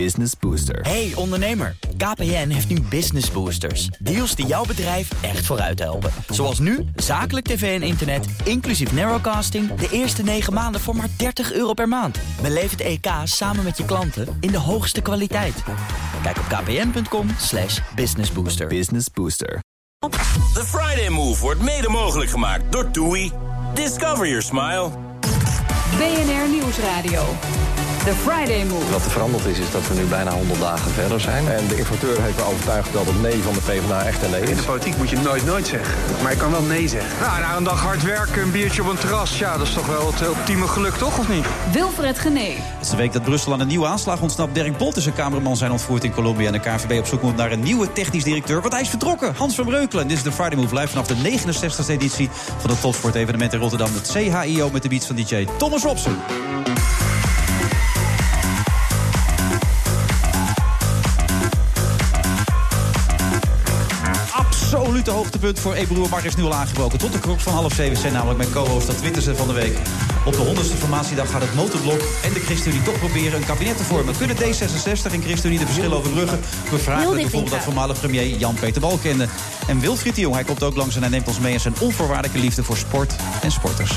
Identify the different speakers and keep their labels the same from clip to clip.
Speaker 1: Business Booster.
Speaker 2: Hey ondernemer, KPN heeft nu Business Boosters. Deals die jouw bedrijf echt vooruit helpen. Zoals nu, zakelijk tv en internet, inclusief narrowcasting... de eerste 9 maanden voor maar 30 euro per maand. Beleef het EK samen met je klanten in de hoogste kwaliteit. Kijk op kpn.com slash businessbooster.
Speaker 1: Business Booster.
Speaker 3: De Friday Move wordt mede mogelijk gemaakt door TUI. Discover your smile.
Speaker 4: BNR Nieuwsradio. The Friday Move.
Speaker 5: Wat er veranderd is, is dat we nu bijna 100 dagen verder zijn.
Speaker 6: En de importeur heeft me overtuigd dat het nee van de PvdA echt een nee
Speaker 7: In
Speaker 6: is.
Speaker 7: de politiek moet je nooit nooit zeggen. Maar je kan wel nee zeggen. Nou, na een dag hard werken, een biertje op een terras. Ja, dat is toch wel het eh, ultieme geluk, toch? Of niet?
Speaker 4: Wilfred Genee.
Speaker 8: Het is de week dat Brussel aan een nieuwe aanslag ontsnapt. Dirk Bolt is een cameraman zijn ontvoerd in Colombia. En de KNVB op zoek moet naar een nieuwe technisch directeur. Want hij is vertrokken. Hans van Breukelen. Dit is de Friday Move Live vanaf de 69e editie van het Topsport evenement in Rotterdam. Het CHIO met de beats van DJ Thomas Robson. Absolute hoogtepunt voor Ebroer Bart is nu al aangebroken. Tot de klok van half zeven zijn namelijk mijn co-host dat Wintersen van de week. Op de honderdste formatiedag gaat het motorblok en de ChristenUnie toch proberen een kabinet te vormen. Kunnen D66 en ChristenUnie de verschillen overbruggen? We vragen het bijvoorbeeld dat voormalig premier Jan-Peter Balkende. En Wilfried de Jong, hij komt ook langs en hij neemt ons mee... in zijn onvoorwaardelijke liefde voor sport en sporters.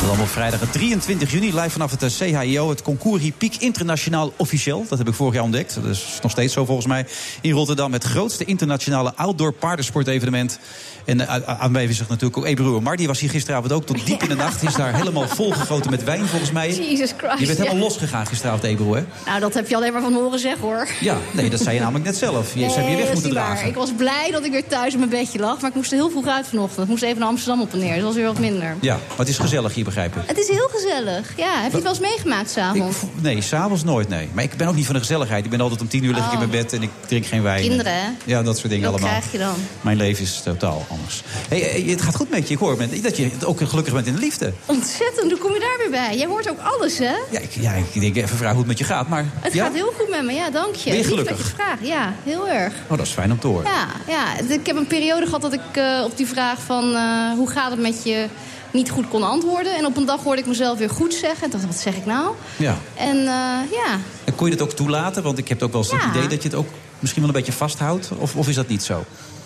Speaker 8: Dat allemaal op vrijdag het 23 juni, live vanaf het eh, CHIO, het Concours Hippiek Internationaal Officieel. Dat heb ik vorig jaar ontdekt, dat is nog steeds zo volgens mij. In Rotterdam het grootste internationale outdoor paardensportevenement. En eh, a- a- aanwezig is natuurlijk ook Ebroer. Maar die was hier gisteravond ook tot diep in de nacht. Is daar helemaal volgegoten met wijn volgens mij.
Speaker 9: Jesus Christ,
Speaker 8: Je bent helemaal
Speaker 9: ja.
Speaker 8: losgegaan gisteravond, Ebroer, hè?
Speaker 9: Nou, dat heb je alleen maar van horen zeggen hoor.
Speaker 8: Ja, nee, dat zei je namelijk net zelf. Je ze
Speaker 9: Nee,
Speaker 8: heb je weg
Speaker 9: dat is
Speaker 8: moeten
Speaker 9: niet waar.
Speaker 8: dragen.
Speaker 9: Ik was blij dat ik weer thuis in mijn bedje lag. Maar ik moest er heel vroeg uit vanochtend. Ik moest even naar Amsterdam op en neer. dus Dat was weer wat minder.
Speaker 8: Ja, maar het is gezellig hier, begrijp ik.
Speaker 9: Het is heel gezellig. Ja, heb je het wel eens meegemaakt s'avonds?
Speaker 8: Nee, s'avonds nooit, nee. Maar ik ben ook niet van de gezelligheid. Ik ben altijd om tien uur lig ik in
Speaker 9: Oh.
Speaker 8: mijn bed en ik drink geen wijn.
Speaker 9: Kinderen, hè?
Speaker 8: Ja, dat soort dingen
Speaker 9: Wat
Speaker 8: allemaal.
Speaker 9: krijg je dan?
Speaker 8: Mijn leven is totaal anders. Hey, hey, het gaat goed met je. Ik hoor met- dat je het ook gelukkig bent in de liefde.
Speaker 9: Ontzettend, hoe kom je daar weer bij? Jij hoort ook alles, hè?
Speaker 8: Ja, ik, ja, ik denk even vragen hoe het met je gaat. Maar,
Speaker 9: Het
Speaker 8: ja?
Speaker 9: gaat heel goed met me, ja, dank je.
Speaker 8: Ben je
Speaker 9: Lief
Speaker 8: gelukkig?
Speaker 9: dat je vraagt, ja, heel erg.
Speaker 8: Oh, dat is fijn om te horen.
Speaker 9: Ja, ja, Dus ik heb een periode gehad dat ik eh, op die vraag van eh, hoe gaat het met je niet goed kon antwoorden. En op een dag hoorde ik mezelf weer goed zeggen. En dacht, wat zeg ik nou?
Speaker 8: Ja.
Speaker 9: En eh, ja,
Speaker 8: En kon je dat ook toelaten? Want ik heb ook wel eens
Speaker 9: Ja.
Speaker 8: het idee dat je het ook misschien wel een beetje vasthoudt. Of, of is dat niet zo?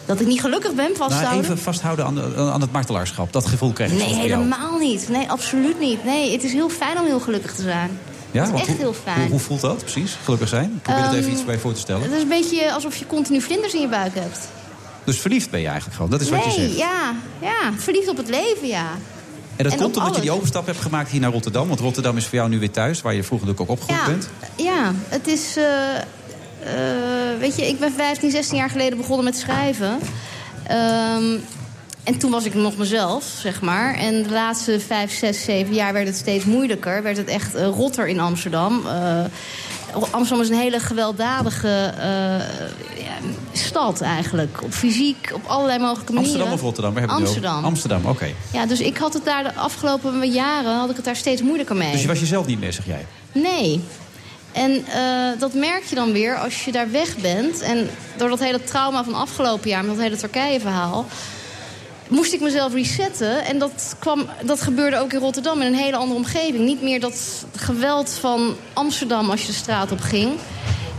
Speaker 9: dat ik niet gelukkig ben
Speaker 8: Nou,
Speaker 9: vasthouden.
Speaker 8: even vasthouden aan, de- aan het martelaarschap. Dat gevoel krijg ik
Speaker 9: Nee,
Speaker 8: soms bij jou.
Speaker 9: helemaal niet. Nee, absoluut niet. Nee, het is heel fijn om heel gelukkig te zijn.
Speaker 8: Ja,
Speaker 9: het is
Speaker 8: want
Speaker 9: echt
Speaker 8: hoe,
Speaker 9: heel
Speaker 8: Hoe,
Speaker 9: fijn.
Speaker 8: hoe voelt dat precies? Gelukkig zijn? Probeer het
Speaker 9: Ehm,
Speaker 8: even iets bij je voor te stellen.
Speaker 9: Het is een beetje alsof je continu vlinders in je buik hebt.
Speaker 8: Dus verliefd ben je eigenlijk gewoon. Dat is wat je
Speaker 9: nee,
Speaker 8: zegt.
Speaker 9: ja, ja. Verliefd op het leven, ja.
Speaker 8: En dat
Speaker 9: En
Speaker 8: komt
Speaker 9: op
Speaker 8: omdat je
Speaker 9: alles.
Speaker 8: die overstap hebt gemaakt hier naar Rotterdam. Want Rotterdam is voor jou nu weer thuis, waar je vroeger natuurlijk ook opgegroeid
Speaker 9: ja,
Speaker 8: bent.
Speaker 9: ja, het is... eh, eh, weet je, ik ben 15, 16 jaar geleden begonnen met schrijven. Ehm, en toen was ik nog mezelf, zeg maar. En de laatste 5, 6, 7 jaar werd het steeds moeilijker. Werd het echt eh, rotter in Amsterdam. Eh, Amsterdam is een hele gewelddadige eh, ja, stad eigenlijk. Op fysiek, op allerlei mogelijke manieren.
Speaker 8: Amsterdam of Rotterdam? Waar heb je het over?
Speaker 9: Amsterdam.
Speaker 8: Amsterdam, oké.
Speaker 9: Ja, dus ik had het daar de afgelopen jaren had ik het daar steeds moeilijker mee.
Speaker 8: Dus je was jezelf niet meer, zeg jij.
Speaker 9: Nee. En eh, dat merk je dan weer als je daar weg bent. En door dat hele trauma van afgelopen jaar, met dat hele Turkije-verhaal... moest ik mezelf resetten. En dat, kwam, dat gebeurde ook in Rotterdam, in een hele andere omgeving. Niet meer dat geweld van Amsterdam als je de straat op ging.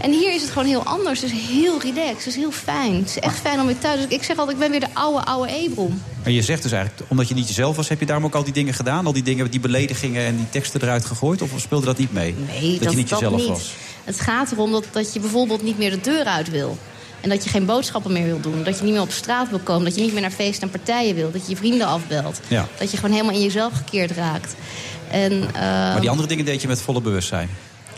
Speaker 9: En hier is het gewoon heel anders. Het is heel relaxed, het is heel fijn. Het is echt fijn om weer thuis. Dus ik zeg altijd, ik ben weer de oude, oude Ebron.
Speaker 8: Maar je zegt dus eigenlijk, omdat je niet jezelf was, heb je daarom ook al die dingen gedaan? Al die dingen, die beledigingen en die teksten eruit gegooid? Of speelde dat niet mee?
Speaker 9: Nee, dat,
Speaker 8: je niet
Speaker 9: dat
Speaker 8: jezelf
Speaker 9: niet.
Speaker 8: was.
Speaker 9: Het gaat erom dat, dat je bijvoorbeeld niet meer de deur uit wil. En dat je geen boodschappen meer wil doen. Dat je niet meer op straat wil komen. Dat je niet meer naar feesten en partijen wil. Dat je je vrienden afbelt.
Speaker 8: Ja.
Speaker 9: Dat je gewoon helemaal in jezelf gekeerd raakt. En, eh,
Speaker 8: Maar die andere dingen deed je met volle bewustzijn.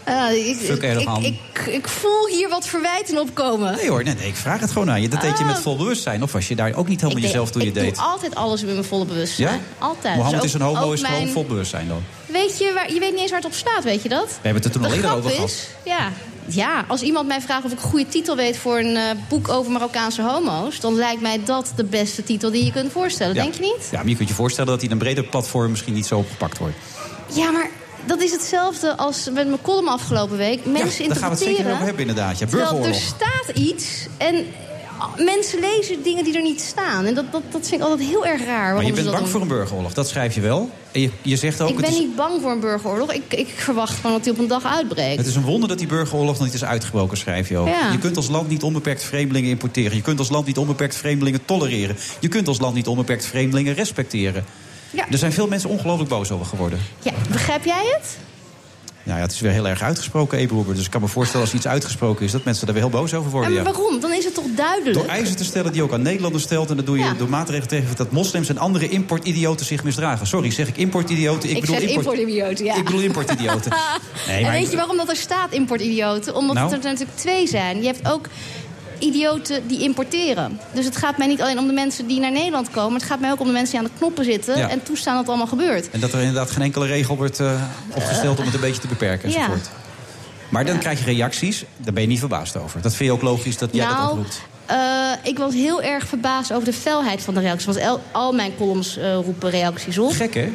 Speaker 9: eh, ik,
Speaker 8: Fuck
Speaker 9: ik, ik,
Speaker 8: helemaal.
Speaker 9: ik, ik voel hier wat verwijten opkomen.
Speaker 8: Nee hoor, nee, nee, ik vraag het gewoon aan je. Dat deed je met
Speaker 9: Ah.
Speaker 8: vol bewustzijn. Of was je daar ook niet
Speaker 9: ik
Speaker 8: helemaal
Speaker 9: deed-
Speaker 8: jezelf toen je
Speaker 9: ik
Speaker 8: deed?
Speaker 9: doe altijd alles met mijn volle bewustzijn.
Speaker 8: ja?
Speaker 9: Altijd.
Speaker 8: Mohammed
Speaker 9: Dus
Speaker 8: is
Speaker 9: ook-
Speaker 8: een homo,
Speaker 9: ook
Speaker 8: is gewoon
Speaker 9: mijn-
Speaker 8: vol bewustzijn dan.
Speaker 9: Weet je, waar, je weet niet eens waar het op staat, weet je dat?
Speaker 8: We hebben het er toen
Speaker 9: de
Speaker 8: alleen al
Speaker 9: grap
Speaker 8: over
Speaker 9: is,
Speaker 8: gehad.
Speaker 9: ja, ja, als iemand mij vraagt of ik een goede titel weet voor een eh, boek over Marokkaanse homo's... dan lijkt mij dat de beste titel die je kunt voorstellen,
Speaker 8: Ja.
Speaker 9: denk je niet?
Speaker 8: Ja, maar je kunt je voorstellen dat hij in een breder platform misschien niet zo opgepakt wordt.
Speaker 9: Ja, maar dat is hetzelfde als met mijn column afgelopen week. Mensen
Speaker 8: ja, daar gaan we
Speaker 9: interpreteren...
Speaker 8: het
Speaker 9: dus-
Speaker 8: zeker over hebben inderdaad. Ja,
Speaker 9: terwijl
Speaker 8: burgeroorlog.
Speaker 9: er staat iets en eh, mensen lezen dingen die er niet staan. En dat, dat, dat vind ik altijd heel erg raar.
Speaker 8: Maar je
Speaker 9: waarom ze
Speaker 8: bent
Speaker 9: dat
Speaker 8: bang
Speaker 9: doen.
Speaker 8: voor een burgeroorlog, dat schrijf je wel. En je, je zegt ook,
Speaker 9: Ik
Speaker 8: het,
Speaker 9: ben
Speaker 8: is,
Speaker 9: niet bang voor een burgeroorlog. Ik, ik verwacht gewoon dat die op een dag uitbreekt.
Speaker 8: het is een wonder dat die burgeroorlog nog niet is uitgebroken, schrijf je ook.
Speaker 9: Ja.
Speaker 8: Je kunt als land niet onbeperkt vreemdelingen importeren. Je kunt als land niet onbeperkt vreemdelingen tolereren. Je kunt als land niet onbeperkt vreemdelingen respecteren.
Speaker 9: Ja.
Speaker 8: Er zijn veel mensen ongelooflijk boos over geworden.
Speaker 9: Ja, begrijp jij het?
Speaker 8: Nou ja, het is weer heel erg uitgesproken, Eberhoeber. Dus ik kan me voorstellen als iets uitgesproken is... dat mensen er weer heel boos over
Speaker 9: Ja,
Speaker 8: worden.
Speaker 9: maar
Speaker 8: ja.
Speaker 9: waarom? Dan is het toch
Speaker 8: Door
Speaker 9: duidelijk?
Speaker 8: eisen te stellen die ook aan Nederlanders stelt... en dat doe je
Speaker 9: Ja.
Speaker 8: door maatregelen tegen dat moslims en andere importidioten zich misdragen. Sorry, zeg ik importidioten? Ik,
Speaker 9: Ik
Speaker 8: bedoel
Speaker 9: zeg importidioten, ja.
Speaker 8: Ik bedoel importidioten. Nee,
Speaker 9: en
Speaker 8: maar-
Speaker 9: weet je waarom dat er staat, importidioten? Omdat
Speaker 8: Nou?
Speaker 9: het er natuurlijk twee zijn. Je hebt ook idioten die importeren. Dus het gaat mij niet alleen om de mensen die naar Nederland komen... het gaat mij ook om de mensen die aan de knoppen zitten...
Speaker 8: Ja.
Speaker 9: en toestaan dat het allemaal gebeurt.
Speaker 8: En dat er inderdaad geen enkele regel wordt eh, opgesteld om het een beetje te beperken
Speaker 9: Ja.
Speaker 8: enzovoort. Maar dan krijg je reacties, daar ben je niet verbaasd over. Dat vind je ook logisch dat jij dat
Speaker 9: nou,
Speaker 8: oproept.
Speaker 9: eh, ik was heel erg verbaasd over de felheid van de reacties. Want el- al mijn columns eh, roepen reacties op.
Speaker 8: Gek, hè?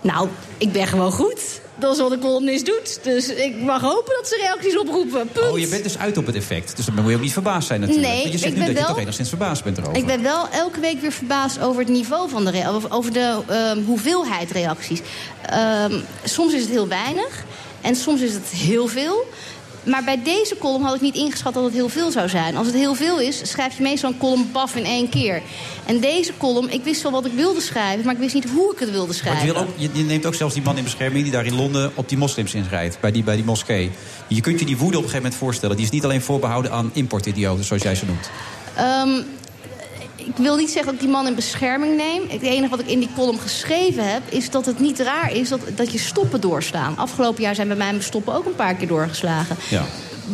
Speaker 9: Nou, ik ben gewoon goed. Dat is wat een columnist doet. Dus ik mag hopen dat ze reacties oproepen. Punt.
Speaker 8: Oh, je bent dus uit op het effect. Dus dan moet je ook niet verbaasd zijn natuurlijk.
Speaker 9: Nee,
Speaker 8: Want je zegt
Speaker 9: ik
Speaker 8: nu
Speaker 9: ben
Speaker 8: dat je
Speaker 9: wel-
Speaker 8: toch enigszins verbaasd bent erover.
Speaker 9: Ik ben wel elke week weer verbaasd over het niveau van de rea- of over de ehm, hoeveelheid reacties. Ehm, soms is het heel weinig en soms is het heel veel. Maar bij deze column had ik niet ingeschat dat het heel veel zou zijn. Als het heel veel is, schrijf je meestal een column paf in één keer. En deze column, ik wist wel wat ik wilde schrijven, maar ik wist niet hoe ik het wilde
Speaker 8: Maar
Speaker 9: schrijven.
Speaker 8: je, wil ook, je, je neemt ook zelfs die man in bescherming die daar in Londen op die moslims inrijdt. Bij die, bij die moskee. Je kunt je die woede op een gegeven moment voorstellen. Die is niet alleen voorbehouden aan importidioten, zoals jij ze noemt.
Speaker 9: Ehm, ik wil niet zeggen dat ik die man in bescherming neem. Het enige wat ik in die column geschreven heb... is dat het niet raar is dat, dat je stoppen doorstaan. Afgelopen jaar zijn bij mij mijn stoppen ook een paar keer doorgeslagen.
Speaker 8: Ja.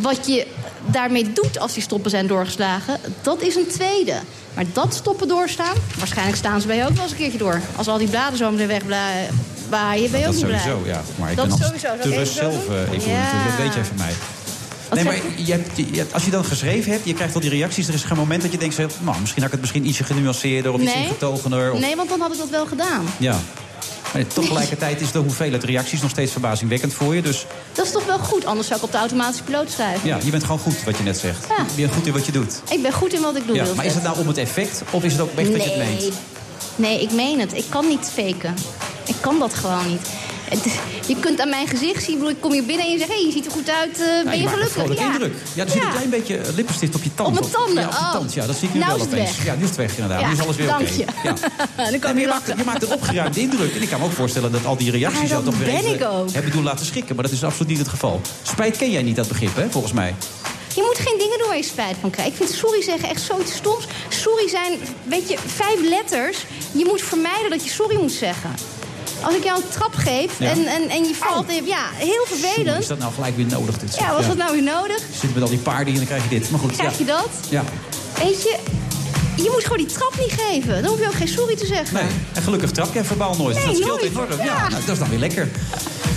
Speaker 9: Wat je daarmee doet als die stoppen zijn doorgeslagen... dat is een tweede. Maar dat stoppen doorstaan... waarschijnlijk staan ze bij je ook wel eens een keertje door. Als al die bladen zo meteen wegbladen... waaien ben je
Speaker 8: dat
Speaker 9: ook niet blij.
Speaker 8: sowieso, ja. Maar ik
Speaker 9: Dat
Speaker 8: ben
Speaker 9: sowieso. Zou ik
Speaker 8: altijd te
Speaker 9: even
Speaker 8: rust
Speaker 9: zo doen?
Speaker 8: zelf eh, even.
Speaker 9: Ja.
Speaker 8: natuurlijk. Dat weet jij van mij. nee, maar
Speaker 9: zeg
Speaker 8: je hebt, je hebt- als je dan geschreven hebt, je krijgt al die reacties. Er is geen moment dat je denkt, zeg, nou, misschien had ik het misschien ietsje genuanceerder of iets ingetogener. Of,
Speaker 9: nee, want dan had ik dat wel gedaan.
Speaker 8: Ja. Maar tegelijkertijd is de hoeveelheid reacties nog steeds verbazingwekkend voor je. Dus
Speaker 9: Dat is toch wel goed, anders zou ik op de automatische piloot schrijven.
Speaker 8: ja, je bent gewoon goed wat je net zegt.
Speaker 9: Ja.
Speaker 8: Je bent goed in wat je doet.
Speaker 9: Ik ben goed in wat ik doe,
Speaker 8: Ja,
Speaker 9: Wilfred.
Speaker 8: maar is het nou om het effect of is het ook echt dat je het meent?
Speaker 9: Eh, Nee, ik meen het. Ik kan niet faken. Ik kan dat gewoon niet. Het is- je kunt aan mijn gezicht zien, ik bedoel, ik kom hier binnen en je zegt... hé, je ziet er goed uit, eh, ben je,
Speaker 8: Nou, maakt een
Speaker 9: gelukkig?
Speaker 8: vrolijke indruk. Ja, er zit een klein beetje eh, lippenstift op je tand.
Speaker 9: Op mijn
Speaker 8: Of-
Speaker 9: tanden,
Speaker 8: Ja, op je
Speaker 9: oh.
Speaker 8: tand, ja. Dat zie ik nu
Speaker 9: Nou
Speaker 8: wel
Speaker 9: is het
Speaker 8: opeens.
Speaker 9: weg.
Speaker 8: Ja, nu is het weg inderdaad.
Speaker 9: Ja,
Speaker 8: Nu is alles weer oké.
Speaker 9: dank je.
Speaker 8: Ja.
Speaker 9: Dan kan
Speaker 8: Nee, maar
Speaker 9: ik lachen.
Speaker 8: je, maakt, je maakt een opgeruimde indruk. En ik kan me ook voorstellen dat al die reacties
Speaker 9: Maar
Speaker 8: jou
Speaker 9: dat
Speaker 8: toch weer
Speaker 9: ben
Speaker 8: even
Speaker 9: ik ook.
Speaker 8: hebben doen laten schrikken. Maar dat is absoluut niet het geval. Spijt ken jij niet, dat begrip, hè, volgens mij.
Speaker 9: Je moet geen dingen doen waar je spijt van krijgt. Ik vind sorry zeggen echt zoiets stoms. Sorry zijn, weet je, vijf letters. Je moet vermijden dat je sorry moet zeggen. Als ik jou een trap geef
Speaker 8: Ja.
Speaker 9: en, en, en je valt... in- Ja, heel
Speaker 8: Jongen, Is
Speaker 9: vervelend.
Speaker 8: dat nou gelijk weer nodig? Dit
Speaker 9: Ja, was
Speaker 8: ja.
Speaker 9: dat nou weer nodig?
Speaker 8: Je zit met al die paarden hier en dan krijg je dit. Maar goed,
Speaker 9: Krijg
Speaker 8: ja.
Speaker 9: je dat?
Speaker 8: Ja.
Speaker 9: Weet je, je moet gewoon die trap niet geven. Dan hoef je ook geen sorry te zeggen.
Speaker 8: Nee. En gelukkig trap jij verbaal nooit. Dus
Speaker 9: Nee,
Speaker 8: dat scheelt
Speaker 9: nooit.
Speaker 8: enorm. Ja,
Speaker 9: Ja.
Speaker 8: nou, dat is dan weer lekker.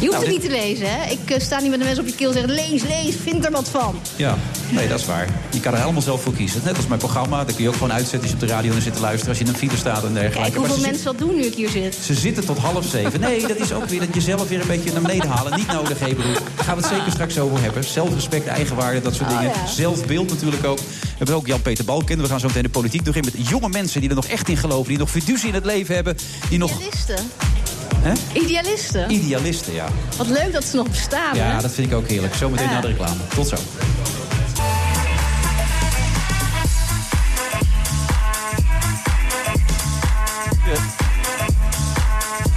Speaker 9: Je hoeft
Speaker 8: Nou,
Speaker 9: het
Speaker 8: dit-
Speaker 9: niet te lezen, hè? Ik eh, sta niet met de mensen op je keel en zeg... lees, lees, vind er wat van.
Speaker 8: Ja, nee, dat is waar. Je kan er helemaal zelf voor kiezen. Net als mijn programma, daar kun je ook gewoon uitzetten als je op de radio en zit te luisteren. Als je in een file staat en dergelijke.
Speaker 9: Kijk
Speaker 8: Maar
Speaker 9: hoeveel
Speaker 8: ze,
Speaker 9: mensen dat doen nu ik hier zit.
Speaker 8: zit- ze zitten tot half zeven. Nee, dat is ook weer dat je zelf weer een beetje naar beneden halen. Niet nodig, hé broer. Daar gaan we het zeker straks over hebben. Zelfrespect, eigenwaarde, dat soort dingen.
Speaker 9: Oh, ja.
Speaker 8: Zelfbeeld natuurlijk ook. We hebben ook Jan-Peter Balken. We gaan zo meteen de politiek nog in met jonge mensen die er nog echt in geloven. Die nog fiducie in het leven hebben. Die nog
Speaker 9: Idealisten.
Speaker 8: Hè?
Speaker 9: Idealisten.
Speaker 8: idealisten, ja.
Speaker 9: Wat leuk dat ze nog bestaan, hè?
Speaker 8: Ja, dat vind ik ook heerlijk. Zometeen
Speaker 9: Ja.
Speaker 8: na de reclame. Tot zo.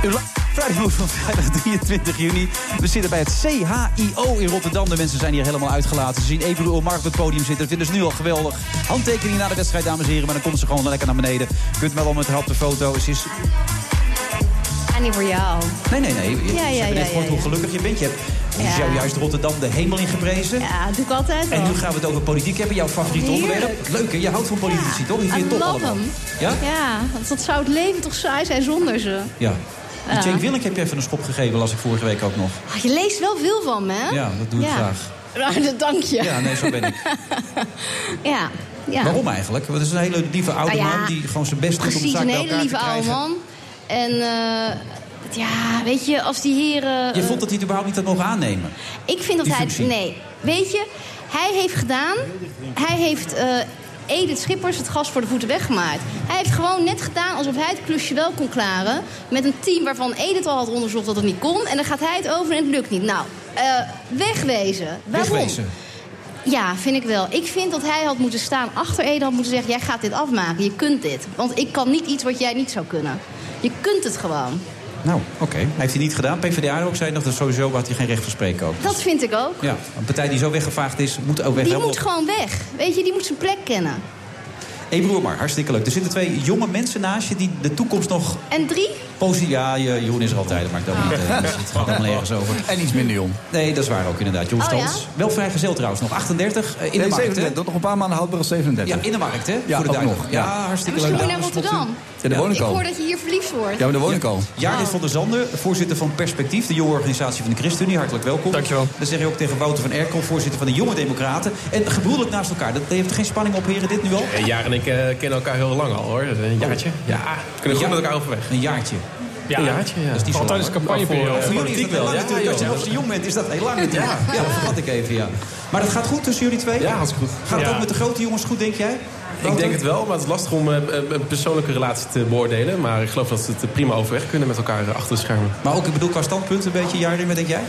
Speaker 8: U lu- Vrijdagmiddag van vrijdag 23 juni. We zitten bij het CHIO in Rotterdam. De mensen zijn hier helemaal uitgelaten. Ze zien Ebru Omar op het podium zitten. Dat vinden ze nu al geweldig. Handtekening na de wedstrijd, dames en heren. Maar dan komt ze gewoon lekker naar beneden. Je kunt wel om het haar op de foto. Ze is
Speaker 9: En die voor jou.
Speaker 8: Nee, nee, nee. Je,
Speaker 9: Ja,
Speaker 8: ze
Speaker 9: ja,
Speaker 8: hebben
Speaker 9: ja,
Speaker 8: net gehoord
Speaker 9: ja,
Speaker 8: hoe
Speaker 9: ja.
Speaker 8: gelukkig je bent. Je hebt je is jou juist Rotterdam de hemel in geprezen.
Speaker 9: Ja, dat doe ik altijd
Speaker 8: En
Speaker 9: al.
Speaker 8: nu gaan we het over politiek hebben. Jouw favoriete
Speaker 9: Heerlijk.
Speaker 8: onderwerp. Leuk, hè? Je houdt van politici, toch? Je
Speaker 9: I
Speaker 8: vindt het top
Speaker 9: love
Speaker 8: allemaal.
Speaker 9: them.
Speaker 8: Ja?
Speaker 9: Ja, want dat zou het leven toch saai zijn zonder ze.
Speaker 8: Ja. Die
Speaker 9: Ja.
Speaker 8: Jake Willink heb je even een schop gegeven, las ik vorige week ook nog.
Speaker 9: Ah, je leest wel veel van me, hè?
Speaker 8: Ja, dat doe ik graag.
Speaker 9: Nou, dat dank je.
Speaker 8: Ja, nee, zo ben ik.
Speaker 9: ja. ja.
Speaker 8: Waarom eigenlijk? Want het is een hele lieve oude
Speaker 9: Nou ja,
Speaker 8: man die gewoon zijn best doet om de
Speaker 9: Precies,
Speaker 8: zaak
Speaker 9: een
Speaker 8: bij
Speaker 9: hele
Speaker 8: elkaar
Speaker 9: lieve
Speaker 8: te
Speaker 9: oude
Speaker 8: krijgen.
Speaker 9: man. En eh, ja, weet je, als die heren...
Speaker 8: Je vond dat hij het überhaupt niet had mogen aannemen.
Speaker 9: Ik vind dat
Speaker 8: die
Speaker 9: hij...
Speaker 8: functie.
Speaker 9: Nee, weet je, hij heeft gedaan... Hij heeft eh, Edith Schippers het gas voor de voeten weggemaakt. Hij heeft gewoon net gedaan alsof hij het klusje wel kon klaren. Met een team waarvan Edith al had onderzocht dat het niet kon. En dan gaat hij het over en het lukt niet. Nou, eh, wegwezen. Waarom?
Speaker 8: Wegwezen.
Speaker 9: Ja, vind ik wel. Ik vind dat hij had moeten staan achter Ede. Had moeten zeggen, jij gaat dit afmaken. Je kunt dit. Want ik kan niet iets wat jij niet zou kunnen. Je kunt het gewoon.
Speaker 8: Nou, oké. Hij heeft hij niet gedaan. PvdA ook zei nog dat sowieso had hij geen recht van spreken ook. Dus,
Speaker 9: Dat vind ik ook.
Speaker 8: Ja, een partij die zo weggevaagd is, moet ook weg.
Speaker 9: Die
Speaker 8: Helemaal
Speaker 9: moet gewoon weg. Weet je, die moet zijn plek kennen.
Speaker 8: Ebru Omar, hartstikke leuk. Er zitten twee jonge mensen naast je die de toekomst nog
Speaker 9: En drie?
Speaker 8: positief... Ja, je- Jeroen is er altijd, dat maakt dat niet.
Speaker 9: Ah.
Speaker 8: eh, dus het gaat allemaal nergens over.
Speaker 1: En iets minder jong.
Speaker 8: Nee, dat is waar ook inderdaad. Jong
Speaker 9: Oh, ja?
Speaker 8: Stans. Wel vrijgezel trouwens, nog 38 eh, in
Speaker 1: Nee,
Speaker 8: de markt. hè?
Speaker 1: 37. Nog een paar maanden houdbaar als 37.
Speaker 8: Ja, in de markt, hè?
Speaker 1: Ja,
Speaker 8: Voor de
Speaker 1: ook
Speaker 8: duidelijk.
Speaker 1: nog,
Speaker 8: Ja,
Speaker 1: ja.
Speaker 8: hartstikke leuk.
Speaker 9: Misschien moet je naar Rotterdam.
Speaker 1: Ja, daar woon
Speaker 9: Ik
Speaker 1: ik al.
Speaker 9: hoor dat je hier verliefd wordt.
Speaker 1: Ja, maar daar woon ik al.
Speaker 8: Jaris van der Zanden, voorzitter van Perspectief, de jonge organisatie van de ChristenUnie. Hartelijk welkom.
Speaker 1: Dankjewel.
Speaker 8: Dat zeg je ook tegen Wouter van Erkel, voorzitter van de Jonge Democraten. En gebroedelijk naast elkaar. Dat heeft geen spanning op, heren, dit nu al?
Speaker 10: Eh, Jaar en ik eh, kennen elkaar heel lang al hoor. Een jaartje. Ja, we kunnen
Speaker 8: Oh. Ja.
Speaker 10: goed met elkaar overweg.
Speaker 8: Een jaartje.
Speaker 10: Ja, een jaartje, ja.
Speaker 8: Dat is niet zo
Speaker 10: Al tijdens
Speaker 8: lang.
Speaker 10: de campagneperiode.
Speaker 8: Voor jullie is
Speaker 10: eh, Politiek
Speaker 8: dat heel
Speaker 10: wel,
Speaker 8: lang
Speaker 10: ja,
Speaker 8: natuurlijk.
Speaker 10: ja,
Speaker 8: Als je
Speaker 10: ja.
Speaker 8: nog zo jong bent, is dat heel lang. natuurlijk. Ja, dat vergat ik even, ja. Maar dat gaat goed tussen jullie twee?
Speaker 10: Ja, gaat goed.
Speaker 8: Gaat het
Speaker 10: Ja.
Speaker 8: ook met de grote jongens goed, denk jij?
Speaker 10: Ik
Speaker 8: Wouter?
Speaker 10: denk het wel, maar het is lastig om eh, een een persoonlijke relatie te beoordelen. Maar ik geloof dat ze het eh, prima overweg kunnen met elkaar eh, achter de schermen.
Speaker 8: Maar ook, ik bedoel, qua standpunt een beetje, Jarin, wat denk jij?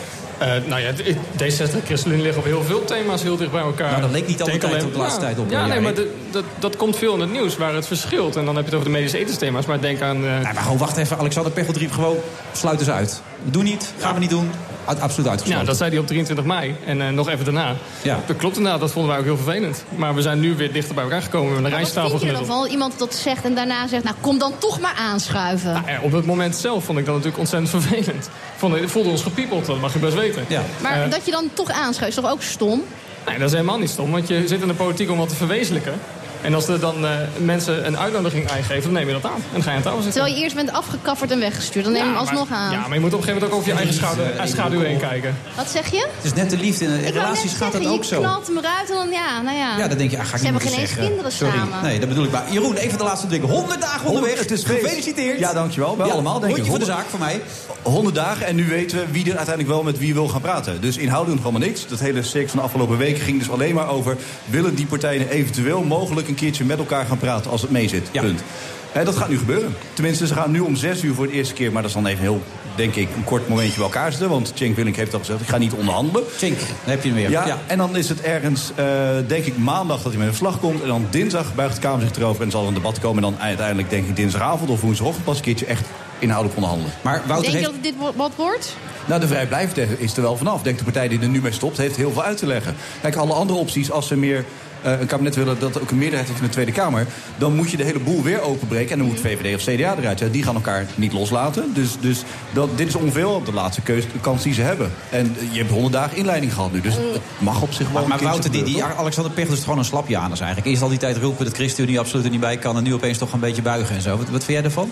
Speaker 11: nou ja, D- D66 en ChristenUnie liggen op heel veel thema's heel dicht bij elkaar.
Speaker 8: Nou, dat leek niet altijd
Speaker 11: Denk alleen-
Speaker 8: op de laatste
Speaker 11: Ja.
Speaker 8: tijd op,
Speaker 11: Ja,
Speaker 8: eh,
Speaker 11: nee, maar
Speaker 8: Jarik.
Speaker 11: d- dat, dat komt veel in het nieuws waar het verschilt. En dan heb je het over de medische etensthema's. Maar denk aan... eh,
Speaker 8: Nou, maar gewoon wacht even. Alexander Pechel riep gewoon, sluiten ze uit. Doe niet, gaan we niet doen. Uit- absoluut
Speaker 11: ja,
Speaker 8: uitgesloten.
Speaker 11: dat zei hij op 23 mei. En eh, nog even daarna.
Speaker 8: Ja.
Speaker 11: Dat klopt inderdaad, dat vonden wij ook heel vervelend. Maar we zijn nu weer dichter bij elkaar gekomen. We hebben een
Speaker 9: Maar wat
Speaker 11: rijstafel
Speaker 9: vind je er dan
Speaker 11: gemiddeld.
Speaker 9: van? Iemand dat zegt en daarna zegt, nou kom dan toch maar aanschuiven.
Speaker 11: Nou ja, op het moment zelf vond ik dat natuurlijk ontzettend vervelend. Vond, voelde ons gepiepeld, dat mag je best weten.
Speaker 8: Ja.
Speaker 9: Maar
Speaker 11: Eh,
Speaker 9: dat je dan toch aanschuift is toch ook stom?
Speaker 11: Nee, dat is helemaal niet stom, want je zit in de politiek om wat te verwezenlijken. En als er dan eh, mensen een uitnodiging aan je geven, dan neem je dat aan. En dan ga je aan tafel zitten.
Speaker 9: Terwijl je eerst bent afgekafferd en weggestuurd. Dan neem je hem
Speaker 11: Ja, maar-
Speaker 9: alsnog aan.
Speaker 11: Ja, maar je moet op een gegeven moment ook over je eigen schouder, eh, schaduw heen kijken.
Speaker 9: Wat zeg je?
Speaker 8: Het is net de liefde. In
Speaker 9: Ik wou net
Speaker 8: relaties gaat dat
Speaker 9: zeggen,
Speaker 8: ook
Speaker 9: je
Speaker 8: zo.
Speaker 9: knalt hem eruit en dan ja, nou ja.
Speaker 8: Ja, dat denk je, ah, ga ik
Speaker 9: Ze hebben
Speaker 8: niet moeten
Speaker 9: geen eens
Speaker 8: zeggen.
Speaker 9: kinderen
Speaker 8: Sorry.
Speaker 9: samen.
Speaker 8: Nee, dat bedoel ik maar. Jeroen, even de laatste ding. 100 dagen onderweg.
Speaker 1: Oh, het is feest.
Speaker 8: Gefeliciteerd.
Speaker 1: Ja, dankjewel. Wel allemaal, denk ik.
Speaker 8: Rondje voor de zaak voor mij.
Speaker 1: 100 dagen en nu weten we wie er uiteindelijk wel met wie wil gaan praten. Dus inhoudelijk nog helemaal niks. Dat hele cirk van de afgelopen weken ging dus alleen maar over... willen die partijen eventueel mogelijk een keertje met elkaar gaan praten als het meezit.
Speaker 8: Ja.
Speaker 1: Punt. En dat gaat nu gebeuren. Tenminste, ze gaan nu om 6 uur voor de eerste keer... maar dat is dan even heel, denk ik, een kort momentje bij elkaar zitten. Want Cenk Willink heeft al gezegd, ik ga niet onderhandelen.
Speaker 8: Chink, daar heb je hem weer.
Speaker 1: Ja, en dan is het ergens, eh, denk ik, maandag dat hij met een vlag komt. En dan dinsdag buigt de Kamer zich erover en zal er een debat komen. En dan uiteindelijk, denk ik, dinsdagavond of woensdagochtend pas een keertje echt inhoudelijk onderhandelen.
Speaker 8: Maar Wouter
Speaker 9: Denk je dat
Speaker 8: heeft...
Speaker 9: dit wo- wat wordt?
Speaker 1: Nou, de vrijblijfde is er wel vanaf. Denk de partij die er nu mee stopt, heeft heel veel uit te leggen. Kijk, alle andere opties, als ze meer eh, een kabinet willen dat er ook een meerderheid heeft in de Tweede Kamer, dan moet je de hele boel weer openbreken. En dan moet VVD of CDA eruit. Ja, die gaan elkaar niet loslaten. Dus, dus dat, dit is ongeveer de laatste keus, de kans die ze hebben. En eh, je hebt honderd dagen inleiding gehad nu. Dus het mag op zich wel.
Speaker 8: Mm. Maar
Speaker 1: een keertje
Speaker 8: Wouter, die, die
Speaker 1: gebeuren,
Speaker 8: Alexander Pechel is gewoon een slapjanus eigenlijk. Eerst al die tijd roepen dat ChristenUnie absoluut er niet bij kan... en nu opeens toch een beetje buigen en zo. Wat, wat vind jij daarvan?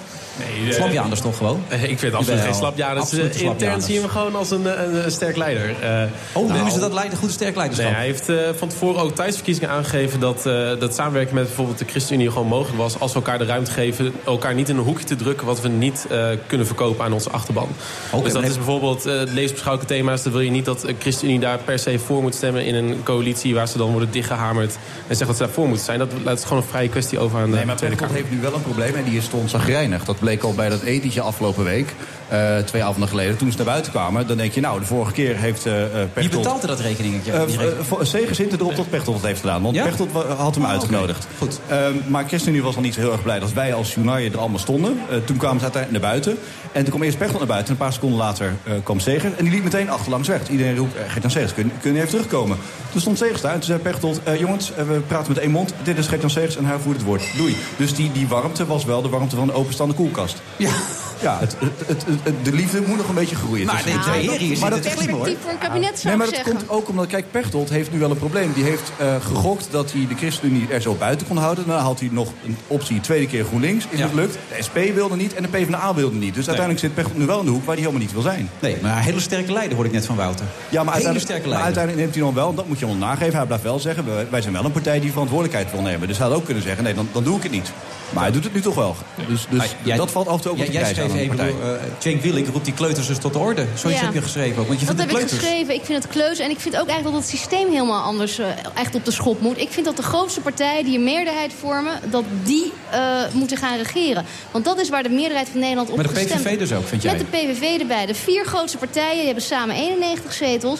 Speaker 10: Nee, eh,
Speaker 8: slapjanus toch gewoon?
Speaker 10: Eh, Ik vind het eh, absoluut
Speaker 8: Jawel,
Speaker 10: geen slapjaar.
Speaker 8: absoluut een
Speaker 10: intern
Speaker 8: slapjanus.
Speaker 10: zien we hem gewoon als een, eh, een, eh, sterk leider. Eh,
Speaker 8: Oh,
Speaker 10: nou,
Speaker 8: noemen ze dat leiden, goed sterk leiderschap?
Speaker 10: Nee, hij heeft eh, van tevoren ook tijdens de verkiezingen aangegeven dat, eh, dat samenwerken met bijvoorbeeld de ChristenUnie gewoon mogelijk was. Als we elkaar de ruimte geven, elkaar niet in een hoekje te drukken wat we niet eh, kunnen verkopen aan onze achterban. dus
Speaker 8: maar
Speaker 10: dat
Speaker 8: heb-
Speaker 10: is bijvoorbeeld eh, het levensbeschouwelijke thema's. Dan wil je niet dat de ChristenUnie daar per se voor moet stemmen in een coalitie waar ze dan worden dichtgehamerd en zeggen dat ze daarvoor moeten zijn. Dat laat is gewoon een vrije kwestie over aan de
Speaker 1: Nee, maar
Speaker 10: Tweede
Speaker 1: Pechtold
Speaker 10: Kamer.
Speaker 1: heeft nu wel een probleem en die is stond zagrijnig. Dat bleek al bij dat etentje afgelopen week, eh, twee avonden geleden. Toen ze naar buiten kwamen, dan denk je, nou, de vorige keer heeft eh eh,
Speaker 8: Wie
Speaker 1: Pechtold-
Speaker 8: betaalde dat rekeningetje?
Speaker 1: Eh,
Speaker 8: Die rekening?
Speaker 1: eh, voor- Segers zit erop dat Pechtold het heeft gedaan. Want
Speaker 8: Ja?
Speaker 1: Pechtold wa- had hem uitgenodigd.
Speaker 8: oké. Goed.
Speaker 1: Ehm, maar ChristenUnie was al niet zo heel erg blij dat wij als Junaier er allemaal stonden. Eh, toen kwamen ze uiteindelijk naar buiten. En toen kwam eerst Pechtold naar buiten. En een paar seconden later eh, kwam Segers. En die liep meteen achterlangs weg. Iedereen roept, eh, Gert-Jan Segers, kun, kun je even terugkomen? Toen stond Segers daar en toen zei Pechtold... eh, jongens, eh, we praten met één mond. Dit is Gert-Jan Segers en hij voert het woord. Doei. Dus die, die warmte was wel de warmte van de openstaande koelkast.
Speaker 8: Ja.
Speaker 1: Ja, het, het, het, het- de liefde moet nog een beetje groeien.
Speaker 8: Maar
Speaker 1: tussen
Speaker 8: de
Speaker 1: de twee.
Speaker 8: twee heren hier
Speaker 1: Maar dat
Speaker 8: zitten te
Speaker 1: is slim hoor.
Speaker 9: Perspectief voor een kabinet zou
Speaker 1: Nee, maar
Speaker 9: ik
Speaker 1: dat
Speaker 9: zeggen.
Speaker 1: komt ook omdat, kijk, Pechtold heeft nu wel een probleem. Die heeft eh, gegokt dat hij de ChristenUnie er zo buiten kon houden. Dan had hij nog een optie, tweede keer GroenLinks, is
Speaker 8: Ja.
Speaker 1: het lukt. De SP wilde niet en de PvdA wilde niet. Dus uiteindelijk zit Pechtold nu wel in de hoek waar hij helemaal niet wil zijn.
Speaker 8: Nee, maar een hele sterke leider hoor ik net van Wouter.
Speaker 1: Ja, maar
Speaker 8: hele
Speaker 1: uiteindelijk,
Speaker 8: sterke
Speaker 1: maar
Speaker 8: leider.
Speaker 1: uiteindelijk neemt hij dan wel, en dat moet je hem nageven. Hij blijft wel zeggen, wij- wij zijn wel een partij die verantwoordelijkheid wil nemen. Dus hij had ook kunnen zeggen, nee, dan, dan doe ik het niet. Maar hij doet het nu toch wel. Dus, dus
Speaker 8: Maar jij-
Speaker 1: dat valt af en toe ook
Speaker 8: jij-
Speaker 1: wat
Speaker 8: Jij
Speaker 1: prijs
Speaker 8: schreef even,
Speaker 5: een partij.
Speaker 8: Ebru, eh, Cenk Willink roept die kleuters dus tot de orde. Zoiets
Speaker 9: Ja.
Speaker 8: heb je geschreven ook. Want je
Speaker 9: dat
Speaker 8: vindt dus.
Speaker 9: heb
Speaker 8: de
Speaker 9: ik
Speaker 8: kleuters.
Speaker 9: geschreven. Ik vind het kleuzen. En ik vind ook eigenlijk dat het systeem helemaal anders eh, echt op de schop moet. Ik vind dat de grootste partijen die een meerderheid vormen... dat die eh, moeten gaan regeren. Want dat is waar de meerderheid van Nederland op
Speaker 8: Maar de
Speaker 9: gestemd
Speaker 8: PVV
Speaker 9: heeft.
Speaker 8: dus ook, vind jij?
Speaker 9: Met de PVV erbij. De vier grootste partijen die hebben samen 91 zetels.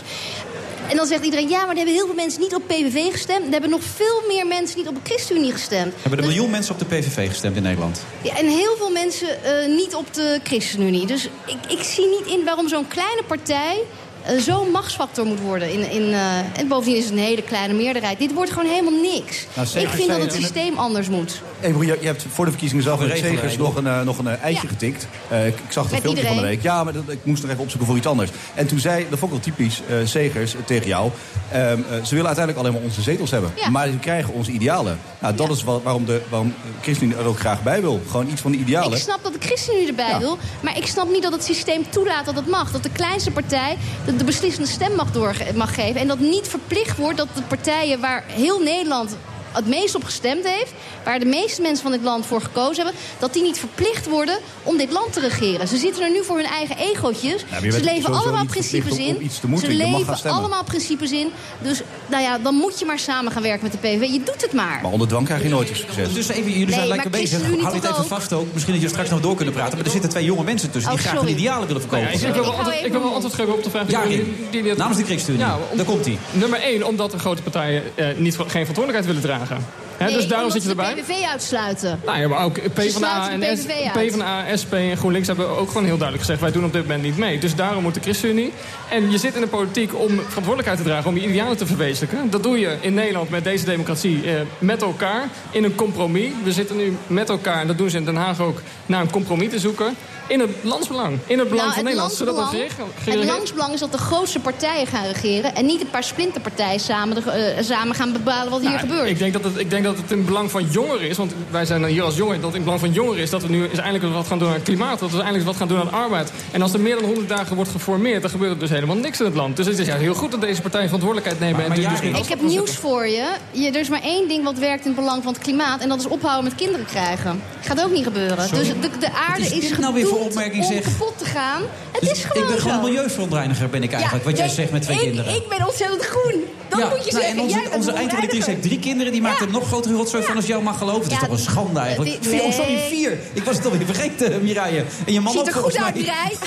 Speaker 9: En dan zegt iedereen, ja, maar er hebben heel veel mensen niet op PVV gestemd. Er hebben nog veel meer mensen niet op de ChristenUnie gestemd.
Speaker 8: Hebben een miljoen mensen op de PVV gestemd in Nederland?
Speaker 9: Ja, en heel veel mensen eh, niet op de ChristenUnie. Dus ik, ik zie niet in waarom zo'n kleine partij eh, zo'n machtsfactor moet worden. In, in, eh, en bovendien is het een hele kleine meerderheid. Dit wordt gewoon helemaal niks.
Speaker 1: Nou,
Speaker 9: ik
Speaker 1: zeker
Speaker 9: vind dat
Speaker 1: zijn-
Speaker 9: het systeem anders moet.
Speaker 1: Ebru, je, je hebt voor de verkiezingen zelf
Speaker 8: Nog een
Speaker 1: met Segers
Speaker 8: regelrijden.
Speaker 1: nog een, eh, nog een eh, eitje getikt. Eh, ik, ik zag dat
Speaker 9: Met
Speaker 1: filmpje van de
Speaker 9: iedereen.
Speaker 1: week. Ja, maar dat, ik moest nog even opzoeken voor iets anders. En toen zei, dat vond ik wel typisch, eh, Segers eh, tegen jou... ehm, eh, ze willen uiteindelijk alleen maar onze zetels hebben. Maar ze krijgen onze idealen. Nou, dat is wa- waarom, de, waarom ChristenUnie er ook graag bij wil. Gewoon iets van de idealen.
Speaker 9: Ik snap dat de ChristenUnie erbij wil, maar ik snap niet dat het systeem toelaat dat het mag. Dat de kleinste partij de, de beslissende stem mag, door, mag geven. En dat niet verplicht wordt dat de partijen waar heel Nederland het meest op gestemd heeft, waar de meeste mensen van dit land voor gekozen hebben, dat die niet verplicht worden om dit land te regeren. Ze zitten er nu voor hun eigen egootjes.
Speaker 1: maar je
Speaker 9: ze
Speaker 1: bent
Speaker 9: leven
Speaker 1: sowieso
Speaker 9: allemaal
Speaker 1: niet
Speaker 9: principes
Speaker 1: verplicht om-
Speaker 9: in.
Speaker 1: om iets te moeten.
Speaker 9: Ze
Speaker 1: Je mag gaan
Speaker 9: leven
Speaker 1: stemmen.
Speaker 9: allemaal principes in. Dus nou ja, dan moet je maar samen gaan werken met de PVV. Je doet het maar.
Speaker 1: Maar onder dwang krijg je nooit iets gezegd.
Speaker 8: Dus even, jullie zijn
Speaker 9: Nee,
Speaker 8: lekker
Speaker 9: maar
Speaker 8: bezig.
Speaker 9: ChristenUnie
Speaker 8: Hou dit
Speaker 9: toch
Speaker 8: even
Speaker 9: ook?
Speaker 8: vast ook. Misschien dat jullie straks nog door kunnen praten. Maar er zitten twee jonge mensen tussen die
Speaker 9: Oh,
Speaker 8: graag hun
Speaker 9: sorry. Oh,
Speaker 8: idealen willen verkopen.
Speaker 11: Nou ja, ik- ik wil wel Ik hou antwoord- ik wil wel even antwoord geven op de vraag die-
Speaker 8: Ja,
Speaker 11: die-
Speaker 8: Rick.
Speaker 11: die- die-
Speaker 8: Namens de ChristenUnie.
Speaker 11: Ja, om-
Speaker 8: Daar komt hij.
Speaker 11: Nummer één, omdat de grote partijen eh, niet, geen verantwoordelijkheid willen dragen. Hè,
Speaker 9: Nee,
Speaker 11: dus daarom
Speaker 9: omdat
Speaker 11: zit je
Speaker 9: ze
Speaker 11: erbij.
Speaker 9: de PVV uitsluiten.
Speaker 11: Nou ja, maar ook PvdA
Speaker 9: sluiten de
Speaker 11: en, S-
Speaker 9: PVV uit.
Speaker 11: PvdA, SP en GroenLinks hebben ook gewoon heel duidelijk gezegd... wij doen op dit moment niet mee. Dus daarom moet de ChristenUnie... en je zit in de politiek om verantwoordelijkheid te dragen... om je idealen te verwezenlijken. Dat doe je in Nederland met deze democratie eh, met elkaar in een compromis. We zitten nu met elkaar, en dat doen ze in Den Haag ook... naar een compromis te zoeken in het landsbelang. In het belang
Speaker 9: Nou,
Speaker 11: van Nederland. Zodat het
Speaker 9: landsbelang-
Speaker 11: gereg-
Speaker 9: het
Speaker 11: gereg-
Speaker 9: landsbelang is dat de grootste partijen gaan regeren... en niet een paar splinterpartijen samen, de- eh, samen gaan bepalen wat hier
Speaker 11: Nou,
Speaker 9: gebeurt.
Speaker 11: Ik denk, dat het, ik denk dat het in belang van jongeren is, want wij zijn dan hier als jongeren, dat het in belang van jongeren is dat we nu eens eindelijk eens wat gaan doen aan het klimaat, dat we eindelijk eens wat gaan doen aan arbeid. En als er meer dan 100 dagen wordt geformeerd, dan gebeurt er dus helemaal niks in het land. Dus het is juist heel goed dat deze partijen verantwoordelijkheid nemen. en
Speaker 8: maar
Speaker 11: dus
Speaker 8: Jari-
Speaker 11: geen
Speaker 9: Ik heb
Speaker 11: afstand
Speaker 9: nieuws voor je. je. Er is maar één ding wat werkt in het belang van het klimaat... en dat is ophouden met kinderen krijgen. Gaat ook niet gebeuren.
Speaker 8: Sorry?
Speaker 9: Dus de, de aarde
Speaker 8: Wat is
Speaker 9: is
Speaker 8: dit nou weer voor
Speaker 9: gedoemd
Speaker 8: opmerking,
Speaker 9: om
Speaker 8: zeg?
Speaker 9: kapot te gaan. Het is gewoon
Speaker 8: Dus Ik ben gewoon
Speaker 9: zo.
Speaker 8: een milieuverontreiniger, ben ik eigenlijk. wat jij
Speaker 9: nee,
Speaker 8: zegt met twee
Speaker 9: ik-
Speaker 8: kinderen.
Speaker 9: Ik ben ontzettend groen. Dat
Speaker 8: Ja,
Speaker 9: moet je
Speaker 8: nou,
Speaker 9: zeggen.
Speaker 8: En onze,
Speaker 9: Jij bent
Speaker 8: onze
Speaker 9: een
Speaker 8: eindredactrice heeft drie kinderen. Die maakt er nog grotere rotzooi van als jou mag geloven. Het is toch een schande eigenlijk.
Speaker 9: die-
Speaker 8: Vier, oh, sorry,
Speaker 9: nee.
Speaker 8: vier. Ik was het alweer vergeten, eh, Mireille. En je man
Speaker 9: Ziet
Speaker 8: ook
Speaker 9: er
Speaker 8: volgens
Speaker 9: goed uit,
Speaker 8: mij.
Speaker 9: Mireille.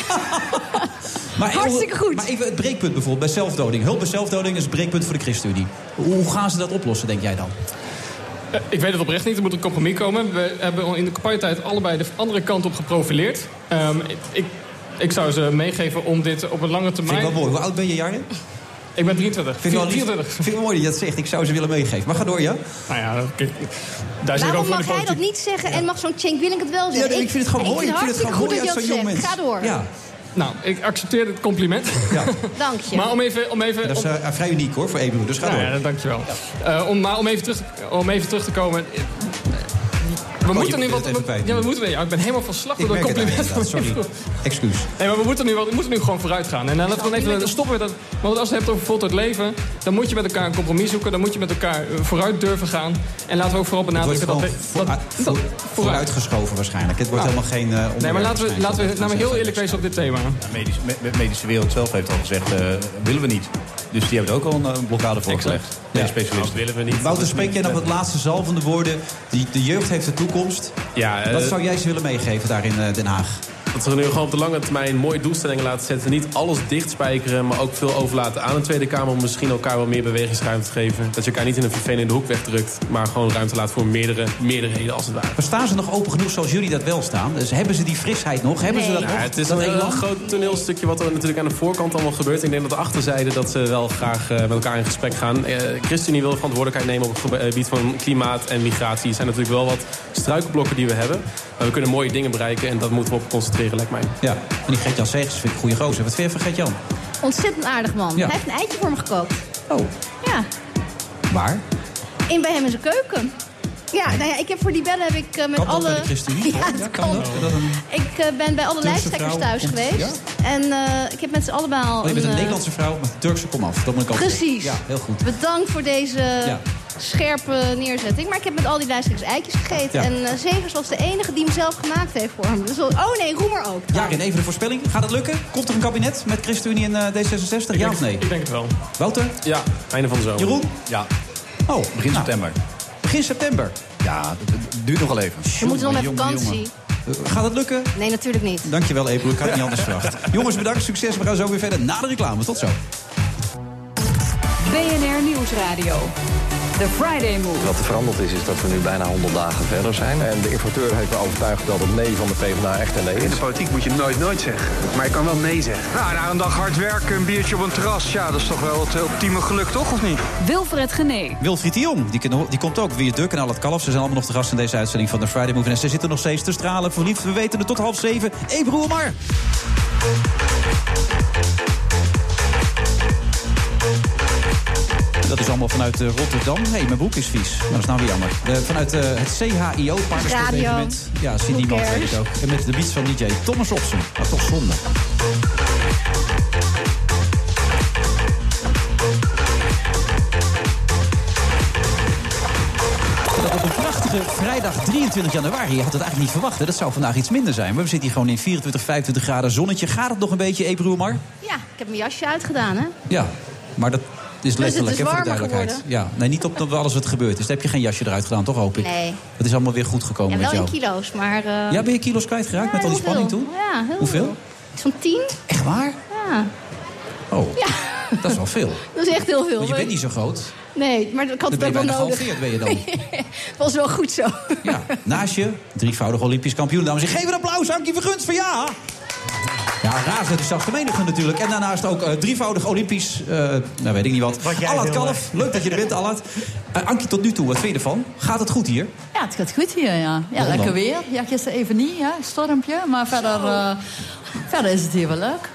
Speaker 8: Maar
Speaker 9: Hartstikke
Speaker 8: goed. Maar even het breekpunt bijvoorbeeld bij zelfdoding. Hulp bij zelfdoding is het breekpunt voor de ChristenUnie. Hoe gaan ze dat oplossen, denk jij dan?
Speaker 11: Eh, Ik weet het oprecht niet. Er moet een compromis komen. We hebben al in de campagnetijd allebei de andere kant op geprofileerd. Ehm, ik, ik, ik zou ze meegeven om dit op een lange termijn...
Speaker 8: Vind ik wel mooi. Hoe oud ben je, Jaren?
Speaker 11: Ik ben 23.
Speaker 8: Vind ik wel lief.
Speaker 11: 24.
Speaker 8: Vind ik wel mooi dat je dat zegt. Ik zou ze willen meegeven. Maar ga door, ja?
Speaker 11: Nou ja, kijk, daar zit ook
Speaker 9: Waarom
Speaker 11: van de
Speaker 9: mag hij
Speaker 11: politiek.
Speaker 9: dat niet zeggen en mag zo'n Cenk Willink het wel
Speaker 8: Ja,
Speaker 9: zeggen?
Speaker 8: nee, ik vind het gewoon mooi. Ik vind het
Speaker 9: hartstikke
Speaker 8: gewoon mooi uit
Speaker 9: goed dat
Speaker 8: zo'n
Speaker 9: je dat
Speaker 8: jong mens.
Speaker 9: zegt. Ga door.
Speaker 8: Ja.
Speaker 11: Nou, ik accepteer dit compliment.
Speaker 9: Dank je.
Speaker 11: Maar om even... Om even
Speaker 8: Dat is
Speaker 11: om-
Speaker 8: eh, vrij uniek hoor, voor Ebru. Dus ga
Speaker 11: Nou
Speaker 8: door.
Speaker 11: ja, dan dankjewel. Eh, om, maar om even terug, om even terug te komen... eh, We
Speaker 8: Oh, je
Speaker 11: moeten nu
Speaker 8: bent
Speaker 11: wat...
Speaker 8: het even kwijt
Speaker 11: ja, we
Speaker 8: nu.
Speaker 11: moeten, ja, ik ben helemaal van slag
Speaker 8: Ik
Speaker 11: door dat
Speaker 8: merk het
Speaker 11: compliment.
Speaker 8: aan je,
Speaker 11: van
Speaker 8: inderdaad.
Speaker 11: Ebru.
Speaker 8: Excuus.
Speaker 11: Nee, maar we moeten nu, wel- we moeten nu gewoon vooruit gaan. En dan laten we dan even stoppen met dat. Want als je het hebt over voltooid leven, dan moet je met elkaar een compromis zoeken. Dan moet je met elkaar eh, vooruit durven gaan. En laten we ook vooral
Speaker 8: Het wordt
Speaker 11: benadrukken dat.
Speaker 8: gewoon
Speaker 11: we-
Speaker 8: voor, ah, voor- vooruitgeschoven waarschijnlijk. Het wordt
Speaker 11: Nou.
Speaker 8: helemaal geen eh, onderwerp
Speaker 11: Nee, maar laten we,
Speaker 8: waarschijnlijk.
Speaker 11: laten we nou maar heel eerlijk wezen op dit thema.
Speaker 1: De medische, me- me- medische wereld zelf heeft al gezegd, eh, willen we niet. Dus die hebben er ook al een, eh, blokkade voor gelegd. Nee, specialisten.
Speaker 10: willen we niet.
Speaker 8: Wouter, spreek jij nog het laatste zalvende woorden? Die, de jeugd heeft de toekomst.
Speaker 10: Ja, eh,
Speaker 8: Wat zou jij ze willen meegeven daar in eh, Den Haag?
Speaker 10: Dat we nu gewoon op de lange termijn mooie doelstellingen laten zetten. Niet alles dichtspijkeren, maar ook veel overlaten aan de Tweede Kamer. Om misschien elkaar wel meer bewegingsruimte te geven. Dat je elkaar niet in een vervelende hoek wegdrukt. Maar gewoon ruimte laat voor meerdere, meerderheden als het ware.
Speaker 8: Maar staan ze nog open genoeg zoals jullie dat wel staan? Dus hebben ze die frisheid nog? Hebben ze dat
Speaker 10: Ja,
Speaker 8: nog?
Speaker 10: het is
Speaker 8: dat
Speaker 9: eh,
Speaker 10: een heel
Speaker 8: elan?
Speaker 10: groot toneelstukje wat er natuurlijk aan de voorkant allemaal gebeurt. Ik denk dat de achterzijde dat ze wel graag eh, met elkaar in gesprek gaan. Eh ChristenUnie wil verantwoordelijkheid nemen op het gebe- eh, gebied van klimaat en migratie. Er zijn natuurlijk wel wat struikelblokken die we hebben. Maar we kunnen mooie dingen bereiken en dat moeten we op concentreren, lijkt mij.
Speaker 8: Ja, en die Gert-Jan Segers vind ik een goede gozer. Wat vind je van Gert-Jan?
Speaker 9: Ontzettend aardig man.
Speaker 8: Ja.
Speaker 9: Hij heeft een eitje voor me gekookt.
Speaker 8: Oh.
Speaker 9: Ja,
Speaker 8: Waar?
Speaker 9: in bij hem in zijn keuken. Ja, nou ja, ik heb voor die bellen heb ik eh, met
Speaker 8: Kan dat
Speaker 9: alle...
Speaker 8: bij de ChristenUnie?
Speaker 9: Ja, dat kan.
Speaker 8: Dat een...
Speaker 9: Ik eh, ben bij alle
Speaker 8: Turkse
Speaker 9: lijsttrekkers
Speaker 8: vrouw
Speaker 9: thuis
Speaker 8: komt-
Speaker 9: geweest. En eh, ik heb met z'n allemaal
Speaker 8: Oh, je bent een
Speaker 9: eh,
Speaker 8: Nederlandse vrouw, maar Turkse kom af. Dat moet ik ook
Speaker 9: Precies.
Speaker 8: zeggen. Ja, heel goed.
Speaker 9: Bedankt voor deze
Speaker 8: Ja.
Speaker 9: scherpe neerzetting. Maar ik heb met al die lijsttrekkers eitjes gegeten.
Speaker 8: Ja.
Speaker 9: En eh, Zegers was de enige die hem zelf gemaakt heeft voor hem. Dus, wel- oh nee, Roemer ook.
Speaker 8: Jarin, even de voorspelling. Gaat het lukken? Komt er een kabinet met ChristenUnie en eh, D66? Ja of nee? Ik
Speaker 11: denk het wel.
Speaker 8: Wouter?
Speaker 10: Ja, einde van de zomer.
Speaker 8: Jeroen?
Speaker 1: Ja.
Speaker 8: Oh,
Speaker 1: begin september.
Speaker 8: Begin september?
Speaker 1: Ja, het- het duurt nog wel even.
Speaker 9: We moeten nog met
Speaker 8: Jongen,
Speaker 9: vakantie.
Speaker 8: Gaat het lukken?
Speaker 9: Nee, natuurlijk niet.
Speaker 8: Dankjewel, Ebro. Ik had het niet anders verwacht. Jongens, bedankt. Succes. We gaan zo weer verder na de reclame. Tot zo.
Speaker 4: BNR Nieuwsradio. The Friday Move.
Speaker 5: Wat er veranderd is, is dat we nu bijna 100 dagen verder zijn.
Speaker 6: En de importeur heeft me overtuigd dat het nee van de PvdA echt een nee
Speaker 7: In
Speaker 6: is.
Speaker 7: de politiek moet je nooit nooit zeggen. Maar je kan wel nee zeggen. Nou, na een dag hard werken, een biertje op een terras. Ja, dat is toch wel het ultieme geluk, toch? Of niet?
Speaker 4: Wilfred Genee.
Speaker 8: Wilfried de Jong, die, ken- die komt ook. Weer Duk en al het kalf. Ze zijn allemaal nog de gast in deze uitzending van de Friday Move. En ze zitten nog steeds te stralen. Verliefd, we weten het tot half zeven. Ebro maar. Dat is allemaal vanuit eh, Rotterdam. Nee, mijn broek is vies. Nou, dat is nou weer jammer. Eh, vanuit eh, het CHIO, Paardensportevenement.
Speaker 12: Radio.
Speaker 8: Ja, zie
Speaker 12: Who
Speaker 8: niemand,
Speaker 12: cares?
Speaker 8: weet ik ook. En met de beats van DJ Thomas Robson. Dat is toch zonde. Dat op een prachtige vrijdag 23 januari. Je had het eigenlijk niet verwacht. Hè? Dat zou vandaag iets minder zijn. Maar we zitten hier gewoon in 24, 25 graden zonnetje. Gaat het nog een beetje, Ebru Omar?
Speaker 9: Ja, ik heb mijn jasje uitgedaan, hè?
Speaker 8: Ja, maar dat is
Speaker 9: Dus
Speaker 8: letterlijk,
Speaker 9: het is
Speaker 8: hè, voor de
Speaker 9: warmer
Speaker 8: duidelijkheid. Ja, nee, niet op op alles wat gebeurd is. Daar heb je geen jasje eruit gedaan, toch hoop ik?
Speaker 9: Nee.
Speaker 8: Het is allemaal weer goed gekomen
Speaker 9: Ja,
Speaker 8: met
Speaker 9: wel in
Speaker 8: jou.
Speaker 9: kilo's, maar... eh,
Speaker 8: Ja, ben je kilo's kwijtgeraakt
Speaker 9: ja,
Speaker 8: met al die
Speaker 9: heel veel.
Speaker 8: spanning toen?
Speaker 9: Ja, heel
Speaker 8: Hoeveel?
Speaker 9: veel. Zo'n tien?
Speaker 8: Echt waar?
Speaker 9: Ja,
Speaker 8: Oh, dat is wel veel.
Speaker 9: dat is echt heel veel.
Speaker 8: Want je bent niet zo groot.
Speaker 9: Nee, maar ik had
Speaker 8: Dan
Speaker 9: het
Speaker 8: ben
Speaker 9: ook
Speaker 8: je
Speaker 9: wel
Speaker 8: bijna
Speaker 9: nodig.
Speaker 8: gehalveerd, ben je dan.
Speaker 9: was wel goed zo.
Speaker 8: Naast je, drievoudig Olympisch kampioen. Dames en heren, Dus geef een applaus, Ankie Vergunst van ja! Ja, razend de zachte menige natuurlijk. En daarnaast ook eh, drievoudig Olympisch, eh, nou weet ik niet wat.
Speaker 13: jij
Speaker 8: Allard
Speaker 13: wil,
Speaker 8: Kalf, leuk dat je er bent, Allard. Eh, Ankie, tot nu toe, wat vind je ervan? Gaat het goed hier?
Speaker 13: Ja, het gaat goed hier, ja. Ja,
Speaker 8: dan?
Speaker 13: lekker weer. Ja, gisteren even niet, ja, stormpje. Maar verder, eh, verder is het hier wel leuk.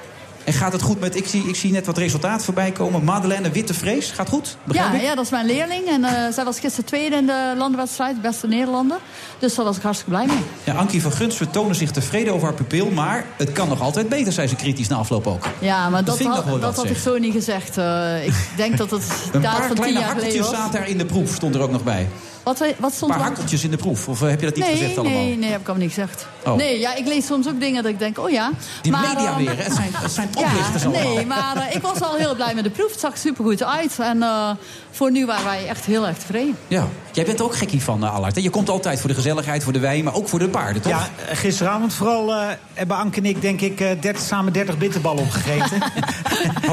Speaker 8: En gaat het goed met, ik zie, ik zie net wat resultaat voorbij komen. Madeleine Witte Vrees, gaat goed? Begrijp
Speaker 13: Ja,
Speaker 8: ik?
Speaker 13: ja, dat is mijn leerling. En eh, zij was gisteren tweede in de landenwedstrijd, beste Nederlander. Dus daar was ik hartstikke blij mee.
Speaker 8: Ja, Ankie van Guns vertonen zich tevreden over haar pupil. Maar het kan nog altijd beter, zei ze kritisch na afloop ook.
Speaker 13: Ja, maar dat,
Speaker 8: vind ik nog
Speaker 13: had,
Speaker 8: wel
Speaker 13: dat
Speaker 8: wat,
Speaker 13: had ik
Speaker 8: zeg.
Speaker 13: zo niet gezegd. Eh, ik denk dat het
Speaker 8: Een
Speaker 13: daar
Speaker 8: paar
Speaker 13: van tien
Speaker 8: kleine
Speaker 13: jaar geleden
Speaker 8: hakkeltjes
Speaker 13: was.
Speaker 8: zaten er in de proef, stond er ook nog bij.
Speaker 13: Wat, we- wat
Speaker 8: Een
Speaker 13: stond
Speaker 8: paar
Speaker 13: er aan?
Speaker 8: hakkeltjes in de proef. Of eh, heb je dat niet
Speaker 13: nee,
Speaker 8: gezegd allemaal?
Speaker 13: Nee, nee, heb ik allemaal niet gezegd.
Speaker 8: Oh.
Speaker 13: Nee, ja, ik lees soms ook dingen dat ik denk, oh ja.
Speaker 8: Die
Speaker 13: maar,
Speaker 8: media
Speaker 13: ehm,
Speaker 8: weer, hè? Het zijn, het zijn oplichters
Speaker 13: ja,
Speaker 8: allemaal.
Speaker 13: nee, maar eh, ik was al heel blij met de proef. Het zag supergoed uit. En eh, voor nu waren wij echt heel erg tevreden.
Speaker 8: Ja, jij bent er ook gekkie van, eh, Allard. hè? Je komt altijd voor de gezelligheid, voor de wijn, maar ook voor de paarden, toch?
Speaker 12: Ja, eh, gisteravond vooral eh, hebben Anke en ik, denk ik, eh 30, samen 30 bitterballen opgegeten.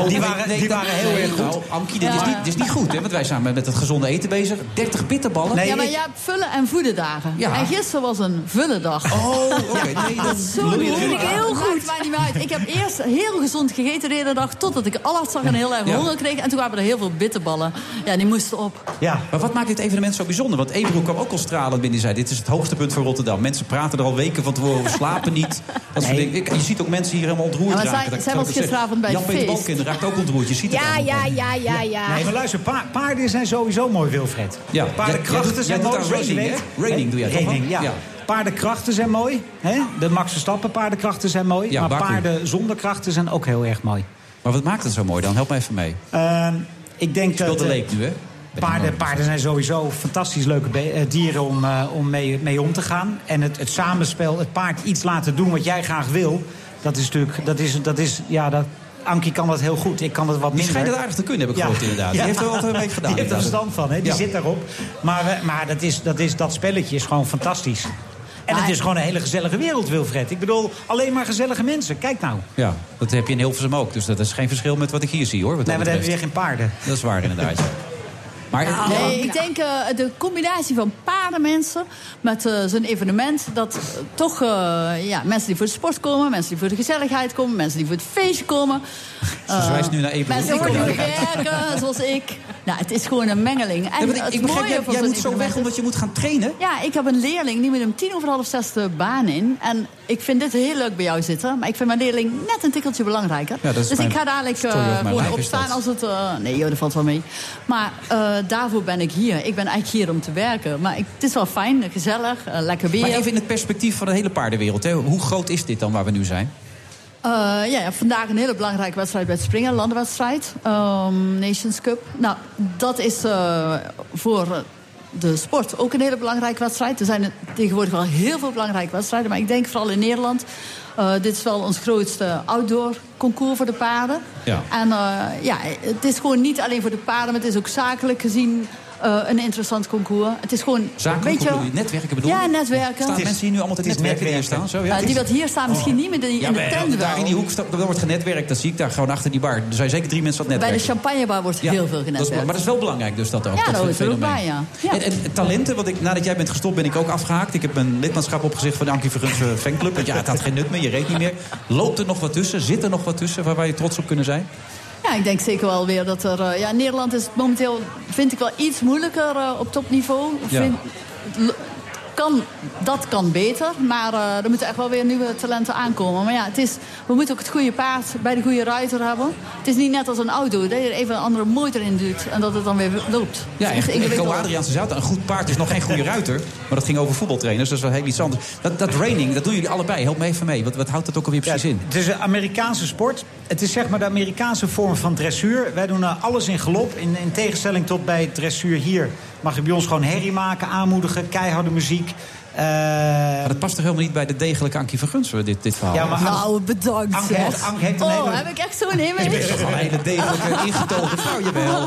Speaker 12: die waren, die waren heel erg goed.
Speaker 8: Nou, Ankie, dit, is
Speaker 12: Ja.
Speaker 8: niet, dit is niet goed, hè? Want wij zijn met met het gezonde eten bezig. 30 bitterballen.
Speaker 13: ja, maar jij hebt vullen en voeden dagen.
Speaker 8: Ja.
Speaker 13: En gisteren was een vullendag.
Speaker 8: Oh, oké, nee, dat
Speaker 13: zo
Speaker 8: lul je
Speaker 13: goed.
Speaker 8: erin.
Speaker 13: Dat maakt mij niet meer uit. Ik heb eerst heel gezond gegeten de hele dag... totdat ik alles zag en heel erg
Speaker 8: Ja.
Speaker 13: honger kreeg. En toen waren er heel veel bitterballen. Ja, die moesten op.
Speaker 8: Ja. Maar wat maakt dit evenement zo bijzonder? Want Ebro kwam ook al stralend binnen. Die zei, dit is het hoogste punt van Rotterdam. Mensen praten er al weken van tevoren over, slapen niet. Dat soort dingen. Ik- Je ziet ook mensen hier helemaal ontroerd
Speaker 13: Ja, maar
Speaker 8: raken.
Speaker 13: zij-
Speaker 8: Dat- dat
Speaker 13: zij
Speaker 8: kan
Speaker 13: was
Speaker 8: ik zeggen.
Speaker 13: gisteravond bij het
Speaker 8: Jan-Peter
Speaker 13: feest.
Speaker 8: Balkenende raakt ook ontroerd. Je ziet het
Speaker 12: Ja,
Speaker 8: aan hem.
Speaker 12: ja,
Speaker 9: ja, ja, ja.
Speaker 12: Nee, maar luister, pa- paarden zijn sowieso mooi, Wilfred.
Speaker 8: Ja, jij
Speaker 12: Paardenkrachten zijn
Speaker 8: doet- jij doet
Speaker 12: mooi,
Speaker 8: aan
Speaker 12: zoals je
Speaker 8: reining,
Speaker 12: weet.
Speaker 8: hè? Reining doe jij toch,
Speaker 12: Reining,
Speaker 8: hè?
Speaker 12: ja.
Speaker 8: Ja.
Speaker 12: Paardenkrachten zijn mooi. Hè? De Max Verstappen paardenkrachten zijn mooi.
Speaker 8: Ja,
Speaker 12: maar
Speaker 8: Baku.
Speaker 12: paarden zonder krachten zijn ook heel erg mooi.
Speaker 8: Maar wat maakt het zo mooi dan? Help me even mee.
Speaker 12: Ehm, ik denk
Speaker 8: Speelt
Speaker 12: dat...
Speaker 8: de
Speaker 12: eh,
Speaker 8: leek nu, hè?
Speaker 12: Paarden, paarden zijn sowieso fantastisch leuke be- eh, dieren om, eh, om mee, mee om te gaan. En het, het samenspel, het paard iets laten doen wat jij graag wil... dat is natuurlijk... Dat is, dat is, ja, dat, Ankie kan dat heel goed. Ik kan dat wat
Speaker 8: Die
Speaker 12: minder.
Speaker 8: schijnt het aardig te kunnen, heb ik gehoord inderdaad. Die heeft er altijd een week gedaan,
Speaker 12: Die heeft er
Speaker 8: inderdaad.
Speaker 12: verstand van, hè? Die
Speaker 8: Ja.
Speaker 12: zit daarop. Maar, eh, maar dat, is, dat, is, dat spelletje is gewoon fantastisch. En het is gewoon een hele gezellige wereld, Wilfred. Ik bedoel, alleen maar gezellige mensen. Kijk nou.
Speaker 8: Ja, dat heb je in Hilversum ook. Dus dat is geen verschil met wat ik hier zie, hoor. Wat
Speaker 12: Nee, maar
Speaker 8: dat
Speaker 12: daar hebben we
Speaker 8: betreft.
Speaker 12: weer geen paarden. Nou,
Speaker 8: Dat is waar, inderdaad. ja. Maar
Speaker 13: Nee, ik denk eh, de combinatie van paardenmensen met eh, zo'n evenement. Dat eh, toch eh, ja, mensen die voor de sport komen, mensen die voor de gezelligheid komen, mensen die voor het feestje komen. Eh,
Speaker 8: Ze wijst nu naar Ebro.
Speaker 13: Mensen
Speaker 8: Ik
Speaker 13: die
Speaker 8: kom
Speaker 13: voor
Speaker 8: daar.
Speaker 13: werken, zoals ik. Nou, het is gewoon een mengeling. En
Speaker 8: Ja, want ik-
Speaker 13: het
Speaker 8: ik begrijp,
Speaker 13: mooie
Speaker 8: jij-
Speaker 13: van
Speaker 8: jij
Speaker 13: zo'n
Speaker 8: moet zo weg
Speaker 13: evenement is-
Speaker 8: omdat je moet gaan trainen.
Speaker 13: Ja, ik heb een leerling die met hem tien over half zes de baan in. En ik vind dit heel leuk bij jou zitten. Maar ik vind mijn leerling net een tikkeltje belangrijker.
Speaker 14: Ja, dat is
Speaker 13: dus
Speaker 14: mijn
Speaker 13: ik ga dadelijk eh,
Speaker 14: story of my
Speaker 13: gewoon
Speaker 14: life is
Speaker 13: opstaan
Speaker 14: dat.
Speaker 13: als het... eh, nee joh, dat valt wel mee. Maar eh, daarvoor ben ik hier. Ik ben eigenlijk hier om te werken. Maar ik, het is wel fijn, gezellig, eh, lekker weer.
Speaker 8: Maar even in het perspectief van de hele paardenwereld. Hè. Hoe groot is dit dan waar we nu zijn?
Speaker 13: Eh, ja, ja, vandaag een hele belangrijke wedstrijd bij het springen, landenwedstrijd, ehm, Nations Cup. Nou, dat is eh, voor de sport ook een hele belangrijke wedstrijd. Er zijn tegenwoordig wel heel veel belangrijke wedstrijden, maar ik denk vooral in Nederland. eh, dit is wel ons grootste outdoor concours voor de paarden.
Speaker 14: Ja.
Speaker 13: En eh, ja, het is gewoon niet alleen voor de paarden, maar het is ook zakelijk gezien eh, een interessant concours. Het is gewoon
Speaker 8: Zakelijk,
Speaker 13: een
Speaker 8: bedoel
Speaker 13: beetje...
Speaker 8: je? Netwerken bedoel je?
Speaker 13: Ja, netwerken.
Speaker 8: Staan mensen hier nu allemaal te netwerken die hier staan? Zo, ja,
Speaker 13: Ja,
Speaker 8: het
Speaker 13: die
Speaker 8: is-
Speaker 13: wat hier staan misschien niet, maar die in de
Speaker 8: Jawel,
Speaker 13: tent wel.
Speaker 8: daar in die hoek staat- daar wordt genetwerkt. Dat zie ik daar gewoon achter die bar. Er zijn zeker drie mensen wat
Speaker 13: Bij de
Speaker 8: netwerken.
Speaker 13: champagnebar wordt
Speaker 8: Ja,
Speaker 13: heel veel
Speaker 8: dat is-
Speaker 13: genetwerkt.
Speaker 8: maar dat is wel belangrijk dus dat ook.
Speaker 13: ja, dat
Speaker 8: dat
Speaker 13: hoort er ook
Speaker 8: fenomeen.
Speaker 13: bij, ja. ja.
Speaker 8: En, en talenten, want ik, nadat jij bent gestopt ben ik ook afgehaakt. Ik heb mijn lidmaatschap opgezegd van de Ankie Vergunse fanclub. Want ja, het had geen nut meer, je reed niet meer. Loopt er nog wat tussen? Zit er nog wat tussen waar, waar je trots op kunnen zijn?
Speaker 13: Ja, ik denk zeker wel weer dat er... eh, ja, Nederland is momenteel, vind ik wel, iets moeilijker eh, op topniveau.
Speaker 8: Ja.
Speaker 13: Vind- l- kan, dat kan beter, maar eh, er moeten echt wel weer nieuwe talenten aankomen. Maar ja, het is, we moeten ook het goede paard bij de goede ruiter hebben. Het is niet net als een auto, dat je er even een andere motor in duwt... en dat het dan weer loopt.
Speaker 8: Ja,
Speaker 13: Het is echt
Speaker 8: en Eco
Speaker 13: ingewikkeld.
Speaker 8: Adriaanse Zouten. Een goed paard is nog geen goede ruiter. Maar dat ging over voetbaltrainers, dus dat is wel heel iets anders. Dat, dat training, dat doen jullie allebei. Help me even mee. Wat, wat houdt dat ook alweer precies in?
Speaker 12: Het is een Amerikaanse sport. Het is zeg maar de Amerikaanse vorm van dressuur. Wij doen eh, alles in galop. In, in tegenstelling tot bij dressuur hier. Mag je bij ons gewoon herrie maken, aanmoedigen, keiharde muziek. Eh,
Speaker 8: Maar dat past toch helemaal niet bij de degelijke Ankie Vergunsen, dit, dit verhaal?
Speaker 12: Ja, maar
Speaker 13: Nou, bedankt
Speaker 12: Ank
Speaker 13: zeg.
Speaker 12: heeft- Ank heeft een
Speaker 13: oh,
Speaker 12: hele-
Speaker 13: heb ik echt zo'n image?
Speaker 8: Je bent toch wel een hele degelijke, ingetogen vrouw, jawel.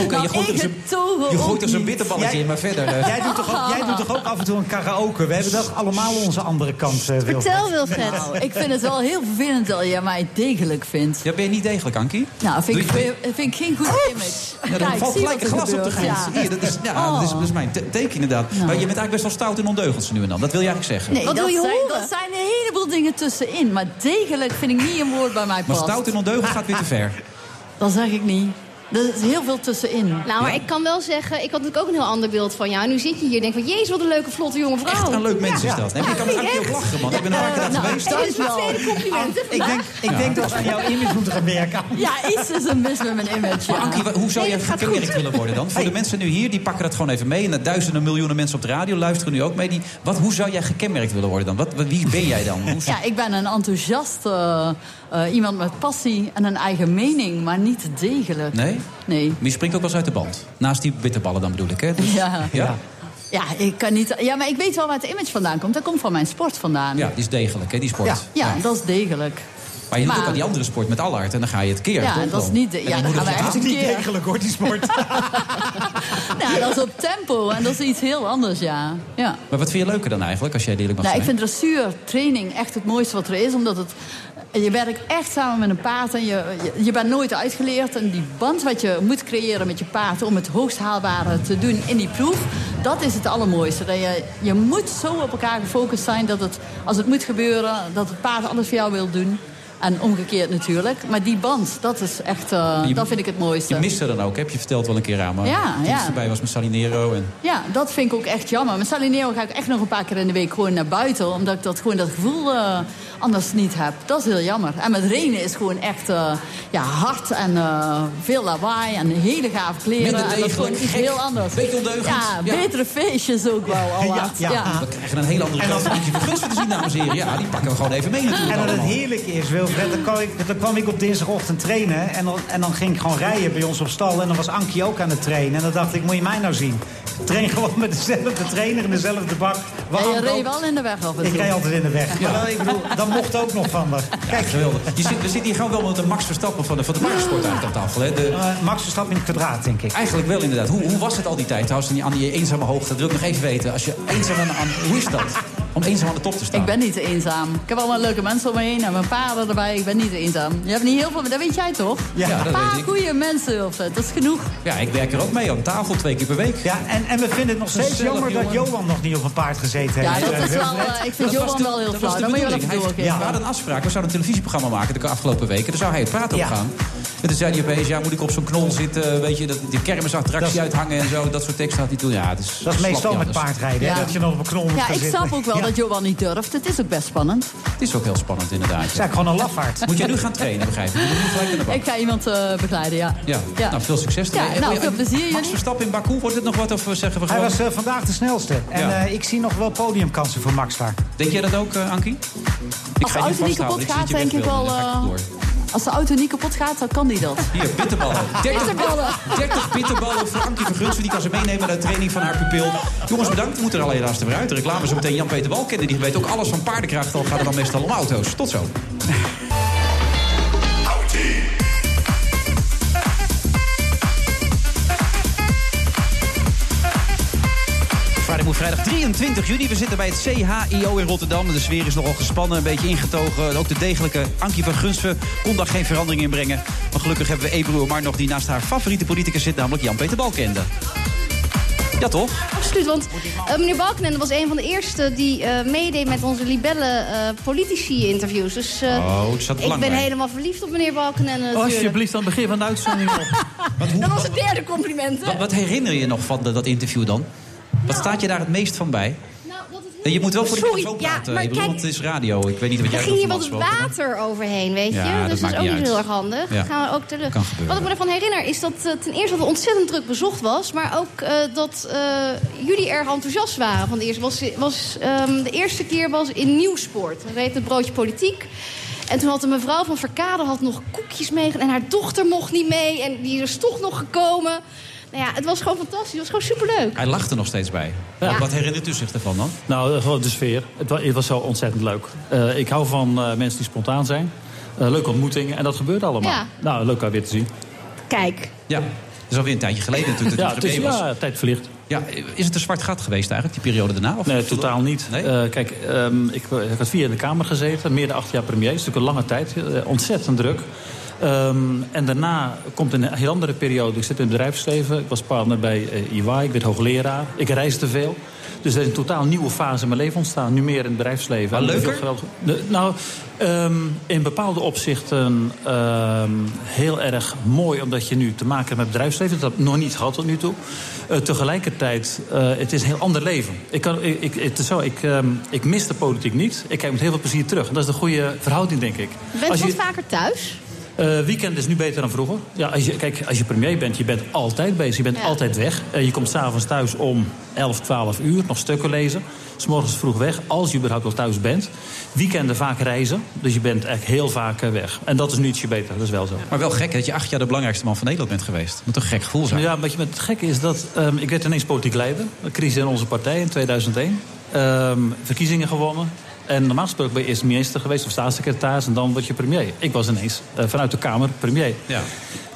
Speaker 8: Oké, eh, je gooit er zo'n-
Speaker 13: ingetogen
Speaker 8: je
Speaker 13: ook
Speaker 8: gooit er zo'n
Speaker 13: niet.
Speaker 8: bitterballetje
Speaker 12: Jij-
Speaker 8: in, maar verder... eh.
Speaker 12: Jij doet, toch ook, jij doet toch ook af en toe een karaoke? We hebben toch allemaal onze andere kant, eh, Wilfred?
Speaker 13: Vertel Wilfred. Nou, ik vind het wel heel vervelend dat jij mij degelijk vindt.
Speaker 8: Ja, ben je niet degelijk, Ankie?
Speaker 13: Nou, vind ik,
Speaker 8: Doe je-
Speaker 13: vind ik geen goede image.
Speaker 8: Ja, dan
Speaker 13: Kijk,
Speaker 8: valt
Speaker 13: zie
Speaker 8: gelijk
Speaker 13: wat
Speaker 8: een
Speaker 13: er
Speaker 8: glas op de
Speaker 13: gebeurt.
Speaker 8: grond.
Speaker 13: Ja. Oh. Nou.
Speaker 8: Zie je, dat is, ja, dat is, dat is mijn te- teken inderdaad. Maar je bent eigenlijk best wel stout en ondeugend zo nu en dan. Dat wil je eigenlijk zeggen.
Speaker 13: Nee, dat, zijn, dat zijn een heleboel dingen tussenin. Maar degelijk vind ik niet een woord bij mij
Speaker 8: Maar
Speaker 13: past. Ah,
Speaker 8: stout en ondeugend gaat weer te ver.
Speaker 13: Dat zeg ik niet. Er is heel veel tussenin.
Speaker 9: Nou, maar ik kan wel zeggen, ik had natuurlijk ook een heel ander beeld van jou. En nu zit je hier en denk van, jezus, wat een leuke, vlotte jonge vrouw.
Speaker 8: Echt een leuk mens is dat. Nee, maar je kan
Speaker 9: Ja,
Speaker 8: met Ankie ook
Speaker 9: echt.
Speaker 8: lachen, man. Ik ben een paar keer daar geweest.
Speaker 13: dat Nou, is wel. Ah,
Speaker 9: complimenten
Speaker 12: Ik denk, ik
Speaker 8: Ja.
Speaker 12: denk dat we aan jouw image moeten gaan werken.
Speaker 13: Ja, iets is een mis met mijn image.
Speaker 8: Maar Ankie, wa- Ah, hoe zou jij gekenmerkt willen worden dan? Voor de mensen nu hier, die pakken dat gewoon even mee. En de duizenden miljoenen mensen op de radio luisteren nu ook mee. Die, wat, hoe zou jij gekenmerkt willen worden dan? Wat, wat- wie ben jij dan? Hoe,
Speaker 13: Ja, ik ben een enthousiast eh, eh, iemand met passie en een eigen mening, maar niet degelijk.
Speaker 8: nee?
Speaker 13: Nee.
Speaker 8: Maar je springt ook wel eens uit de band. Naast die bitterballen dan bedoel ik, hè? Dus-
Speaker 13: Ja.
Speaker 8: ja.
Speaker 13: Ja, ik kan niet. Ja, maar ik weet wel waar het image vandaan komt. Dat komt van mijn sport vandaan.
Speaker 8: Ja, die is degelijk, hè, die sport.
Speaker 13: Ja, ja, dat is degelijk.
Speaker 8: Maar je doet
Speaker 13: Maar-
Speaker 8: ook aan die andere sport met Allard en dan ga je het keer.
Speaker 13: Ja,
Speaker 8: toch
Speaker 13: dat is
Speaker 8: dan?
Speaker 13: niet de-
Speaker 8: En
Speaker 13: ja,
Speaker 8: dan
Speaker 13: dat
Speaker 8: moet
Speaker 13: gaan
Speaker 8: het
Speaker 13: wij
Speaker 8: af.
Speaker 13: echt een keer.
Speaker 12: hoor, die sport.
Speaker 13: Nou, dat is op tempo en dat is iets heel anders, ja. ja.
Speaker 8: Maar wat vind je leuker dan eigenlijk, als jij het eerlijk mag
Speaker 13: Nou, ik
Speaker 8: zijn?
Speaker 13: vind dressuur, training echt het mooiste wat er is. Omdat het, je werkt echt samen met een paard en je, je, je bent nooit uitgeleerd. En die band wat je moet creëren met je paard om het hoogst haalbare te doen in die proef. Dat is het allermooiste. Dat je, je moet zo op elkaar gefocust zijn dat het, als het moet gebeuren, dat het paard alles voor jou wil doen. En omgekeerd natuurlijk. Maar die band, dat is echt, eh,
Speaker 8: Je-
Speaker 13: dat vind ik het mooiste.
Speaker 8: Je mist er dan ook, hè? heb je verteld wel een keer aan. Maar
Speaker 13: Ja,
Speaker 8: toen
Speaker 13: ja.
Speaker 8: ze erbij was met Salinero. En...
Speaker 13: Ja, dat vind ik ook echt jammer. Met Salinero ga ik echt nog een paar keer in de week gewoon naar buiten. Omdat ik dat, gewoon dat gevoel eh, anders niet heb. Dat is heel jammer. En met Renen is gewoon echt eh, ja, hard en eh, veel lawaai en hele gave kleren.
Speaker 8: Minder
Speaker 13: en dat is gewoon
Speaker 8: degelijk,
Speaker 13: iets
Speaker 8: gek,
Speaker 13: heel anders.
Speaker 8: beetje ondeugend.
Speaker 13: Ja,
Speaker 8: Ja.
Speaker 13: betere feestjes ook wel. al laat.
Speaker 8: ja. We krijgen een hele andere kant van Ankie van Gunst te zien, dames en heren. Ja, die pakken we gewoon even mee natuurlijk
Speaker 12: En dat het
Speaker 8: allemaal.
Speaker 12: heerlijk is, Wilfred, dan kwam ik, dan kwam ik op dinsdagochtend trainen. En dan, en dan ging ik gewoon rijden bij ons op stal. En dan was Ankie ook aan het trainen. En dan dacht ik, moet je mij nou zien? Ik train gewoon met dezelfde trainer in dezelfde bak. Waar
Speaker 13: En je
Speaker 12: Ank
Speaker 13: reed
Speaker 12: ook-
Speaker 13: wel in de weg af en
Speaker 12: Ik
Speaker 13: toe.
Speaker 12: reed altijd in de weg.
Speaker 8: Ja.
Speaker 12: Maar dan- ik bedoel, dat mocht ook nog van me.
Speaker 8: Ja, geweldig. Je zit, we zitten hier gewoon wel met de Max Verstappen van de, van de paardensport aan de tafel. Hè? De,
Speaker 12: Eh, Max Verstappen in het kwadraat, denk ik.
Speaker 8: Eigenlijk wel inderdaad. Hoe, hoe was het al die tijd trouwens aan die- aan die eenzame hoogte? Dat wil ik nog even weten. Als je eenzaam aan, aan- hoe is dat? Om eenzaam aan de top te staan.
Speaker 13: Ik ben niet eenzaam. Ik heb allemaal leuke mensen om me heen en mijn paarden erbij. Ik ben niet eenzaam. Je hebt niet heel veel, maar dat weet jij toch?
Speaker 8: Ja, dat
Speaker 13: een
Speaker 8: weet
Speaker 13: paar
Speaker 8: ik.
Speaker 13: goede mensen, Wilfred. Dat is genoeg.
Speaker 8: Ja, ik werk er ook mee aan tafel twee keer per week.
Speaker 12: Ja, en, en we vinden het nog steeds
Speaker 8: Gezellig,
Speaker 12: jammer dat
Speaker 8: jongen.
Speaker 12: Johan nog niet op een paard gezeten
Speaker 13: Ja,
Speaker 12: heeft.
Speaker 13: dat
Speaker 12: eh,
Speaker 13: is wel,
Speaker 12: Wilfred.
Speaker 13: eh, ik vind
Speaker 8: Dat
Speaker 13: Johan
Speaker 8: was de-
Speaker 13: wel heel
Speaker 8: dat
Speaker 13: flauw.
Speaker 8: was de
Speaker 13: Daar moet je wel
Speaker 8: bedoeling.
Speaker 13: even
Speaker 8: Hij-
Speaker 13: doorgeven.
Speaker 8: We hadden een afspraak. We zouden een televisieprogramma maken de afgelopen weken. Daar zou hij het praten
Speaker 13: Ja.
Speaker 8: op gaan. En toen zei hij opeens, ja, moet ik op zo'n knol zitten? Weet je, dat, die kermisattractie uithangen en zo. Dat soort teksten had hij toen. Ja, het is,
Speaker 12: Dat is
Speaker 8: slap
Speaker 12: meestal met
Speaker 8: anders.
Speaker 12: paardrijden, hè,
Speaker 13: Ja.
Speaker 12: dat je nog op een knol moet
Speaker 13: Ja,
Speaker 12: gaan
Speaker 13: ik
Speaker 12: zitten.
Speaker 13: snap ook wel
Speaker 12: Ja.
Speaker 13: dat Johan niet durft. Het is ook best spannend.
Speaker 8: Het is ook heel spannend inderdaad.
Speaker 12: Het is eigenlijk gewoon een lafaard.
Speaker 8: Moet je nu gaan trainen, begrijp ik? Je moet nu gelijk naar de bank.
Speaker 13: Ik ga iemand eh, begeleiden, ja.
Speaker 8: Ja.
Speaker 13: Ja.
Speaker 8: nou veel succes.
Speaker 13: Ja,
Speaker 8: ermee.
Speaker 13: nou,
Speaker 8: En-
Speaker 13: veel plezier,
Speaker 8: Max
Speaker 13: jullie.
Speaker 8: Verstappen in Baku, wordt het nog wat? Of zeggen we
Speaker 12: Hij
Speaker 8: gewoon...
Speaker 12: was eh, vandaag de snelste. En
Speaker 8: Ja.
Speaker 12: eh, ik zie nog wel podiumkansen voor Max daar.
Speaker 8: Denk jij dat ook, eh, Ankie?
Speaker 13: Als de
Speaker 8: ga je
Speaker 13: auto niet kapot
Speaker 8: vasthouden,
Speaker 13: gaat,
Speaker 8: ik
Speaker 13: denk
Speaker 8: zie
Speaker 13: ik
Speaker 8: dat je weg
Speaker 13: wel...
Speaker 8: wil, dan ga ik
Speaker 13: eh, Als de auto niet kapot gaat, dan kan die dat.
Speaker 8: Hier, bitterballen. 30,
Speaker 13: Bitterballen.
Speaker 8: 30 bitterballen voor Ankie Vergunst. Die kan ze meenemen naar de training van haar pupil. Jongens, bedankt. We moeten er al helaas weer uit. De reclame zo meteen Jan-Peter Wal kennen. Die weet ook alles van paardenkracht. Al gaat het dan meestal om auto's. Tot zo. Friday Move vrijdag 23 juni. We zitten bij het CHIO in Rotterdam. De sfeer is nogal gespannen, een beetje ingetogen. Ook de degelijke Ankie van Gunsven kon daar geen verandering in brengen. Maar gelukkig hebben we Ebru maar nog die naast haar favoriete politicus zit, namelijk Jan-Peter Balkende. Ja toch?
Speaker 9: Absoluut, want eh, meneer Balkenende was een van de eerste die eh, meedeed met onze libellen politici-interviews. Dus eh,
Speaker 8: Oh, het zat
Speaker 9: ik ben
Speaker 8: belangrijk.
Speaker 9: helemaal verliefd op meneer Balkenende natuurlijk.
Speaker 8: Alsjeblieft, aan het begin van de uitzending op.
Speaker 9: Dat was het derde compliment, hè?
Speaker 8: Wat, wat herinner je nog van de- dat interview dan? Wat staat je daar het meest van bij? je moet wel voor de
Speaker 9: Nou, Sorry,
Speaker 8: microfoon
Speaker 9: ja,
Speaker 8: praten,
Speaker 9: maar
Speaker 8: Ebru,
Speaker 9: kijk-
Speaker 8: want het is radio. Ik weet niet wat
Speaker 9: Er
Speaker 8: jij
Speaker 9: ging hier
Speaker 8: ervan
Speaker 9: wat
Speaker 8: afgesproken hebt.
Speaker 9: water overheen, weet je?
Speaker 8: Ja, dat
Speaker 9: dus dat is
Speaker 8: maakt
Speaker 9: ook
Speaker 8: niet
Speaker 9: niet
Speaker 8: uit.
Speaker 9: heel erg handig.
Speaker 8: Ja.
Speaker 9: Gaan we ook terug.
Speaker 8: Kan gebeuren.
Speaker 9: Wat ik me ervan herinner is dat eh, ten eerste dat het ontzettend druk bezocht was. Maar ook eh, dat eh, jullie erg enthousiast waren. Van de, eerste, was, was, ehm, de eerste keer was in Nieuwsport. Dat heet het broodje politiek. En toen had de mevrouw van Verkade had nog koekjes meegenomen. En haar dochter mocht niet mee. En die is toch nog gekomen. Nou ja, het was gewoon fantastisch. Het was gewoon superleuk.
Speaker 8: Hij lacht er nog steeds bij.
Speaker 14: Ja.
Speaker 8: Wat herinnert u zich ervan dan?
Speaker 14: Nou, gewoon de sfeer. Het was, het was zo ontzettend leuk. Eh, ik hou van eh, mensen die spontaan zijn. Eh, leuke ontmoetingen. En dat gebeurt allemaal.
Speaker 9: Ja.
Speaker 14: Nou, leuk haar weer te zien.
Speaker 9: Kijk.
Speaker 8: Ja, dat is alweer een tijdje geleden natuurlijk.
Speaker 14: Ja,
Speaker 8: Dat
Speaker 14: het
Speaker 8: u
Speaker 14: is,
Speaker 8: erbij was.
Speaker 14: ja, tijd verlicht.
Speaker 8: Ja, is het een zwart gat geweest eigenlijk, die periode daarna? Of
Speaker 14: nee, totaal niet. Eh, kijk, ehm, ik, ik had vier jaar in de Kamer gezeten. Meer dan acht jaar premier. Het is natuurlijk een lange tijd. eh, ontzettend druk. Ehm, en daarna komt een heel andere periode. Ik zit in het bedrijfsleven. Ik was partner bij eh EY. Ik werd hoogleraar. Ik reis te veel. Dus er is een totaal nieuwe fase in mijn leven ontstaan. Nu meer in het bedrijfsleven.
Speaker 8: Maar
Speaker 14: En
Speaker 8: leuker?
Speaker 14: veel geweld- De- nou, ehm, in bepaalde opzichten ehm, heel erg mooi. Omdat je nu te maken hebt met bedrijfsleven. Dat heb ik nog niet gehad tot nu toe. Eh, tegelijkertijd, eh, het is een heel ander leven. Ik, kan, ik, ik, het is zo, ik, ehm, ik mis de politiek niet. Ik kijk met heel veel plezier terug. En dat is de goede verhouding, denk ik.
Speaker 9: Bent
Speaker 14: Als
Speaker 9: u wat
Speaker 14: je-
Speaker 9: vaker thuis?
Speaker 14: eh, weekend is nu beter dan vroeger. Ja, als je, kijk, als je premier bent, je bent altijd bezig. Je bent altijd weg. Eh, je komt s'avonds thuis om 11, 12 uur. Nog stukken lezen. S'morgens vroeg weg, als je überhaupt wel thuis bent. Weekenden vaak reizen. Dus je bent echt heel vaak eh, weg. En dat is nu ietsje beter, dat is wel zo.
Speaker 8: Maar wel gek hè, dat je acht jaar de belangrijkste man van Nederland bent geweest. Moet toch een gek gevoel zijn?
Speaker 14: Ja, wat je met het gekke is dat ehm, ik werd ineens politiek leider. Een crisis in onze partij in 2001. Ehm, verkiezingen gewonnen. En normaal gesproken ben je eerst minister geweest of staatssecretaris en dan word je premier. Ik was ineens eh, vanuit de Kamer premier.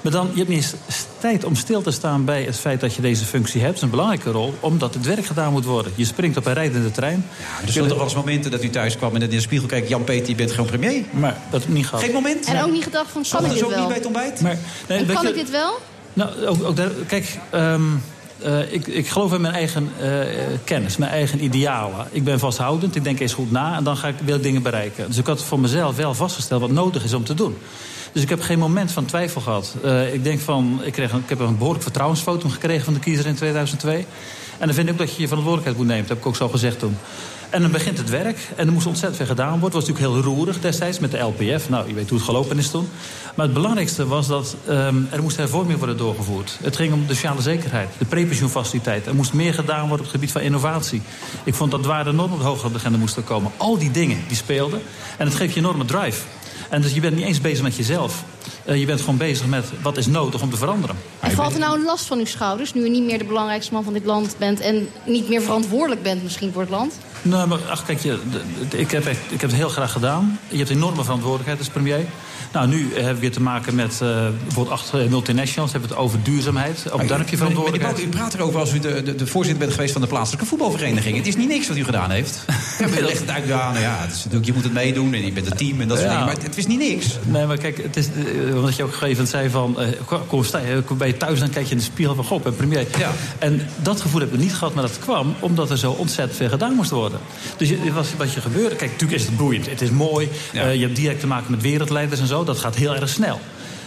Speaker 14: Maar dan, je hebt niet eens s- tijd om stil te staan bij het feit dat je deze functie hebt. Dat is een belangrijke rol, omdat het werk gedaan moet worden. Je springt op een rijdende trein.
Speaker 8: Maar Er zullen toch wel eens momenten dat u thuis kwam en in de spiegel kijkt... Jan-Peter, je bent gewoon premier.
Speaker 14: Maar dat heb ik niet gehad.
Speaker 8: Geen moment?
Speaker 9: En ook niet gedacht van, kan ik dit wel?
Speaker 8: ontbijt?
Speaker 14: Maar, nee,
Speaker 9: En
Speaker 14: weet
Speaker 9: kan
Speaker 14: je-
Speaker 9: ik dit wel?
Speaker 14: Nou, ook, ook daar, kijk, ehm, eh, ik, ik geloof in mijn eigen eh, kennis, mijn eigen idealen. Ik ben vasthoudend, ik denk eens goed na en dan ga ik, wil ik dingen bereiken. Dus ik had voor mezelf wel vastgesteld wat nodig is om te doen. Dus ik heb geen moment van twijfel gehad. Eh, ik denk van, ik, kreeg een, ik heb een behoorlijk vertrouwensvotum gekregen van de kiezer in 2002. En dan vind ik ook dat je je verantwoordelijkheid moet nemen. Dat heb ik ook zo gezegd toen. En dan begint het werk. En er moest ontzettend veel gedaan worden. Het was natuurlijk heel roerig destijds met de LPF. Nou, je weet hoe het gelopen is toen. Maar het belangrijkste was dat ehm, er moest hervorming worden doorgevoerd. Het ging om de sociale zekerheid, de prepensioenfaciliteit. Er moest meer gedaan worden op het gebied van innovatie. Ik vond dat waarden normen op de hogere agenda moesten komen. Al die dingen die speelden. En dat geeft je een enorme drive. En dus je bent niet eens bezig met jezelf. Eh, je bent gewoon bezig met wat is nodig om te veranderen.
Speaker 9: En valt er nou een last van uw schouders, nu u niet meer de belangrijkste man van dit land bent en niet meer verantwoordelijk bent misschien voor het land?
Speaker 14: Nou, maar ach, kijk, je, d- d- ik, heb echt, ik heb het heel graag gedaan. Je hebt enorme verantwoordelijkheid als premier. Nou, nu eh, hebben we weer te maken met eh, bijvoorbeeld acht eh, multinationals. Hebben we het over duurzaamheid. Ook daar Oh, heb je verantwoordelijkheid.
Speaker 8: U praat erover als u de, de, de voorzitter bent geweest van de plaatselijke voetbalvereniging. Het is niet niks wat u gedaan heeft. Ja, u legt het uit, ja, nou ja, het is natuurlijk, je moet het meedoen en je bent het team en dat soort
Speaker 14: Ja.
Speaker 8: dingen. Maar het, het is niet niks.
Speaker 14: Nee, maar kijk, het is, eh, omdat je ook gegeven zei van... eh, kom, kom, sta, eh, kom bij je thuis, dan kijk je in de spiegel van... Goh, ik ben premier. En dat gevoel heb ik niet gehad, maar dat kwam omdat er zo ontzettend veel gedaan moest worden. Dus je, het was, wat je gebeurde... Kijk, natuurlijk is het boeiend, het is mooi. eh, je hebt direct te maken met wereldleiders en zo, dat gaat heel erg snel.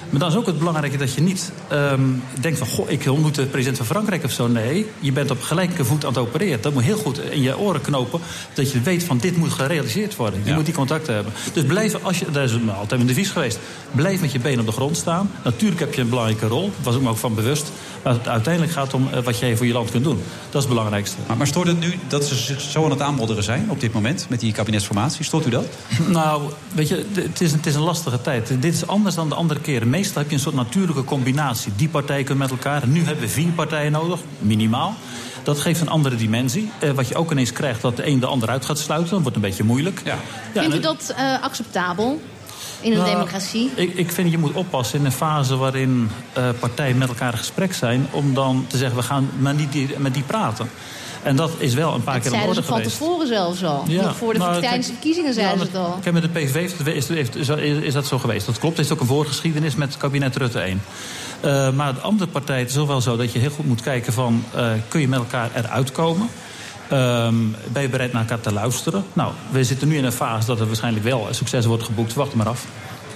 Speaker 14: Maar dan is ook het belangrijke dat je niet ehm, denkt van... goh, ik ontmoet de president van Frankrijk of zo. Nee, je bent op gelijke voet aan het opereren. Dat moet heel goed in je oren knopen. Dat je weet van dit moet gerealiseerd worden. Je moet die contacten hebben. Dus blijf, als je, dat is altijd mijn devies geweest... blijf met je benen op de grond staan. Natuurlijk heb je een belangrijke rol. Daar was ik me ook van bewust. Maar het uiteindelijk gaat om eh, wat jij voor je land kunt doen. Dat is het belangrijkste.
Speaker 8: Maar, maar stoort het nu dat ze zich zo aan het aanmodderen zijn op dit moment... met die kabinetsformatie? Stoort u dat?
Speaker 14: Nou, weet je, d- het is, het is een lastige tijd. Dit is anders dan de andere keren. Meestal heb je een soort natuurlijke combinatie. Die partijen kunnen met elkaar. Nu hebben we vier partijen nodig, minimaal. Dat geeft een andere dimensie. Eh, wat je ook ineens krijgt, dat de een de ander uit gaat sluiten. Dat wordt een beetje moeilijk. Ja.
Speaker 9: Vindt u
Speaker 14: en-
Speaker 9: dat eh, acceptabel in een
Speaker 14: Nou,
Speaker 9: democratie?
Speaker 14: Ik, ik vind je moet oppassen in een fase waarin eh, partijen met elkaar in gesprek zijn. om dan te zeggen: we gaan maar niet die- met die praten. En dat is wel een paar
Speaker 9: Dat
Speaker 14: keer aan de
Speaker 9: zeiden
Speaker 14: orde
Speaker 9: ze van
Speaker 14: geweest.
Speaker 9: tevoren zelfs al.
Speaker 14: Ja.
Speaker 9: Nog voor de
Speaker 14: Nou,
Speaker 9: tijdens de verkiezingen zeiden ze het al.
Speaker 14: Kijk, met de PVV heeft het- is, heeft- is, is dat zo geweest. Dat klopt. Er is ook een voorgeschiedenis met kabinet Rutte 1. Eh, maar de andere partij het is wel zo dat je heel goed moet kijken van... eh, kun je met elkaar eruit komen? Ehm, ben je bereid naar elkaar te luisteren? Nou, we zitten nu in een fase dat er waarschijnlijk wel succes wordt geboekt. Wacht maar af.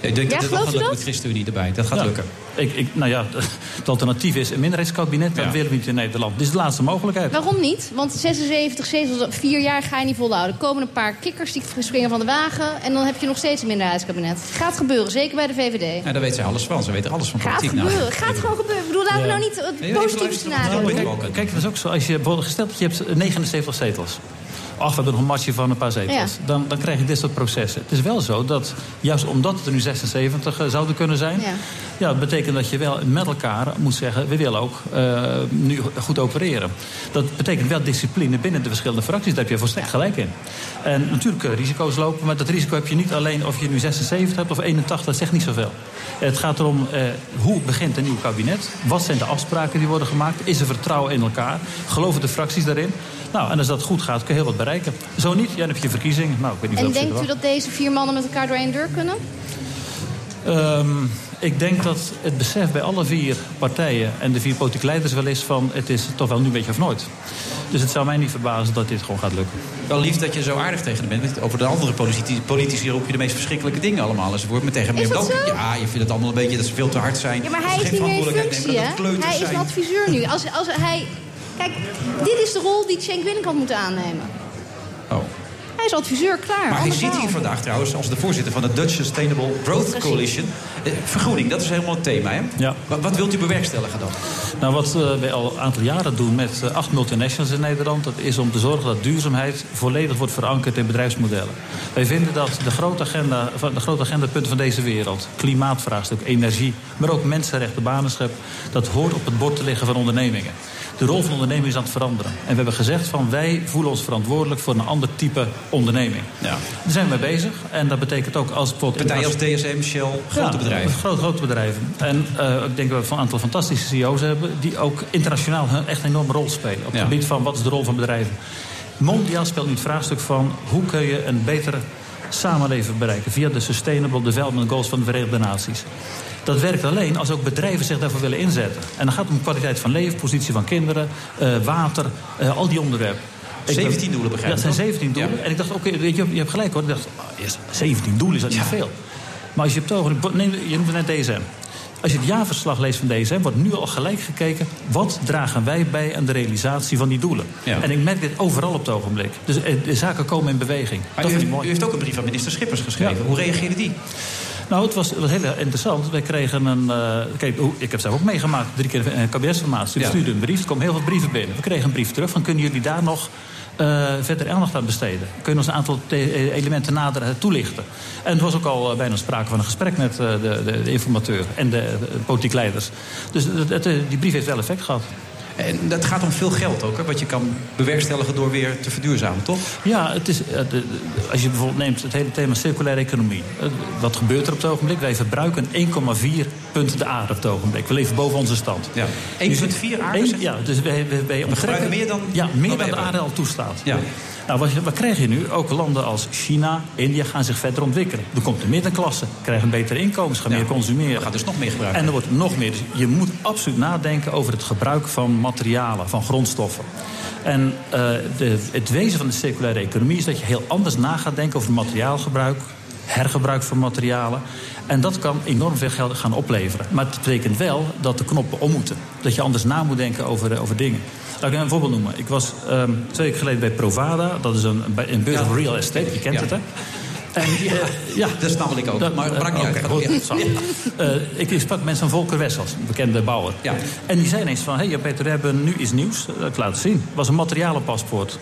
Speaker 8: Ik denk dat het wel gaat lukken met ChristenUnie erbij. Dat gaat
Speaker 14: Ja.
Speaker 8: lukken.
Speaker 14: Ik, ik, nou ja, het alternatief is een minderheidskabinet. Dat willen we niet in Nederland. Dit is de laatste mogelijkheid.
Speaker 9: Waarom niet? Want 76 zetels, vier jaar ga je niet volhouden. Er komen een paar kikkers die springen van de wagen... en dan heb je nog steeds een minderheidskabinet. Gaat gebeuren, zeker bij de VVD.
Speaker 8: Ja, daar weet zij alles van. Ze weten alles van
Speaker 9: Gaat
Speaker 8: politiek.
Speaker 9: gebeuren,
Speaker 8: Nou.
Speaker 9: gaat gewoon gebeuren. Ik bedoel, laten we
Speaker 14: Ja.
Speaker 9: nou niet
Speaker 8: Nee,
Speaker 9: het
Speaker 8: even
Speaker 9: positieve
Speaker 8: luisteren, want
Speaker 9: scenario
Speaker 8: dat
Speaker 9: doen.
Speaker 8: weet ik ook.
Speaker 14: Kijk, dat is ook zo. Als je bijvoorbeeld gesteld dat je hebt 79 zetels. Ach, we hebben nog een marge van een paar zetels.
Speaker 9: Ja.
Speaker 14: Dan, dan krijg je dit soort processen. Het is wel zo dat, juist omdat het er nu 76 eh, zouden kunnen zijn... Ja. dat betekent dat je wel met elkaar moet zeggen... we willen ook eh, nu goed opereren. Dat betekent wel discipline binnen de verschillende fracties. Daar heb je volstrekt gelijk in. En natuurlijk kunnen risico's lopen... maar dat risico heb je niet alleen of je nu 76 hebt of 81. Dat zegt niet zoveel. Het gaat erom eh, hoe begint een nieuw kabinet? Wat zijn de afspraken die worden gemaakt? Is er vertrouwen in elkaar? Geloven de fracties daarin? Nou, en als dat goed gaat, kun je heel wat bereiken. Zo niet, ja, dan heb je verkiezingen. Nou, ik weet niet
Speaker 9: En
Speaker 14: of ze
Speaker 9: denkt
Speaker 14: er
Speaker 9: u
Speaker 14: wel-
Speaker 9: dat deze vier mannen met elkaar door één deur kunnen?
Speaker 14: Ehm, ik denk dat het besef bij alle vier partijen en de vier politieke leiders wel is van... het is toch wel nu een beetje of nooit. Dus het zou mij niet verbazen dat dit gewoon gaat lukken.
Speaker 8: Wel lief dat je zo aardig tegen hem bent. want Over de andere politici, politici roep je de meest verschrikkelijke dingen allemaal. En ze wordt me tegen
Speaker 9: Is
Speaker 8: hem.
Speaker 9: dat zo?
Speaker 8: Ja, je vindt het allemaal een beetje dat ze veel te hard zijn.
Speaker 9: Ja, maar
Speaker 8: dat
Speaker 9: hij
Speaker 8: ze
Speaker 9: is
Speaker 8: geen
Speaker 9: niet meer in
Speaker 8: verantwoordelijkheid
Speaker 9: functie, hè?
Speaker 8: nemen, dat het kleuters
Speaker 9: Hij is een
Speaker 8: zijn.
Speaker 9: adviseur nu. Als, als hij... Kijk, dit is de rol die Cenk Willink had moeten aannemen.
Speaker 8: Oh.
Speaker 9: Hij is adviseur, klaar.
Speaker 8: Maar hij
Speaker 9: Ander
Speaker 8: zit
Speaker 9: verhaal.
Speaker 8: hier vandaag trouwens als de voorzitter van de Dutch Sustainable Growth
Speaker 9: Precies.
Speaker 8: Coalition. Eh, Vergroening, dat is helemaal het thema. Hè?
Speaker 14: Ja.
Speaker 8: Wat, wat wilt u bewerkstelligen dan?
Speaker 14: Nou, wat eh, wij al een aantal jaren doen met eh, acht multinationals in Nederland... dat is om te zorgen dat duurzaamheid volledig wordt verankerd in bedrijfsmodellen. Wij vinden dat de grote, agenda, van de grote agendapunten van deze wereld... klimaatvraagstuk, energie, maar ook mensenrechten, banenschap... dat hoort op het bord te liggen van ondernemingen. De rol van ondernemingen is aan het veranderen. En we hebben gezegd van wij voelen ons verantwoordelijk voor een ander type onderneming.
Speaker 8: Ja.
Speaker 14: Daar zijn we mee bezig. En dat betekent ook als bijvoorbeeld...
Speaker 8: Partijen als DSM, Shell, grote
Speaker 14: Ja,
Speaker 8: bedrijven.
Speaker 14: Grote, grote bedrijven. En eh, ik denk dat we een aantal fantastische CEO's hebben... die ook internationaal hun echt een enorme rol spelen. Op het
Speaker 8: Ja.
Speaker 14: gebied van wat is de rol van bedrijven. Mondiaal speelt nu het vraagstuk van... hoe kun je een betere samenleving bereiken... via de Sustainable Development Goals van de Verenigde Naties. Dat werkt alleen als ook bedrijven zich daarvoor willen inzetten. En dan gaat het om kwaliteit van leven, positie van kinderen... eh, water, eh, al die onderwerpen. Ik ben-
Speaker 8: 17 doelen, begrijp
Speaker 14: Ja,
Speaker 8: ik,
Speaker 14: het zijn 17 doelen. En ik dacht, oké, weet je, je hebt gelijk hoor. Ik dacht, ah, yes, 17 doelen is dat niet veel. Maar als je op het ogenblik- neem, je noemt net DSM. Als je het jaarverslag leest van DSM, wordt nu al gelijk gekeken... wat dragen wij bij aan de realisatie van die doelen?
Speaker 8: Ja.
Speaker 14: En ik merk dit overal op het ogenblik. Dus eh, de zaken komen in beweging.
Speaker 8: Maar u,
Speaker 14: dat vind ik
Speaker 8: heeft,
Speaker 14: mooi.
Speaker 8: u heeft ook een brief aan minister Schippers geschreven. Hoe reageerde die?
Speaker 14: Nou, het was, het was heel interessant. Wij kregen een... eh, kijk, hoe- ik heb zelf ook meegemaakt. Drie keer een kabinetsformatie. We
Speaker 8: Ja.
Speaker 14: stuurden een brief. Er komen heel veel brieven binnen. We kregen een brief terug van... kunnen jullie daar nog eh, verder aandacht aan besteden? Kunnen ons een aantal te- elementen nader eh, toelichten? En het was ook al eh, bijna sprake van een gesprek met eh, de, de, de informateur... en de, de politiek leiders. Dus het- het, eh, die brief heeft wel effect gehad.
Speaker 8: En dat gaat om veel geld ook, hè, wat je kan bewerkstelligen door weer te verduurzamen, toch?
Speaker 14: Ja, het is, eh, de- de- als je bijvoorbeeld neemt het hele thema circulaire economie. Eh, Wat gebeurt er op het ogenblik? Wij verbruiken 1,4 punten de aarde op het ogenblik. We leven boven onze stand. Ja.
Speaker 8: 1,4 aarde, zegt u?
Speaker 14: Ja, dus wij, wij, wij
Speaker 8: verbruiken meer dan-
Speaker 14: ja, meer
Speaker 8: dan wij
Speaker 14: dan de
Speaker 8: hebben.
Speaker 14: aarde al toestaat.
Speaker 8: Ja.
Speaker 14: Nou, wat, wat krijg je nu? Ook landen als China, India gaan zich verder ontwikkelen. Er komt een middenklasse, krijgen een betere inkomens, gaan meer consumeren. Gaat
Speaker 8: dus nog meer gebruiken.
Speaker 14: En er wordt nog meer. Dus je moet absoluut nadenken over het gebruik van materialen, van grondstoffen. En eh, de, het wezen van de circulaire economie is dat je heel anders na gaat denken over materiaalgebruik. hergebruik van materialen. En dat kan enorm veel geld gaan opleveren. Maar het betekent wel dat de knoppen om moeten. Dat je anders na moet denken over, eh, over dingen. Laat ik een voorbeeld noemen. Ik was ehm, twee weken geleden bij Provada. Dat is een, bij- een beurs of real estate. Je kent het, hè? En, ja, ja, dat snap ik ook. maar
Speaker 8: maakt niet uit. Gaat goed.
Speaker 14: eh, ik ik sprak mensen van Volker Wessels, een bekende bouwer. En die zei ineens van, hé hey, Peter, we hebben nu iets nieuws. Dat laat het zien. Het was een materialenpaspoort.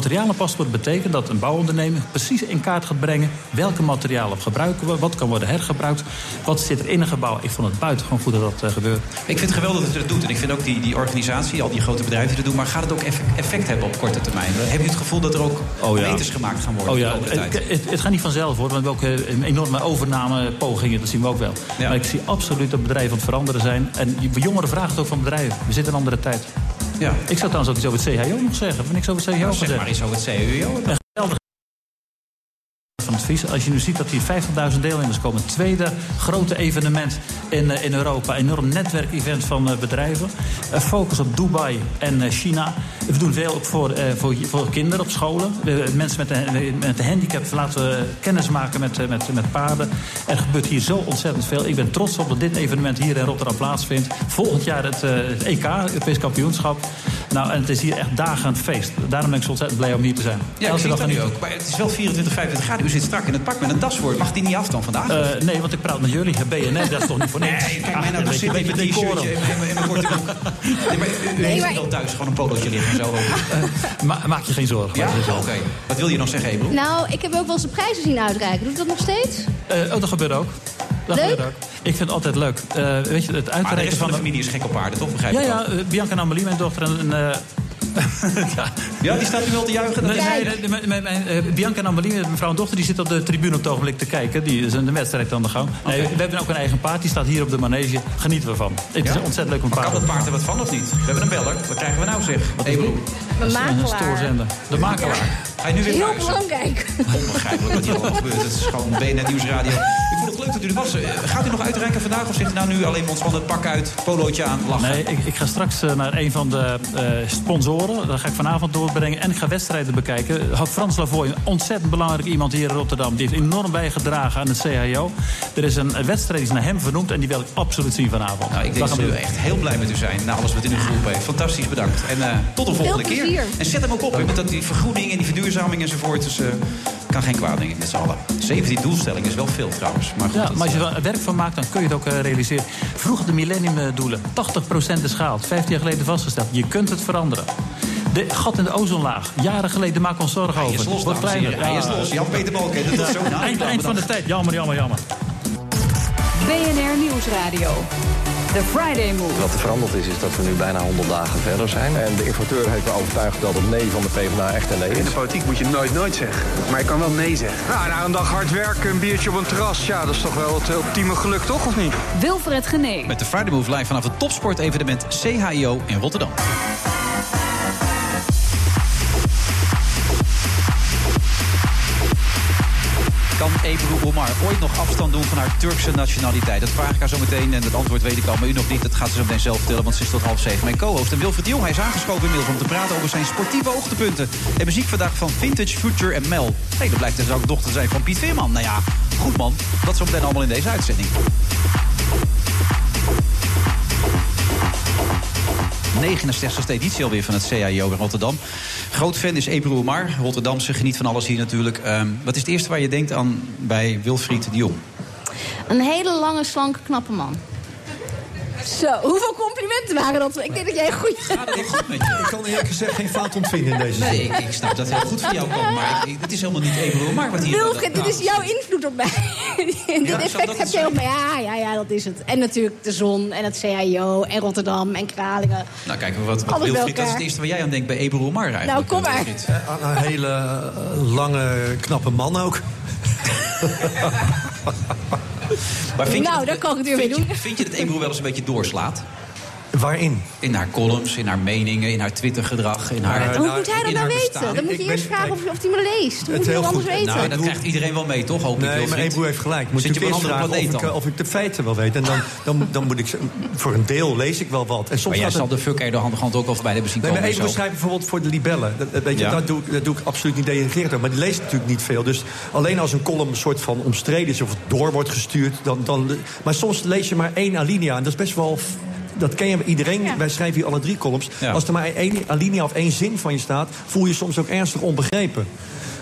Speaker 14: Materialenpaspoort betekent dat een bouwondernemer precies in kaart gaat brengen... welke materialen gebruiken we, wat kan worden hergebruikt... wat zit er in een gebouw. Ik vond het buitengewoon goed dat dat eh, gebeurt.
Speaker 8: Ik vind het geweldig dat je dat doet. En ik vind ook die, die organisatie, al die grote bedrijven die dat doen. Maar gaat het ook eff- effect hebben op korte termijn? Heb je het gevoel dat er ook
Speaker 14: Oh ja.
Speaker 8: meters gemaakt gaan worden?
Speaker 14: Oh ja,
Speaker 8: de komende tijd?
Speaker 14: het, het, het gaat niet vanzelf hoor. Want we hebben ook eh, enorme overnamepogingen, dat zien we ook wel. Maar ik zie absoluut dat bedrijven aan het veranderen zijn. En je- jongeren vragen het ook van bedrijven. We zitten in een andere tijd. Ja. Ik zou trouwens ook iets over het CHO nog zeggen. Of niks over het CHO
Speaker 8: Nou,
Speaker 14: gaan
Speaker 8: zeg
Speaker 14: zeggen.
Speaker 8: maar iets over het CUO.
Speaker 14: Een geweldig van advies. Als je nu ziet dat hier 50.000 deelnemers komen. Het tweede grote evenement in, eh, in Europa. Enorm netwerkevent van eh, bedrijven. Eh, focus op Dubai en eh, China. We doen veel ook voor, eh, voor, voor kinderen op scholen. We- eh, mensen met een, met een handicap laten we kennis maken met, eh, met, met paarden. Er gebeurt hier zo ontzettend veel. Ik ben trots op dat dit evenement hier in Rotterdam plaatsvindt. Volgend jaar het, eh, het EK, Europees kampioenschap. Nou, en het is hier echt dagen een feest. Daarom ben ik zo ontzettend blij om hier te zijn.
Speaker 8: Ja, ik
Speaker 14: Elke
Speaker 8: zie
Speaker 14: dag
Speaker 8: dat nu
Speaker 14: genieten.
Speaker 8: ook. Maar het is wel 24, 25 graden. U zit strak in het pak met een daswoord. Mag die niet af dan vandaag?
Speaker 14: Eh, nee, want ik praat met jullie. BNN, dat is toch niet voor niks? Ah,
Speaker 8: Nee, kijk mij
Speaker 14: Ach,
Speaker 8: nou,
Speaker 14: een
Speaker 8: daar zit
Speaker 14: beetje-
Speaker 8: ik met
Speaker 14: beetje
Speaker 8: een
Speaker 14: decorum.
Speaker 8: shirtje en en- en een korte broek. Nee, maar u- u heeft
Speaker 9: maar-
Speaker 8: wel thuis gewoon een polootje liggen zo.
Speaker 14: Eh, Ma- maak je geen zorgen.
Speaker 8: Ja, oké. Wat wil je nog zeggen, Ebro?
Speaker 9: Nou, ik heb ook wel eens de prijzen zien uitreiken. Doet dat nog steeds?
Speaker 14: Eh, oh, dat gebeurt ook. Dat
Speaker 9: Leuk?
Speaker 14: gebeurt ook. Ik vind het altijd leuk. Eh, weet je, het
Speaker 8: Maar de
Speaker 14: uitreiken
Speaker 8: rest van
Speaker 14: van...
Speaker 8: de familie is gek op paarden, toch? Begrijp
Speaker 14: ja,
Speaker 8: ik
Speaker 14: ja,
Speaker 8: ook.
Speaker 14: eh, Bianca en Amelie, mijn dochter. En, en, eh, ja.
Speaker 8: Ja, die staat nu wel te juichen.
Speaker 14: Nee,
Speaker 8: Kijk.
Speaker 14: nee, nee, mijn- mijn- mijn, eh, Bianca en Amelie, mijn vrouw en dochter, die zit op de tribune op het ogenblik te kijken. Die is een de wedstrijd aan de gang. Nee, we hebben ook een eigen paard, die staat hier op de manege. Genieten we van. Het is
Speaker 8: Ja?
Speaker 14: ontzettend leuk om
Speaker 8: Maar
Speaker 14: paard
Speaker 8: kan dat paard er wat van of niet? We hebben een beller. Wat krijgen we nou, zeg? Ebro.
Speaker 9: Mijn
Speaker 14: Een
Speaker 9: makelaar.
Speaker 14: stoorzender. De makelaar.
Speaker 8: Ga je nu weer
Speaker 9: Heel
Speaker 8: naar huis?
Speaker 9: belangrijk.
Speaker 8: Onbegrijpelijk wat hier allemaal gebeurt. Het is gewoon BNN Nieuwsradio. Ik vond het leuk dat u er was. Eh, Gaat u nog uitreiken vandaag of zegt u nou nu alleen maar ontspannen pak uit, polootje aan, lachen?
Speaker 14: Nee, ik, ik ga straks eh, naar een van de eh, sponsoren. Daar ga ik vanavond doorbrengen. En ik ga wedstrijden bekijken. Had Frans Lavoy, een ontzettend belangrijk iemand hier in Rotterdam. Die heeft enorm bijgedragen aan het CHO. Er is een eh, wedstrijd die is naar hem vernoemd. En die wil ik absoluut zien vanavond.
Speaker 8: Nou, ik denk dat we echt heel blij met u zijn na alles wat in uw groep heeft. Fantastisch bedankt. En eh, tot de
Speaker 14: Veel
Speaker 8: volgende keer.
Speaker 14: plezier.
Speaker 8: En zet hem ook op, hè, want dat die vergroening en die verduurzaming enzovoort. Dus eh, kan geen kwaad, denk ik, met z'n allen. 17 doelstellingen is wel veel trouwens. Maar goed,
Speaker 14: Ja,
Speaker 8: dat- eh,
Speaker 14: maar als je er werk van maakt, dan kun je het ook eh, realiseren. Vroeger de millenniumdoelen. 80% is gehaald. 15 jaar geleden vastgesteld. Je kunt het veranderen. De gat in de ozonlaag. Jaren geleden maken we ons zorgen
Speaker 8: Hij
Speaker 14: over.
Speaker 8: is los,
Speaker 14: Wordt
Speaker 8: dames en heren.
Speaker 14: kleiner.
Speaker 8: Hij
Speaker 14: Ja.
Speaker 8: is los. Jan-Peter Balken, dat is zo nou,
Speaker 14: eind, eind van de tijd. Jammer, jammer, jammer.
Speaker 4: BNR Nieuwsradio. The Friday Move.
Speaker 5: Wat er veranderd is, is dat we nu bijna 100 dagen verder zijn.
Speaker 6: En de importeur heeft me overtuigd dat het nee van de PvdA echt een nee
Speaker 7: In
Speaker 6: is.
Speaker 7: de politiek moet je nooit nooit zeggen. Maar je kan wel nee zeggen. Nou, na een dag hard werken, een biertje op een terras. Ja, dat is toch wel het ultieme geluk, toch? Of niet?
Speaker 4: Wilfred Genee.
Speaker 8: Met de Friday Move live vanaf het topsportevenement CHIO in Rotterdam. Kan Ebru Omar ooit nog afstand doen van haar Turkse nationaliteit? Dat vraag ik haar zo meteen en het antwoord weet ik al, maar u nog niet. Dat gaat ze zo meteen zelf vertellen, want ze is tot half zeven. Mijn co-host en Wilfred Jong, hij is aangeschoven inmiddels om te praten over zijn sportieve hoogtepunten. En muziek vandaag van Vintage, Future en Mel. hey, dat blijkt dus ook dochter te zijn van Piet Veerman. Nou ja, goed man. Dat zo meteen allemaal in deze uitzending. De 69ste editie alweer van het CAIO in Rotterdam. Groot fan is Ebru Omar, Rotterdamse, geniet van alles hier natuurlijk. Ehm, wat is het eerste waar je denkt aan bij Wilfried de Jong?
Speaker 9: Een hele lange, slanke, knappe man. Zo, hoeveel complimenten waren dat? Ik denk dat jij een goede...
Speaker 8: Ik
Speaker 15: kan eerlijk gezegd geen fout ontvinden in deze zin.
Speaker 8: Nee, ik, ik snap dat heel goed van jou komt, maar ik- ik- het is helemaal niet Ebru Omar wat hier...
Speaker 9: Wilfred, dit is jouw invloed op mij. dit
Speaker 8: zou dat
Speaker 9: effect heb
Speaker 8: het
Speaker 9: jij op mij.
Speaker 8: zijn?
Speaker 9: Ja, ja, ja, dat is het. En natuurlijk de zon en het CIO en Rotterdam en Kralingen.
Speaker 8: Nou, kijk, wat, wat
Speaker 9: Alles bij
Speaker 8: Wilfried, dat
Speaker 9: elkaar.
Speaker 8: is het eerste waar jij aan denkt bij Ebru Omar eigenlijk.
Speaker 9: Nou, kom maar.
Speaker 15: Eh, Aan een hele eh, lange, knappe man ook.
Speaker 8: Maar vind je
Speaker 9: nou,
Speaker 8: dat-
Speaker 9: daar kan ik het weer mee
Speaker 8: vind je-
Speaker 9: doen.
Speaker 8: Vind je dat Ebru wel eens een beetje doorslaat?
Speaker 15: Waarin?
Speaker 8: In haar columns, in haar meningen, in haar Twittergedrag. In haar,
Speaker 9: Maar
Speaker 15: eh,
Speaker 9: hoe moet hij dat
Speaker 8: in
Speaker 9: nou
Speaker 8: haar
Speaker 9: weten?
Speaker 8: bestaan.
Speaker 9: Dan moet je eerst vragen of, of hij me leest. Dan
Speaker 15: Het
Speaker 9: moet je
Speaker 15: heel
Speaker 9: dat
Speaker 15: goed.
Speaker 9: anders weten.
Speaker 8: Nou, dat krijgt iedereen wel mee, toch? Hoop ik,
Speaker 15: Nee, maar
Speaker 8: Wilfried?
Speaker 15: Ebru heeft gelijk. Moet
Speaker 8: Zit je op een
Speaker 15: natuurlijk eerst vragen
Speaker 8: andere planeet
Speaker 15: of ik,
Speaker 8: dan?
Speaker 15: eh, of ik de feiten wel weet. En dan, dan, dan moet ik... ze- Voor een deel lees ik wel wat. En soms
Speaker 8: Maar jij
Speaker 15: gaat
Speaker 8: zal
Speaker 15: het-
Speaker 8: de fuck Erdogan de hand ook al voorbij hebben zien
Speaker 15: Nee,
Speaker 8: komen.
Speaker 15: maar
Speaker 8: en
Speaker 15: Ebru
Speaker 8: zo.
Speaker 15: schrijft bijvoorbeeld voor de libellen. Dat, dat weet je,
Speaker 8: Ja.
Speaker 15: dat, doe ik, dat doe ik absoluut niet denigrerend over. Maar die leest natuurlijk niet veel. Dus alleen als een column een soort van omstreden is... of door wordt gestuurd, dan... dan maar soms lees je maar één alinea. En dat is best wel... f- Dat ken je iedereen. Wij schrijven hier alle drie columns.
Speaker 8: Ja.
Speaker 15: Als er maar één alinea of één zin van je staat... voel je je soms ook ernstig onbegrepen.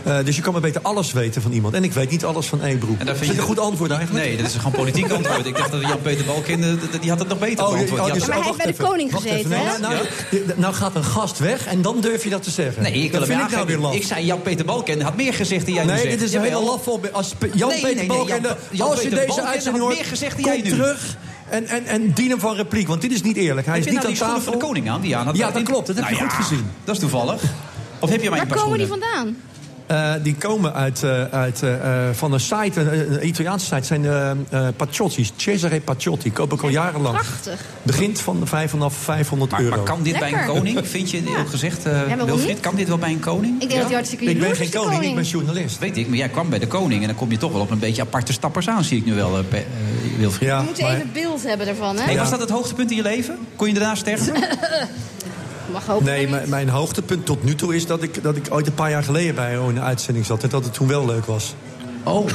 Speaker 15: Eh, dus je kan maar beter alles weten van iemand. En ik weet niet alles van Ebru. Is
Speaker 8: En daar vind
Speaker 15: dat
Speaker 8: je-
Speaker 15: een goed antwoord eigenlijk?
Speaker 8: Nee, dat is een gewoon politiek antwoord. Ik dacht dat Jan-Peter Balkin, eh, dat- die had het nog beter
Speaker 15: Oh,
Speaker 8: beantwoord.
Speaker 15: oh,
Speaker 8: Die had-
Speaker 15: dus- oh, wacht even. Wacht even. Nee, nou, nou, je- nou gaat een gast weg en dan durf je dat te zeggen.
Speaker 8: Nee, ik wil
Speaker 15: dat
Speaker 8: hem
Speaker 15: vind ik nou weer
Speaker 8: aangeven.
Speaker 15: laf.
Speaker 8: Ik zei Jan-Peter Balken had meer gezegd dan jij nu
Speaker 15: nee,
Speaker 8: zegt.
Speaker 15: dit is een
Speaker 8: Jawel.
Speaker 15: hele laf op. Als Pe- Jan
Speaker 8: Nee, nee,
Speaker 15: Peter
Speaker 8: nee,
Speaker 15: Balken,
Speaker 8: Jan-
Speaker 15: de-
Speaker 8: Jan
Speaker 15: als je
Speaker 8: Peter
Speaker 15: deze
Speaker 8: Balken had
Speaker 15: uitzending hoort,
Speaker 8: meer gezegd dan
Speaker 15: kom
Speaker 8: jij nu.
Speaker 15: terug en, en, en dien hem van repliek. Want dit is niet eerlijk. Hij
Speaker 8: Heb
Speaker 15: is
Speaker 8: je
Speaker 15: niet
Speaker 8: nou
Speaker 15: aan
Speaker 8: die schoenen
Speaker 15: tafel.
Speaker 8: van de koning aan? Die aan had
Speaker 15: Ja, dat klopt. Dat heb
Speaker 8: Nou
Speaker 15: je
Speaker 8: ja,
Speaker 15: goed gezien.
Speaker 8: Dat is toevallig. Of heb je maar
Speaker 9: Waar
Speaker 8: een paar
Speaker 9: komen die
Speaker 8: schoenen?
Speaker 9: vandaan?
Speaker 15: Eh, die komen uit, eh, uit, eh, eh, van een site, een, een Italiaanse site. zijn eh eh, pacciotti's. Cesare Paciotti. Koop ik al jarenlang.
Speaker 9: Prachtig.
Speaker 8: Oh,
Speaker 15: Begint van vijf- vanaf 500
Speaker 8: Maar,
Speaker 15: euro.
Speaker 8: maar kan dit bij een
Speaker 9: Lekker.
Speaker 8: koning? Vind je, heel gezegd, eh,
Speaker 9: waarom
Speaker 8: Wilfried,
Speaker 9: niet?
Speaker 8: kan dit wel bij een koning?
Speaker 9: Ik denk dat hij hartstikke Ik ben jaloers geen is, de koning, koning. ik ben
Speaker 15: journalist.
Speaker 8: Weet ik, maar jij kwam bij de koning en dan kom je toch wel op een beetje aparte stappers aan, zie ik nu wel, eh, Pe- eh, Wilfried.
Speaker 9: We moeten even beeld hebben ervan, hè?
Speaker 8: Hey, was dat het hoogtepunt in je leven? Kon je daarna sterven?
Speaker 9: Mag hopen.
Speaker 15: Nee, mijn, mijn hoogtepunt tot nu toe is dat ik, dat ik ooit een paar jaar geleden bij jou in de uitzending zat. En dat het toen wel leuk was.
Speaker 8: Oh.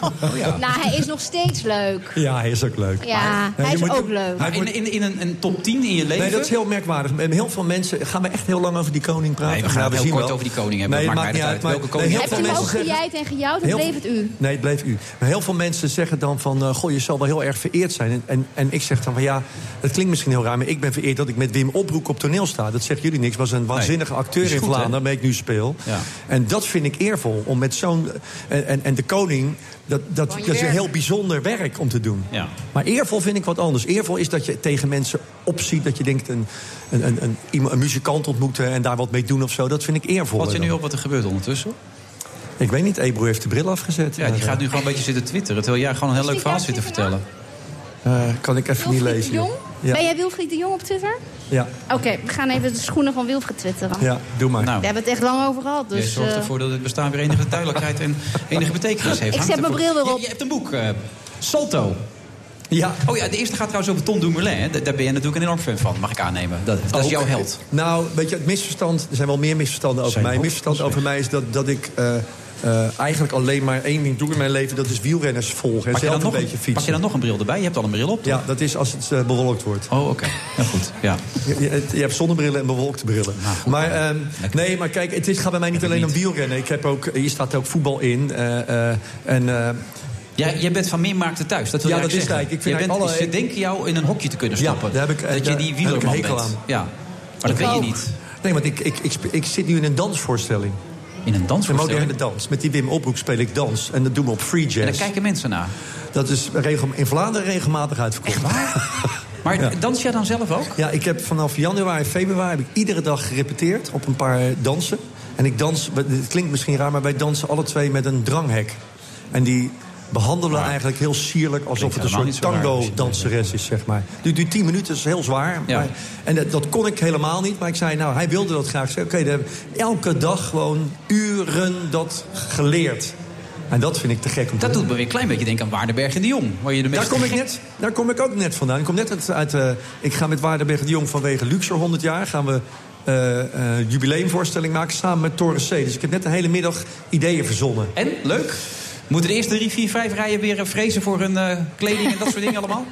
Speaker 15: Oh, ja.
Speaker 9: Nou, hij is nog steeds leuk.
Speaker 15: ja, hij is ook leuk.
Speaker 9: Ja,
Speaker 15: Nee,
Speaker 9: hij
Speaker 15: je
Speaker 9: is
Speaker 15: moet-
Speaker 9: ook leuk.
Speaker 8: Maar in, in, in een, een top 10 in je leven?
Speaker 15: Nee, dat is heel merkwaardig. En heel veel mensen gaan we echt heel lang over die koning praten.
Speaker 8: Nee, we gaan
Speaker 15: Nou,
Speaker 8: het heel
Speaker 15: zien
Speaker 8: kort
Speaker 15: wel.
Speaker 8: over die koning hebben.
Speaker 15: Nee,
Speaker 8: Maakt
Speaker 15: maakt
Speaker 8: mij
Speaker 15: niet uit.
Speaker 8: dat uit.
Speaker 15: Maar
Speaker 8: Welke koning?
Speaker 15: nee, heel
Speaker 9: Heb je
Speaker 15: veel
Speaker 9: hem ook
Speaker 15: mensen zeggen...
Speaker 9: gejijd en gejouwd? Of
Speaker 15: Heel-
Speaker 9: bleef het u?
Speaker 15: Nee, het bleef u. Maar heel veel mensen zeggen dan van... eh, goh, je zal wel heel erg vereerd zijn. En, en, en ik zeg dan van ja, dat klinkt misschien heel raar... maar ik ben vereerd dat ik met Wim Oproek op toneel sta. Dat zeggen jullie niks. was een waanzinnige acteur
Speaker 8: Is
Speaker 15: in
Speaker 8: goed, hè?
Speaker 15: Vlaanderen... waarmee ik nu speel.
Speaker 8: Ja.
Speaker 15: En dat vind ik eervol. Om met zo'n... eh, En, en, en de koning, dat, dat,
Speaker 8: Van je
Speaker 15: dat is een
Speaker 8: werk.
Speaker 15: heel bijzonder werk om te doen.
Speaker 8: Ja.
Speaker 15: Maar eervol vind ik wat anders. Eervol is dat je tegen mensen opziet. Dat je denkt een, een, een, een, iemand- een muzikant ontmoeten en daar wat mee doen of zo. Dat vind ik eervol.
Speaker 8: Wat je nu
Speaker 15: dan.
Speaker 8: op wat er gebeurt ondertussen?
Speaker 15: Ik weet niet, Ebro heeft de bril afgezet.
Speaker 8: Ja, die gaat nu gewoon een beetje zitten twitteren. Terwijl jij gewoon een heel leuk verhaal zit te vertellen.
Speaker 15: Eh, kan ik even niet
Speaker 9: Wilfried
Speaker 15: lezen.
Speaker 9: de Jong?
Speaker 15: Ja.
Speaker 9: Ben jij Wilfried de Jong op Twitter?
Speaker 15: Ja,
Speaker 9: Oké, we gaan even de schoenen van Wilfried twitteren.
Speaker 15: ja, doe maar.
Speaker 9: We hebben het echt lang over gehad.
Speaker 8: je
Speaker 9: Dus,
Speaker 8: Nou, zorgt
Speaker 9: eh,
Speaker 8: ervoor dat het bestaan weer enige duidelijkheid en enige betekenis heeft.
Speaker 9: Ik
Speaker 8: Hangt
Speaker 9: zet mijn
Speaker 8: ervoor-
Speaker 9: bril weer op.
Speaker 8: Je, je hebt een boek, eh, Salto.
Speaker 15: Ja.
Speaker 8: Oh ja, de eerste gaat trouwens over Tom Dumoulin. hè. Da- Daar ben jij natuurlijk een enorm fan van, mag ik aannemen. Dat, dat is
Speaker 15: Ook.
Speaker 8: jouw held.
Speaker 15: Oh, Nou, weet je, het misverstand, er zijn wel meer misverstanden over
Speaker 8: Zijn
Speaker 15: mij. Het
Speaker 8: ook.
Speaker 15: misverstand over mij is dat, dat ik eh, eh, eigenlijk alleen maar één ding doe in mijn leven. Dat is wielrenners volgen en
Speaker 8: Pak je,
Speaker 15: zelf
Speaker 8: dan
Speaker 15: een
Speaker 8: nog
Speaker 15: beetje
Speaker 8: een,
Speaker 15: fietsen.
Speaker 8: pak je dan nog een bril erbij? Je hebt al een bril op.
Speaker 15: Ja, dat is als het eh, bewolkt wordt.
Speaker 8: Oh, oké. Nou goed, ja.
Speaker 15: Je, je- het- je hebt zonnebrillen en bewolkte brillen. maar, ehm, nee, maar kijk, het is, gaat bij mij niet alleen om wielrennen. Ik heb ook, hier staat ook voetbal in. eh, eh, en,
Speaker 8: Jij, jij bent van meer markten thuis, dat wil
Speaker 15: Ja,
Speaker 8: je
Speaker 15: dat is
Speaker 8: eigenlijk
Speaker 15: het eigenlijk. Ik
Speaker 8: zeggen.
Speaker 15: vind
Speaker 8: Jij bent-
Speaker 15: eigenlijk
Speaker 8: Ze denken jou in een hokje te kunnen
Speaker 15: Ja,
Speaker 8: stoppen.
Speaker 15: daar heb ik-
Speaker 8: dat je
Speaker 15: eh, daar
Speaker 8: die
Speaker 15: heb ik
Speaker 8: wielerman
Speaker 15: een hekel
Speaker 8: bent.
Speaker 15: aan.
Speaker 8: Ja, maar dat
Speaker 15: Ik
Speaker 8: weet je
Speaker 15: ook.
Speaker 8: niet.
Speaker 15: Nee, want ik, ik, ik, spe- ik zit nu in een dansvoorstelling.
Speaker 8: In een dansvoorstelling?
Speaker 15: Een moderne dans. Met die Wim Oproek speel ik dans. En dat doen we op free jazz.
Speaker 8: En daar kijken mensen naar.
Speaker 15: Dat is regel, in Vlaanderen regelmatig uitverkocht.
Speaker 8: Maar dans jij dan zelf ook?
Speaker 15: Ja, ik heb vanaf januari, februari heb ik iedere dag gerepeteerd op een paar eh, dansen. En ik dans, het klinkt misschien raar, maar wij dansen alle twee met een dranghek. En die behandelen eigenlijk heel sierlijk alsof het een
Speaker 8: helemaal
Speaker 15: soort
Speaker 8: niet zo raar,
Speaker 15: tango-danseres is, zeg maar. Duurt duurt 10 minuten, dat is heel zwaar.
Speaker 8: Ja.
Speaker 15: Maar, en dat, dat kon ik helemaal niet, maar ik zei, nou, hij wilde dat graag. Ik zei, Oké, dan hebben we elke dag gewoon uren dat geleerd. En dat vind ik te gek om te
Speaker 8: Dat
Speaker 15: doen.
Speaker 8: doet me weer een klein beetje denken aan Waardenberg en de Jong. Waar je de
Speaker 15: Daar
Speaker 8: meeste
Speaker 15: kom, ik
Speaker 8: gek-
Speaker 15: net, daar kom ik ook net vandaan. Ik, kom net uit, uit, eh, ik ga met Waardenberg de Jong vanwege Luxor 100 jaar... gaan we eh, eh, jubileumvoorstelling maken samen met Torres C. Dus ik heb net de hele middag ideeën verzonnen.
Speaker 8: En, leuk, moeten de eerste drie, vier, vijf rijen weer eh, vrezen voor hun eh, kleding en dat soort dingen allemaal?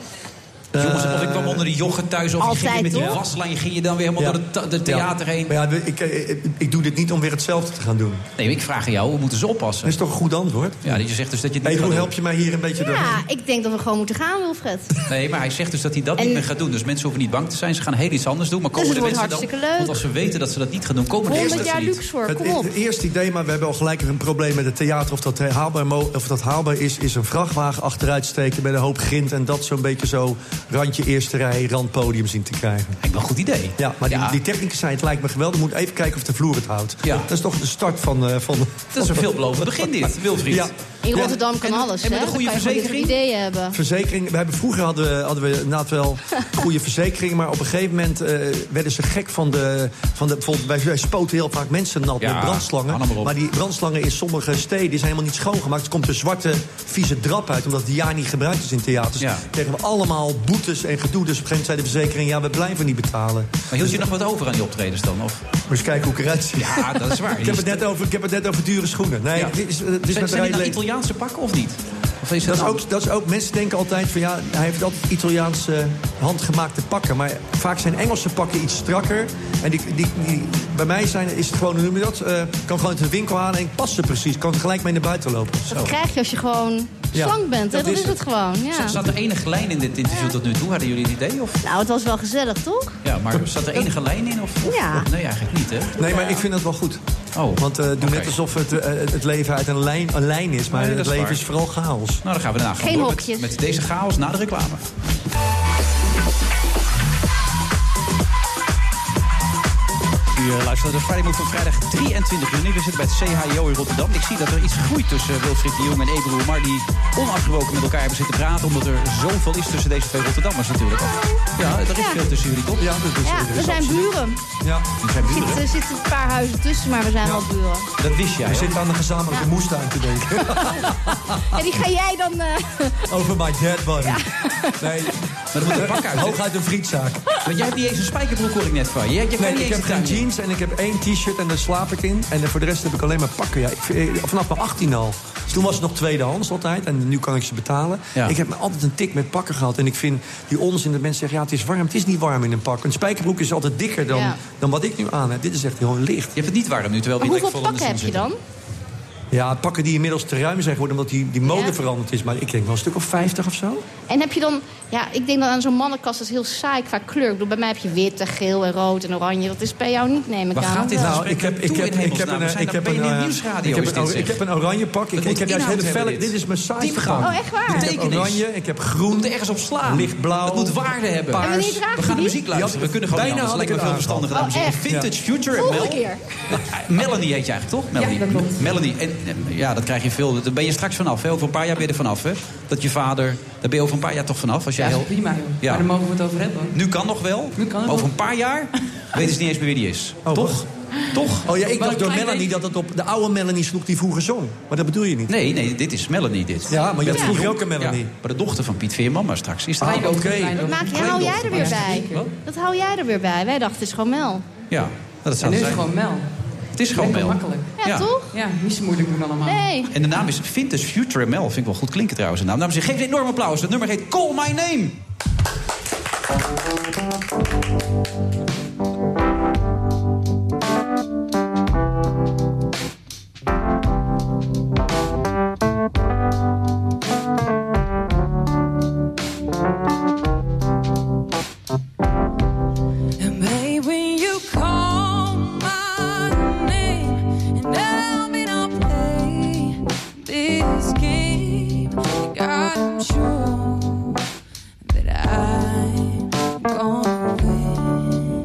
Speaker 15: Eh,
Speaker 8: Jongens, of ik kwam onder de jochen thuis of ik ging je
Speaker 15: altijd,
Speaker 8: met die
Speaker 15: toch?
Speaker 8: waslijn ging je dan weer helemaal
Speaker 15: Ja.
Speaker 8: door het ta- de theater
Speaker 15: Ja.
Speaker 8: heen.
Speaker 15: Maar ja, ik, eh, ik, ik doe dit niet om weer hetzelfde te gaan doen.
Speaker 8: Nee, maar ik vraag aan jou, hoe moeten ze oppassen?
Speaker 15: Dat is toch een goed antwoord?
Speaker 8: Ja, die- je zegt dus dat je het
Speaker 15: Hey,
Speaker 8: niet gaat
Speaker 15: hoe
Speaker 8: doen.
Speaker 15: help je mij hier een beetje door?
Speaker 9: ja, ik denk dat we gewoon moeten gaan, Wilfred.
Speaker 8: Nee, maar hij zegt dus dat hij dat niet meer gaat doen. Dus mensen hoeven niet bang te zijn. Ze gaan heel iets anders doen. Maar
Speaker 9: Dus
Speaker 8: komen
Speaker 9: het
Speaker 8: de
Speaker 9: wordt
Speaker 8: mensen dan?
Speaker 9: hartstikke leuk.
Speaker 8: Want als ze weten dat ze dat niet gaan doen, komen de
Speaker 9: 100
Speaker 8: mensen
Speaker 9: jaar
Speaker 8: niet.
Speaker 9: Luxor,
Speaker 15: Het,
Speaker 9: kom op.
Speaker 15: het eerste idee, maar we hebben al gelijk een probleem met het theater. Of dat eh, haalbaar, mo- of dat haalbaar is, is een vrachtwagen achteruit steken met een hoop grind. En dat zo'n beetje zo randje eerste rij, randpodium zien te krijgen.
Speaker 8: Lijkt me een goed idee.
Speaker 15: Ja, maar
Speaker 8: Ja.
Speaker 15: Die, die technicus zei, het lijkt me geweldig. Moet even kijken of de vloer het houdt.
Speaker 8: Ja.
Speaker 15: Dat is toch de start van... eh, van
Speaker 8: Dat is een veelbelovend begin dit, Wilfried.
Speaker 15: Ja,
Speaker 9: In
Speaker 15: Ja.
Speaker 9: Rotterdam kan
Speaker 15: En met-
Speaker 9: alles.
Speaker 15: en met
Speaker 9: hè?
Speaker 15: een goede
Speaker 9: Dan kan je gewoon dit
Speaker 15: verzekering?
Speaker 9: soort ideeën hebben.
Speaker 15: Verzekering. We hebben, vroeger hadden we, hadden we inderdaad wel goede verzekeringen. Maar op een gegeven moment eh, werden ze gek van de. Van de bijvoorbeeld, wij, wij spoten heel vaak mensen nat
Speaker 8: Ja,
Speaker 15: met brandslangen.
Speaker 8: hou nou maar op.
Speaker 15: maar die brandslangen in sommige steden zijn helemaal niet schoongemaakt. Er komt een zwarte, vieze drap uit. Omdat die jaar niet gebruikt is in theaters.
Speaker 8: Ja.
Speaker 15: Kregen we allemaal boetes en gedoe. Dus op een gegeven moment zei de verzekering: ja, we blijven niet betalen.
Speaker 8: Maar hield je nog wat over aan die optredens dan? Of?
Speaker 15: Moet eens kijken hoe ik eruit zie.
Speaker 8: Ja, dat is waar.
Speaker 15: ik, heb het net over, ik heb het net over dure schoenen. Nee,
Speaker 8: Ja.
Speaker 15: dit is, dit is
Speaker 8: Zijn-
Speaker 15: met
Speaker 8: zijn die
Speaker 15: rijleven.
Speaker 8: nou Italiaanse pakken of niet? Of is
Speaker 15: Dat
Speaker 8: het
Speaker 15: is,
Speaker 8: nou-
Speaker 15: ook, dat is ook, mensen denken altijd van ja, hij heeft altijd Italiaanse handgemaakte pakken. Maar vaak zijn Engelse pakken iets strakker. En die, die, die- bij mij zijn, is het gewoon, hoe noem je dat? Eh, kan gewoon uit de winkel halen en ik pas ze precies. Kan gelijk mee naar buiten lopen. Zo.
Speaker 9: Dat krijg je als je gewoon
Speaker 15: Ja,
Speaker 9: slank bent. hè?
Speaker 15: dat
Speaker 9: Dat,
Speaker 15: is
Speaker 9: is het gewoon. Ja.
Speaker 8: Zat- Zat er enige lijn in dit interview tot nu toe? Hadden jullie het idee? Of?
Speaker 9: Nou, het was wel gezellig, toch?
Speaker 8: Ja, maar zat er enige lijn in? Of, of-
Speaker 9: Ja.
Speaker 8: of- nee, eigenlijk niet, hè?
Speaker 15: Nee, maar ik vind dat wel goed.
Speaker 8: Oh.
Speaker 15: Want eh doe net alsof het, eh, het leven uit een lijn, een lijn is. Maar
Speaker 8: Nee, dat
Speaker 15: het
Speaker 8: is
Speaker 15: leven
Speaker 8: waar.
Speaker 15: is vooral chaos.
Speaker 8: Nou, dan gaan we daarna gewoon
Speaker 9: Geen
Speaker 8: door
Speaker 9: hokjes.
Speaker 8: met, met deze chaos na de reclame. U eh, luistert naar de Friday Move van vrijdag 23 juni. We zitten bij het CHIO in Rotterdam. Ik zie dat er iets groeit tussen eh, Wilfried de Jong en Ebru Maar die onafgebroken met elkaar hebben zitten praten... omdat er zoveel is tussen deze twee Rotterdammers natuurlijk. Ja, er is
Speaker 9: Ja.
Speaker 8: veel tussen jullie, toch? Ja,
Speaker 9: Ja, we zijn buren.
Speaker 15: Ja,
Speaker 8: we zijn
Speaker 9: Er
Speaker 8: buren.
Speaker 9: zitten, zitten een paar huizen tussen, maar we zijn wel buren.
Speaker 8: Dat wist jij,
Speaker 15: We zitten aan de gezamenlijke moestuin te denken.
Speaker 9: En die ga jij dan... eh,
Speaker 15: Over my dead body. Nee,
Speaker 8: Maar dat moet een pak uit. hè?
Speaker 15: hooguit een frietzaak.
Speaker 8: Want jij hebt niet eens een spijkerbroek, hoor ik net van. je. Jij, jij kan
Speaker 15: Nee,
Speaker 8: niet
Speaker 15: ik
Speaker 8: eens
Speaker 15: heb
Speaker 8: een
Speaker 15: geen
Speaker 8: tuin in.
Speaker 15: jeans en ik heb één t-shirt en daar slaap ik in. En eh, voor de rest heb ik alleen maar pakken. Ja, ik, vind- eh, vanaf mijn 18 al. Dus toen was het nog tweedehands altijd en nu kan ik ze betalen.
Speaker 8: Ja.
Speaker 15: Ik heb me altijd een tik met pakken gehad. En ik vind die onzin dat mensen zeggen, ja, het is warm. Het is niet warm in een pak. Een spijkerbroek is altijd dikker dan,
Speaker 9: Ja.
Speaker 15: dan wat ik nu aan heb. Dit is echt heel licht.
Speaker 8: Je hebt het niet warm nu, terwijl
Speaker 9: Maar
Speaker 8: we hier
Speaker 9: hoeveel
Speaker 8: lekker vol in de
Speaker 9: pakken
Speaker 8: zon
Speaker 9: heb je
Speaker 8: zitten.
Speaker 9: dan?
Speaker 15: Ja, pakken die inmiddels te ruim zijn geworden omdat die, die mode
Speaker 9: Ja.
Speaker 15: veranderd is. Maar ik denk wel een stuk of 50 of zo.
Speaker 9: En heb je dan... Ja, ik denk dan aan zo'n mannenkast, dat is heel saai qua kleur. Ik bedoel, bij mij heb je wit en geel en rood en oranje. Dat is bij jou niet, neem ik
Speaker 8: Waar
Speaker 9: aan.
Speaker 8: gaat dit
Speaker 9: Wel.
Speaker 8: nou?
Speaker 15: Ik heb, ik
Speaker 8: Toe
Speaker 15: heb,
Speaker 8: in
Speaker 15: ik heb
Speaker 8: hemelsnaam, we
Speaker 15: een,
Speaker 8: zijn
Speaker 15: ik
Speaker 8: op
Speaker 15: heb een,
Speaker 8: BNN
Speaker 15: eh,
Speaker 8: Nieuwsradio
Speaker 15: ik heb
Speaker 8: is
Speaker 15: een
Speaker 8: dit,
Speaker 15: oranje-
Speaker 8: zeg.
Speaker 15: ik heb een oranje pak. Ik,
Speaker 8: Het
Speaker 15: ik
Speaker 8: moet
Speaker 15: heb juist
Speaker 8: inhoud
Speaker 15: hele
Speaker 8: hebben,
Speaker 15: felle.
Speaker 8: dit.
Speaker 15: Dit is mijn saaiste
Speaker 8: Diepgang.
Speaker 15: pak.
Speaker 9: Oh, echt waar?
Speaker 15: Ik heb
Speaker 8: Betekenis.
Speaker 15: oranje, ik heb groen.
Speaker 8: moet ergens op slaan.
Speaker 15: Lichtblauw.
Speaker 8: Het moet waarde hebben.
Speaker 15: Paars. En wanneer
Speaker 9: draag
Speaker 8: We
Speaker 9: je
Speaker 8: gaan naar
Speaker 9: die?
Speaker 8: muziek luisteren. We kunnen gewoon
Speaker 15: Bijna
Speaker 8: niet
Speaker 15: had
Speaker 8: anders.
Speaker 15: ik
Speaker 8: Lijkt me veel
Speaker 15: het
Speaker 8: verstandig.
Speaker 9: Oh,
Speaker 8: dames en heren.
Speaker 9: echt?
Speaker 8: Vintage Future en
Speaker 9: Volgende
Speaker 8: Mel.
Speaker 9: keer.
Speaker 8: Eh, Melanie heet je eigenlijk, toch? Melanie.
Speaker 11: dat klopt.
Speaker 8: Melanie. En, eh, ja, dat krijg je veel. Daar ben je straks vanaf. Hè? Over een paar jaar ben je er vanaf. Hè? Dat je vader... Daar ben je over een paar jaar toch vanaf. Als jij
Speaker 16: Ja, dat
Speaker 8: heel...
Speaker 16: is prima. joh.
Speaker 8: Ja.
Speaker 16: Maar daar mogen we het over hebben.
Speaker 8: Nu kan nog wel.
Speaker 16: Nu kan het
Speaker 8: over
Speaker 16: nog.
Speaker 8: een paar jaar weten ze niet eens meer wie die is. toch? Toch?
Speaker 15: Oh ja,
Speaker 16: Wel
Speaker 15: ik dacht
Speaker 16: een
Speaker 15: door
Speaker 16: klein
Speaker 15: Melanie dat het op de oude Melanie sloeg die vroeger zong. Maar dat bedoel je niet.
Speaker 8: Nee, nee, dit is Melanie dit.
Speaker 15: Ja, maar je had
Speaker 8: Ja.
Speaker 15: vroeger ook een Melanie.
Speaker 8: Ja, maar de dochter van Piet Veerman, maar straks is dat...
Speaker 15: Ah, oké.
Speaker 9: Dat maak je, hou jij er weer bij.
Speaker 8: Wat?
Speaker 9: Dat hou jij er weer bij. Wij dachten, het is gewoon Mel.
Speaker 8: Ja, dat
Speaker 16: En
Speaker 8: zou
Speaker 16: nu
Speaker 8: het
Speaker 16: is het
Speaker 8: zijn.
Speaker 16: gewoon Mel.
Speaker 8: Het is gewoon
Speaker 16: Lekker
Speaker 8: Mel.
Speaker 16: makkelijk.
Speaker 9: Ja, toch?
Speaker 16: Ja, niet zo moeilijk doen allemaal.
Speaker 9: Nee.
Speaker 8: En de naam is Vintage Future ML. Vind ik wel goed klinken trouwens. De naam. Dames en heren, geef een enorm applaus. Het nummer heet Call My Name.
Speaker 17: And baby, you call my name, and I'll be no play this game. I'm sure that I'm gonna win.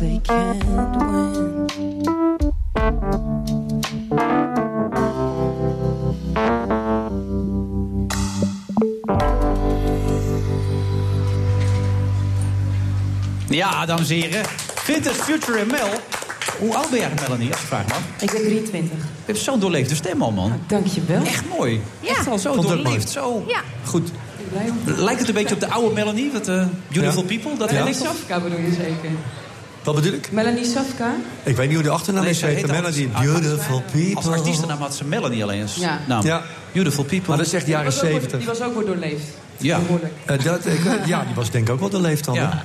Speaker 17: they can't win.
Speaker 8: Ja, dames en heren. Vintage Future ML. Hoe oud ben jij eigenlijk, Melanie, als je vraagt, man?
Speaker 16: Ik ben 23.
Speaker 8: Je hebt zo'n doorleefde stem al, man.
Speaker 16: Ah, Dankjewel.
Speaker 8: Echt mooi.
Speaker 16: Ja.
Speaker 8: Echt al zo
Speaker 16: Vond het ook
Speaker 8: doorleefd.
Speaker 16: mooi.
Speaker 8: Zo.
Speaker 16: Ja.
Speaker 8: Goed. Lijkt het een beetje op de oude Melanie? Wat, eh, Beautiful People? Dat
Speaker 16: Melanie
Speaker 8: lijkt het op?
Speaker 16: Safka bedoel je zeker?
Speaker 15: Wat bedoel ik?
Speaker 16: Melanie Safka?
Speaker 15: Ik weet niet hoe de achternaam
Speaker 8: Nee,
Speaker 15: is.
Speaker 8: ze
Speaker 15: heet
Speaker 8: heet
Speaker 15: Melody
Speaker 8: als-
Speaker 15: Beautiful People.
Speaker 8: Als artiestennaam had ze Melanie alleen als
Speaker 16: Ja.
Speaker 8: naam.
Speaker 15: Ja.
Speaker 8: Beautiful People.
Speaker 15: Maar dat is echt jaren
Speaker 16: Die was ook wel-
Speaker 15: 70.
Speaker 16: Die was ook wel doorleefd.
Speaker 8: Ja.
Speaker 15: Eh, dat, ik weet- ja, die was denk ik ook wel de leeftijd.
Speaker 8: Ja.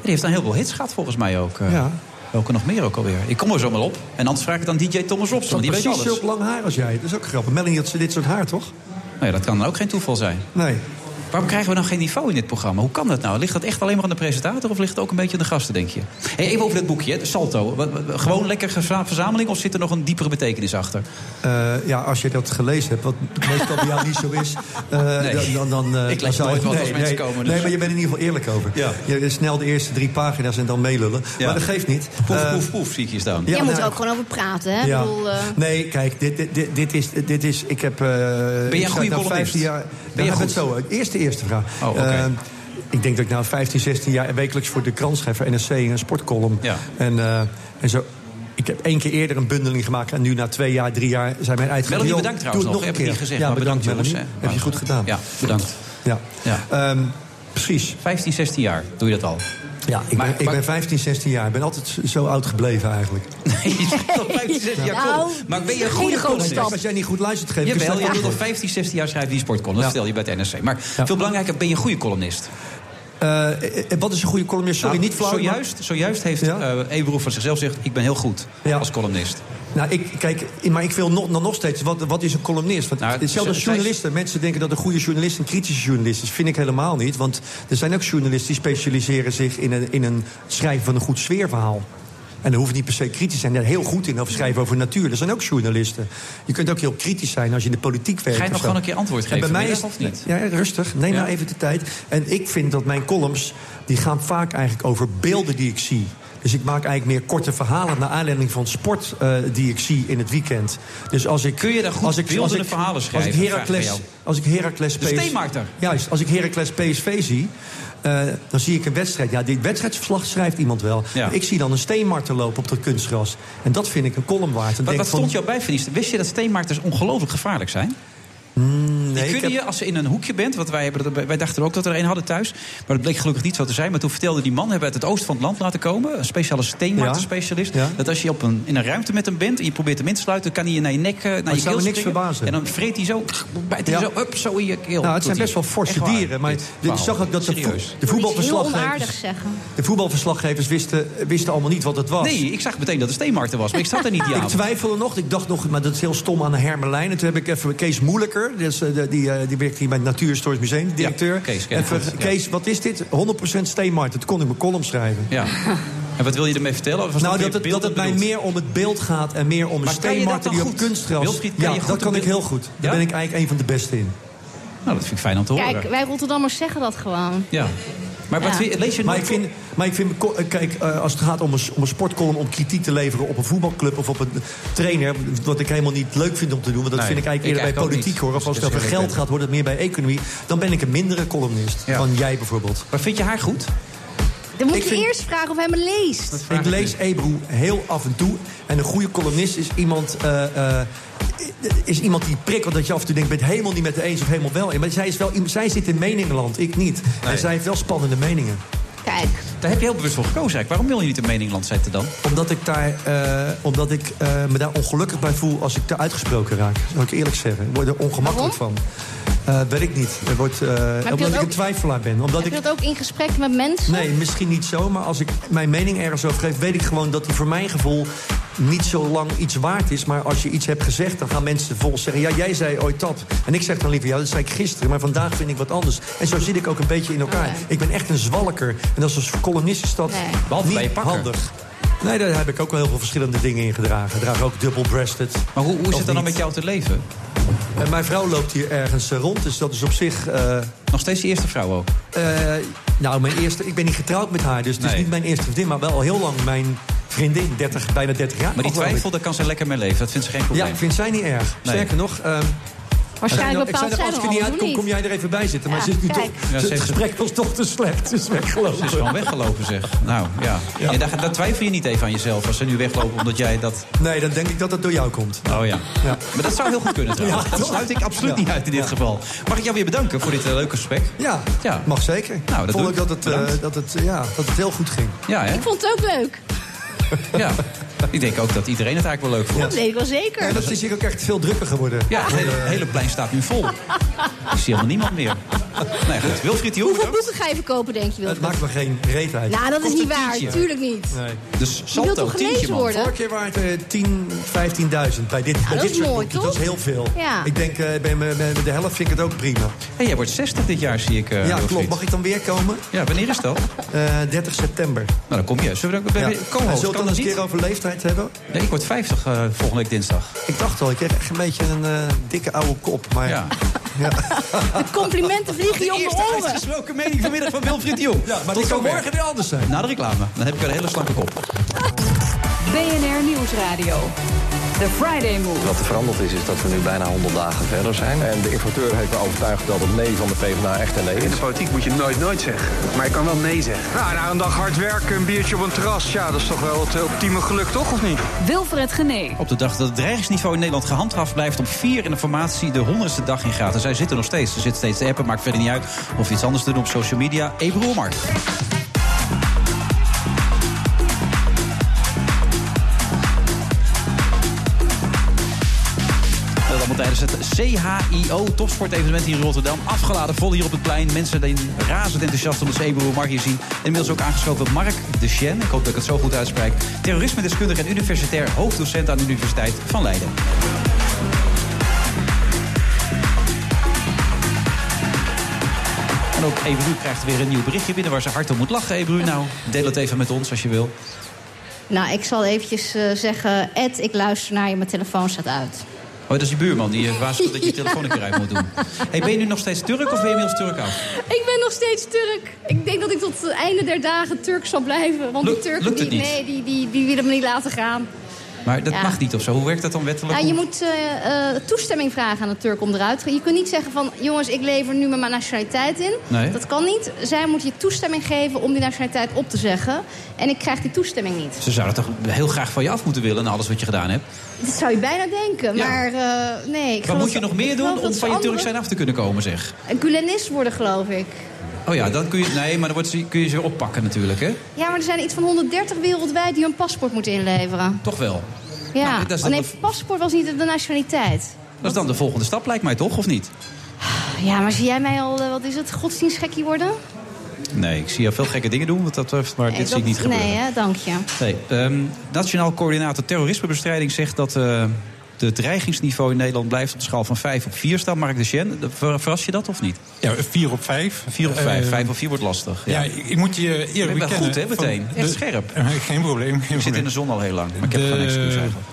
Speaker 8: Die heeft dan heel veel hits gehad volgens mij ook. eh.
Speaker 15: Ja.
Speaker 8: Welke nog meer ook alweer? Ik kom er zo maar op. En anders vraag ik het aan DJ Thomas Robson. want Die weet
Speaker 15: precies
Speaker 8: alles.
Speaker 15: zulk lang haar als jij. Dat is ook grappig. Melanie had ze dit soort haar, toch?
Speaker 8: Nee, dat kan dan ook geen toeval zijn.
Speaker 15: Nee.
Speaker 8: Waarom krijgen we nou geen niveau in dit programma? Hoe kan dat nou? Ligt dat echt alleen maar aan de presentator of ligt het ook een beetje aan de gasten, denk je? Hey, even over dat boekje, hè, de Salto. Wat- wat- Gewoon lekker geza- verzameling of zit er nog een diepere betekenis achter?
Speaker 15: Eh, ja, als je dat gelezen hebt, wat meestal bij jou niet zo is... eh,
Speaker 8: Nee.
Speaker 15: dan, dan, dan, eh,
Speaker 8: Ik lees
Speaker 15: dan zou
Speaker 8: nooit
Speaker 15: je-
Speaker 8: wat als
Speaker 15: nee,
Speaker 8: mensen
Speaker 15: nee.
Speaker 8: komen,
Speaker 15: Nee,
Speaker 8: dus-
Speaker 15: maar je bent in ieder geval eerlijk over.
Speaker 8: Ja.
Speaker 15: Je snel de eerste drie pagina's en dan meelullen.
Speaker 8: Ja.
Speaker 15: Maar dat geeft niet.
Speaker 8: Poef,
Speaker 15: Eh,
Speaker 8: poef, poef, zie ik je staan.
Speaker 9: Jij moet
Speaker 15: nou,
Speaker 9: er ook gewoon over praten, hè?
Speaker 15: Ja.
Speaker 9: Ik bedoel, eh,
Speaker 15: Nee, kijk, dit, dit, dit, dit is, dit is... Ik heb... ben
Speaker 8: een goede columnist?
Speaker 15: jaar,
Speaker 8: Ben je
Speaker 15: Ja,
Speaker 8: goed?
Speaker 15: het zo. eh, Eerste, eerste vraag.
Speaker 8: Oh, oké.
Speaker 15: Eh, ik denk dat ik nou 15, 16 jaar wekelijks voor de krant schrijf... voor NSC een sportcolumn. En, eh, en zo... Ik heb één keer eerder een bundeling gemaakt... en nu na twee jaar, drie jaar zijn mijn uitgevers...
Speaker 8: Melanie,
Speaker 15: "Joh,
Speaker 8: bedankt
Speaker 15: doe het
Speaker 8: trouwens nog.
Speaker 15: nog een
Speaker 8: Heb ik
Speaker 15: keer.
Speaker 8: niet gezegd,
Speaker 15: Ja,
Speaker 8: maar
Speaker 15: bedankt,
Speaker 8: bedankt,
Speaker 15: Melanie.
Speaker 8: jongens, hè.
Speaker 15: Heb je goed gedaan.
Speaker 8: Ja, bedankt.
Speaker 15: Ja. Ehm,
Speaker 8: Ja.
Speaker 15: precies.
Speaker 8: 15, 16 jaar doe je dat al.
Speaker 15: Ja, ik, ben, ik ben 15, 16 jaar. Ik ben altijd zo oud gebleven eigenlijk.
Speaker 8: Tot 15, 16 jaar
Speaker 15: Nou,
Speaker 8: kon. Maar ben je een goede
Speaker 15: hele grote
Speaker 8: columnist?
Speaker 15: stap. Als jij niet goed luistert, geef ik een
Speaker 8: Jawel,
Speaker 15: slecht
Speaker 8: je doet al
Speaker 15: antwoord.
Speaker 8: 15, 16 jaar schrijven die sportcolumn. Dat
Speaker 15: Ja.
Speaker 8: vertel je bij het NRC. Maar veel belangrijker, ben je een goede columnist?
Speaker 15: Eh, eh, wat is een goede columnist? Sorry,
Speaker 8: Nou,
Speaker 15: niet flauw. maar-
Speaker 8: Zojuist, zojuist heeft eh Eberoef van zichzelf gezegd... ik ben heel goed als columnist.
Speaker 15: Nou, ik, kijk, maar ik wil nog, nog steeds... Wat, wat is een columnist? Want hetzelfde als
Speaker 8: Nou, zij-
Speaker 15: journalisten. Mensen denken dat een goede journalist een kritische journalist is. Vind ik helemaal niet. Want er zijn ook journalisten die specialiseren zich... in, een, in een schrijven van een goed sfeerverhaal. En dan hoeft niet per se kritisch te zijn. Daar heel goed in. Of schrijven over natuur. Er zijn ook journalisten. Je kunt ook heel kritisch zijn als je in de politiek werkt.
Speaker 8: Ga je nog
Speaker 15: of zo.
Speaker 8: gewoon een keer antwoord
Speaker 15: En
Speaker 8: geven?
Speaker 15: Bij mij
Speaker 8: vanmiddag
Speaker 15: is
Speaker 8: of niet?
Speaker 15: Ja, rustig. Neem nou even de tijd. En ik vind dat mijn columns, die gaan vaak eigenlijk over beelden die ik zie. Dus ik maak eigenlijk meer korte verhalen naar aanleiding van sport eh, die ik zie in het weekend. Dus als ik, Kun
Speaker 8: je daar goed beeldende verhalen schrijven?
Speaker 15: Als ik
Speaker 8: Vraag ik
Speaker 15: Heracles,
Speaker 8: aan jou.
Speaker 15: als ik Heracles
Speaker 8: De steenmaakter.
Speaker 15: Juist, als ik Heracles PSV zie, eh, dan zie ik een wedstrijd. Ja, dit wedstrijdsverslag schrijft iemand wel.
Speaker 8: Ja.
Speaker 15: Ik zie dan een steenmarter lopen op dat kunstgras. En dat vind ik een column waard. Dan
Speaker 8: Wat,
Speaker 15: denk
Speaker 8: wat
Speaker 15: ik van,
Speaker 8: stond jou bij, Verlies? Wist je dat steenmaarters ongelooflijk gevaarlijk zijn? die
Speaker 15: Mm, ik
Speaker 8: kunnen
Speaker 15: heb-
Speaker 8: je, als ze in een hoekje bent... Want wij, hebben dat, wij dachten ook dat we er een hadden thuis. Maar dat bleek gelukkig niet zo te zijn. Maar toen vertelde die man, hebben we uit het oosten van het land laten komen... een speciale steenmaarterspecialist... dat als je op een, in een ruimte met hem bent en je probeert hem in te sluiten... kan hij je naar je nek, eh, naar
Speaker 15: zou
Speaker 8: je keel
Speaker 15: me niks
Speaker 8: springen.
Speaker 15: verbazen.
Speaker 8: En dan vreet hij zo, krr, bijt
Speaker 15: Ja.
Speaker 8: hij zo, up, zo in je keel.
Speaker 15: Nou, het
Speaker 8: Doet
Speaker 15: zijn best
Speaker 8: hij.
Speaker 15: wel forse
Speaker 8: Echt waar.
Speaker 15: dieren. Maar
Speaker 8: Dit
Speaker 15: dit
Speaker 8: verhaal.
Speaker 15: zag ook dat de, vo-
Speaker 8: Serieus.
Speaker 15: de
Speaker 9: heel
Speaker 15: voetbalverslaggevers...
Speaker 9: onaardig zeggen.
Speaker 15: De voetbalverslaggevers wisten, wisten allemaal niet wat het was.
Speaker 8: Nee, ik zag meteen dat het steenmarkten was. Maar ik zat er niet die
Speaker 15: Ik
Speaker 8: avond.
Speaker 15: twijfelde nog. Ik dacht nog, maar dat is heel stom aan de Hermelijn. En toen heb ik even Kees Moeilijker, dus, eh, de- die, eh die werkt hier bij het Natuurhistorisch Museum, de directeur.
Speaker 8: Kees, ken ik
Speaker 15: even,
Speaker 8: goed, ja.
Speaker 15: Kees, wat is dit? 100% steenmarkt. Dat kon ik mijn column schrijven.
Speaker 8: Ja. En wat wil je ermee vertellen? Of was
Speaker 15: Nou,
Speaker 8: weer
Speaker 15: dat het,
Speaker 8: beeld
Speaker 15: dat het mij
Speaker 8: bedoelt?
Speaker 15: meer om het beeld gaat en meer om een
Speaker 8: Maar kan je dat
Speaker 15: steenmarkt
Speaker 8: dan
Speaker 15: die op
Speaker 8: goed?
Speaker 15: kunstgras...
Speaker 8: Wilfried, kan
Speaker 15: ja,
Speaker 8: je goed
Speaker 15: dat kan
Speaker 8: het
Speaker 15: ik
Speaker 8: beeld-
Speaker 15: heel goed. Daar
Speaker 8: Ja?
Speaker 15: ben ik eigenlijk een van de beste in.
Speaker 8: Nou, dat vind ik fijn om te horen.
Speaker 9: Kijk, wij Rotterdammers zeggen dat gewoon.
Speaker 8: Ja. Maar wat
Speaker 9: Ja.
Speaker 8: vind je- lees je
Speaker 15: maar
Speaker 8: nooit
Speaker 15: ik vind, maar ik vind, ko- eh, kijk, eh, als het gaat om een, s- om een sportcolumn... om kritiek te leveren op een voetbalclub of op een trainer... wat ik helemaal niet leuk vind om te doen... want dat
Speaker 8: Nee,
Speaker 15: vind ik
Speaker 8: ik
Speaker 15: eigenlijk eerder bij
Speaker 8: eigenlijk ook
Speaker 15: politiek
Speaker 8: niet.
Speaker 15: hoor. Of als het
Speaker 8: Dus
Speaker 15: over
Speaker 8: dat is
Speaker 15: geld
Speaker 8: geen
Speaker 15: gaat, wordt het meer bij economie. Dan ben ik een mindere columnist dan jij bijvoorbeeld.
Speaker 8: Maar vind je haar goed?
Speaker 9: Dan moet
Speaker 15: Ik
Speaker 9: je
Speaker 15: vind-
Speaker 9: eerst vragen of hij me leest.
Speaker 15: Ik lees Ebro heel af en toe. En een goede columnist is iemand... eh, eh, is iemand die prikkelt dat je af en toe denkt... bent helemaal niet met de eens of helemaal wel. in. Maar zij, is wel, iemand- zij zit in meningenland, ik niet. En zij heeft wel spannende meningen.
Speaker 9: Kijk.
Speaker 8: Daar heb je heel bewust voor gekozen eigenlijk. Waarom wil je niet een meningland zetten dan?
Speaker 15: Omdat ik, daar, eh, omdat ik eh, me daar ongelukkig bij voel als ik daar uitgesproken raak. Zal ik eerlijk zeggen. Ik word er ongemakkelijk van. Eh, weet ik niet. Er wordt, eh,
Speaker 9: je
Speaker 15: omdat
Speaker 9: dat
Speaker 15: ik
Speaker 9: ook-
Speaker 15: een twijfelaar ben. Omdat
Speaker 9: Heb
Speaker 15: ik,
Speaker 9: je dat ook in gesprek met mensen?
Speaker 15: nee, misschien niet zo. Maar als ik mijn mening ergens over geef... weet ik gewoon dat die voor mijn gevoel niet zo lang iets waard is. Maar als je iets hebt gezegd, dan gaan mensen volgens zeggen... ja, jij zei ooit dat. En ik zeg dan liever, ja, dat zei ik gisteren. Maar vandaag vind ik wat anders. En zo zit ik ook een beetje in elkaar. Ik ben echt een zwalker. En dat is als columnist is dat
Speaker 8: Behalve bij je
Speaker 15: niet
Speaker 8: pakker.
Speaker 15: handig. Nee, daar heb ik ook wel heel veel verschillende dingen in gedragen. Ik draag ook double-breasted.
Speaker 8: Maar hoe, hoe is
Speaker 15: Of
Speaker 8: het dan, dan
Speaker 15: niet?
Speaker 8: met jou te leven?
Speaker 15: En mijn vrouw loopt hier ergens eh, rond, dus dat is op zich... Eh,
Speaker 8: Nog steeds je eerste vrouw ook?
Speaker 15: nou, mijn eerste, ik ben niet getrouwd met haar, dus het is
Speaker 8: Nee.
Speaker 15: niet mijn eerste vriendin... maar wel al heel lang mijn vriendin, 30, bijna 30 jaar.
Speaker 8: Maar die
Speaker 15: geloof ik.
Speaker 8: twijfel, daar kan ze lekker mee leven. Dat vindt ze geen probleem.
Speaker 15: Ja, vindt zij niet erg.
Speaker 8: Nee.
Speaker 15: Sterker nog... ehm,
Speaker 9: Waarschijnlijk
Speaker 15: ik zei
Speaker 9: bepaalt
Speaker 15: nog,
Speaker 9: zij
Speaker 15: als ik er
Speaker 9: nog
Speaker 15: niet
Speaker 9: alles,
Speaker 15: uitkom,
Speaker 9: hoe
Speaker 15: kom
Speaker 9: niet?
Speaker 15: jij er even bij zitten. Maar
Speaker 9: Ja,
Speaker 15: ze is nu
Speaker 9: kijk.
Speaker 15: toch,
Speaker 9: Ja, ze
Speaker 15: het
Speaker 8: heeft-
Speaker 15: gesprek was toch te slecht. Ze is weggelopen.
Speaker 8: Ze is gewoon weggelopen, zeg. Nou, ja. En daar, daar twijfel je niet even aan jezelf als ze nu weglopen omdat jij dat...
Speaker 15: Nee, dan denk ik dat dat door jou komt.
Speaker 8: Oh ja. Maar dat zou heel goed kunnen trouwens.
Speaker 15: Ja,
Speaker 8: dat
Speaker 15: toch?
Speaker 8: sluit ik absoluut
Speaker 15: Ja.
Speaker 8: niet uit in dit geval. Mag ik jou weer bedanken voor dit eh, leuke gesprek?
Speaker 15: Ja, mag zeker.
Speaker 8: Nou, dat
Speaker 15: Vond
Speaker 8: doe
Speaker 15: ik dat
Speaker 8: ik.
Speaker 15: het, eh,
Speaker 8: Bedankt.
Speaker 15: dat, het, ja, dat het heel goed ging.
Speaker 8: Ja, hè?
Speaker 9: Ik vond het ook leuk.
Speaker 8: Ja. Ik denk ook dat iedereen het eigenlijk wel leuk vond.
Speaker 9: Dat weet ik wel zeker.
Speaker 15: En dat is hier ook echt veel drukker geworden.
Speaker 8: Ja, het hele, hele plein staat nu vol. Ik zie helemaal niemand meer. Nee, goed. Wilfried, die
Speaker 9: Hoeveel boeken ga je verkopen, denk je,
Speaker 15: Het
Speaker 9: Wilfried?
Speaker 15: maakt me geen reet uit.
Speaker 9: Nou, dat is niet waar.
Speaker 15: tientje.
Speaker 9: Tuurlijk niet.
Speaker 8: Dus
Speaker 9: Je wilt toch gelezen worden?
Speaker 15: Vorige keer waren het eh, 10, 15.000 bij dit, bij
Speaker 9: dat
Speaker 15: dit
Speaker 9: is
Speaker 15: soort
Speaker 9: mooi,
Speaker 15: boekjes.
Speaker 9: toch?
Speaker 15: Dat is heel veel.
Speaker 9: Ja.
Speaker 15: Ik denk, eh, bij, me- bij de helft vind ik het ook prima.
Speaker 8: Hey, jij wordt 60 dit jaar, zie ik. eh,
Speaker 15: ja,
Speaker 8: Wilfried.
Speaker 15: klopt. Mag ik dan weer komen?
Speaker 8: Ja, wanneer is dat?
Speaker 15: Eh, 30 september.
Speaker 8: Nou, dan kom je. Zullen we dan...
Speaker 15: Ja.
Speaker 8: Ja.
Speaker 15: En
Speaker 8: Co-host,
Speaker 15: Zult dan
Speaker 8: kan dat
Speaker 15: eens
Speaker 8: niet?
Speaker 15: een keer over leeftijd hebben?
Speaker 8: Nee, ik word 50 eh, volgende week dinsdag.
Speaker 15: Ik dacht al, ik heb echt een beetje een eh, dikke oude kop. Maar
Speaker 8: Ja.
Speaker 9: De complimenten vliegen je om
Speaker 8: eerste
Speaker 9: de oren.
Speaker 8: uitgesproken mening vanmiddag van Wilfried de Jong.
Speaker 15: Ja, maar
Speaker 8: Tot
Speaker 15: die kan
Speaker 8: zover.
Speaker 15: morgen weer anders zijn.
Speaker 8: Na de reclame. Dan heb ik weer een hele slanke kop.
Speaker 4: BNR Nieuwsradio. The Friday Move.
Speaker 5: Wat er veranderd is, is dat we nu bijna 100 dagen verder zijn.
Speaker 6: En de importeur heeft me overtuigd dat het nee van de PvdA echt een nee
Speaker 7: In
Speaker 6: is.
Speaker 7: de politiek moet je nooit nooit zeggen. Maar je kan wel nee zeggen. Nou, na een dag hard werken, een biertje op een terras. Ja, dat is toch wel het optieme geluk, toch? Of niet?
Speaker 4: Wilfred Genee.
Speaker 8: Op de dag dat het dreigingsniveau in Nederland gehandhaafd blijft... op vier in de formatie de honderdste dag in gaat. En zij zitten nog steeds. Ze zitten steeds te appen. Maakt verder niet uit of je iets anders te doen op social media. Ebru Omar. Dat allemaal tijdens het CHIO topsportevenement hier in Rotterdam. Afgeladen vol hier op het plein. Mensen zijn razend enthousiast omdat ze Ebru en Mark hier zien. En inmiddels ook aangeschoven Mark de Chen. Ik hoop dat ik het zo goed uitspreek. Terrorisme-deskundige en universitair hoofddocent aan de Universiteit van Leiden. En ook Ebru krijgt weer een nieuw berichtje binnen waar ze hard om moet lachen. Ebru, nou, deel het even met ons als je wil.
Speaker 9: Nou, ik zal eventjes eh, zeggen... Ed, ik luister naar je, mijn telefoon staat uit.
Speaker 8: Oh, dat is je buurman die eh, waarschuwt dat je je telefoon een keer uit moet doen. Hey, ben je nu nog steeds Turk of ben je inmiddels Turk af?
Speaker 9: Ik ben nog steeds Turk. Ik denk dat ik tot het einde der dagen Turk zal blijven. Want die
Speaker 8: Lukt-
Speaker 9: Turken
Speaker 8: lukt het
Speaker 9: die,
Speaker 8: niet?
Speaker 9: nee, die, die, die willen me niet laten gaan.
Speaker 8: Maar dat
Speaker 9: Ja.
Speaker 8: mag niet of zo. Hoe werkt dat dan wettelijk?
Speaker 9: Ja, je moet eh, eh, toestemming vragen aan de Turk om eruit te gaan. Je kunt niet zeggen van, jongens, ik lever nu met mijn nationaliteit in.
Speaker 8: Nee.
Speaker 9: Dat kan niet. Zij moeten je toestemming geven om die nationaliteit op te zeggen. En ik krijg die toestemming niet.
Speaker 8: Ze zouden toch heel graag van je af moeten willen na alles wat je gedaan hebt.
Speaker 9: Dat zou je bijna denken,
Speaker 8: Ja.
Speaker 9: maar eh, nee. Ik
Speaker 8: Wat
Speaker 9: geloof
Speaker 8: moet je
Speaker 9: dat-
Speaker 8: nog meer
Speaker 9: ik
Speaker 8: doen
Speaker 9: geloof
Speaker 8: om
Speaker 9: dat
Speaker 8: van
Speaker 9: ze
Speaker 8: je Turk zijn
Speaker 9: andere-
Speaker 8: af te kunnen komen, zeg?
Speaker 9: Een Gulenist worden, geloof ik.
Speaker 8: Oh ja, dan kun je, nee, maar dan wordt, ze- kun je ze weer oppakken natuurlijk, hè?
Speaker 9: Ja, maar er zijn iets van 130 wereldwijd die hun paspoort moeten inleveren.
Speaker 8: Toch wel.
Speaker 9: Ja,
Speaker 8: Nou, dat is dan
Speaker 9: nee,
Speaker 8: de-
Speaker 9: paspoort was niet de nationaliteit.
Speaker 8: Dat is dan de volgende stap, lijkt mij toch, of niet?
Speaker 9: Ja, maar zie jij mij al, eh, wat is het, godsdienstgekkie worden? Eh,
Speaker 8: Nee, ik zie jou veel gekke dingen doen, wat dat betreft, maar dit zie ik
Speaker 9: dat-
Speaker 8: niet gebeuren.
Speaker 9: Nee, hè, dank je.
Speaker 8: Nee, ehm, Nationaal Coördinator Terrorismebestrijding zegt dat eh het dreigingsniveau in Nederland blijft op de schaal van 5 op 4 staan. Mark de Chen, ver- verras je dat of niet?
Speaker 18: Ja, 4 op 5.
Speaker 8: 4 op 5,
Speaker 18: Eh,
Speaker 8: 5 op 4 wordt lastig.
Speaker 18: Ja, ik, ik moet je eerlijk
Speaker 8: Je bent wel
Speaker 18: bekennen,
Speaker 8: goed, hè,
Speaker 18: van
Speaker 8: meteen.
Speaker 18: de- Eh,
Speaker 8: Echt scherp.
Speaker 18: Geen probleem. Geen
Speaker 8: ik zit in de zon al heel lang, maar ik heb
Speaker 18: de-
Speaker 8: geen excuus eigenlijk.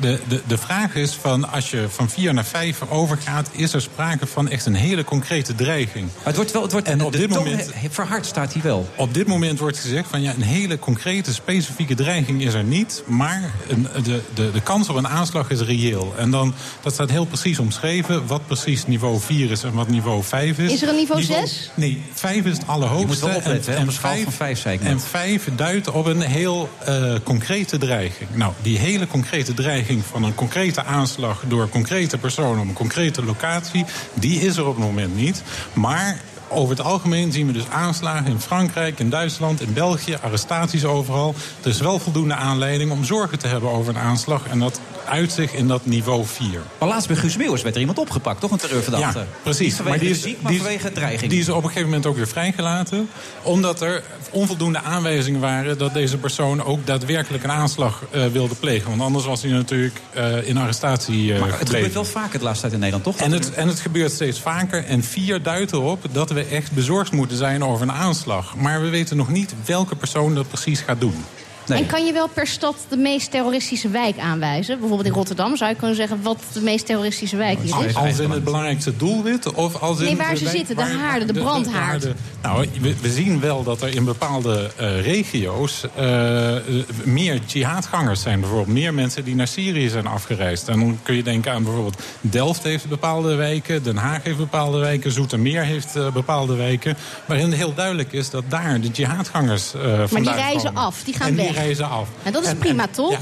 Speaker 18: De, de, de vraag is van als je van 4 naar 5 overgaat, is er sprake van echt een hele concrete dreiging.
Speaker 8: het wordt wel, het wordt,
Speaker 18: en op
Speaker 8: de
Speaker 18: dit
Speaker 8: toon
Speaker 18: moment
Speaker 8: he- verhard staat hij wel.
Speaker 18: Op dit moment wordt gezegd van ja, een hele concrete, specifieke dreiging is er niet, maar een, de, de, de kans op een aanslag is reëel. En dan, dat staat heel precies omschreven, wat precies niveau 4 is en wat niveau 5 is.
Speaker 9: Is er een niveau 6?
Speaker 18: Nee, 5 is het allerhoogste.
Speaker 8: Je moet wel opletten,
Speaker 18: en,
Speaker 8: hè, op een schaal
Speaker 18: vijf-
Speaker 8: van 5 zei ik net.
Speaker 18: En 5 duidt op een heel eh, concrete dreiging. Nou, die hele concrete dreiging van een concrete aanslag door een concrete personen op een concrete locatie, die is er op het moment niet. Maar. Over het algemeen zien we dus aanslagen in Frankrijk, in Duitsland, in België, arrestaties overal. Er is wel voldoende aanleiding om zorgen te hebben over een aanslag. En dat uit zich in dat niveau 4.
Speaker 8: Maar laatst bij Guus Meeuwis werd er iemand opgepakt, toch? Een terreurverdachte.
Speaker 18: Ja,
Speaker 8: Niet
Speaker 18: precies.
Speaker 8: vanwege
Speaker 18: die
Speaker 8: de
Speaker 18: is-
Speaker 8: muziek, maar
Speaker 18: die is-
Speaker 8: vanwege dreiging.
Speaker 18: Die is op een gegeven moment ook weer vrijgelaten. Omdat er onvoldoende aanwijzingen waren dat deze persoon ook daadwerkelijk een aanslag eh, wilde plegen. Want anders was hij natuurlijk eh, in arrestatie eh
Speaker 8: maar het
Speaker 18: gebleven.
Speaker 8: gebeurt wel vaker de laatste tijd in Nederland, toch?
Speaker 18: En het, en het gebeurt steeds vaker. En vier duidt erop dat we echt bezorgd moeten zijn over een aanslag. Maar we weten nog niet welke persoon dat precies gaat doen.
Speaker 8: Nee.
Speaker 9: En kan je wel per stad de meest terroristische wijk aanwijzen? Bijvoorbeeld in Rotterdam zou je kunnen zeggen wat de meest terroristische wijk hier is.
Speaker 18: Als in Nou, het belangrijkste doelwit? Of als in
Speaker 9: Nee, waar
Speaker 18: de
Speaker 9: ze
Speaker 18: wijk
Speaker 9: zitten, de
Speaker 18: waar-
Speaker 9: haarden, de brandhaard.
Speaker 18: de- nou, we, we zien wel dat er in bepaalde eh, regio's eh, eh, meer jihadgangers zijn. Bijvoorbeeld meer mensen die naar Syrië zijn afgereisd. En dan kun je denken aan bijvoorbeeld Delft heeft bepaalde wijken. Den Haag heeft bepaalde wijken. Zoetermeer heeft eh, bepaalde wijken. Waarin heel duidelijk is dat daar de jihadgangers eh vandaan
Speaker 9: maar
Speaker 18: komen.
Speaker 9: die reizen af, die gaan
Speaker 18: en
Speaker 9: weg.
Speaker 18: die reizen af.
Speaker 9: En dat is
Speaker 18: En-
Speaker 9: prima, toch? Ja.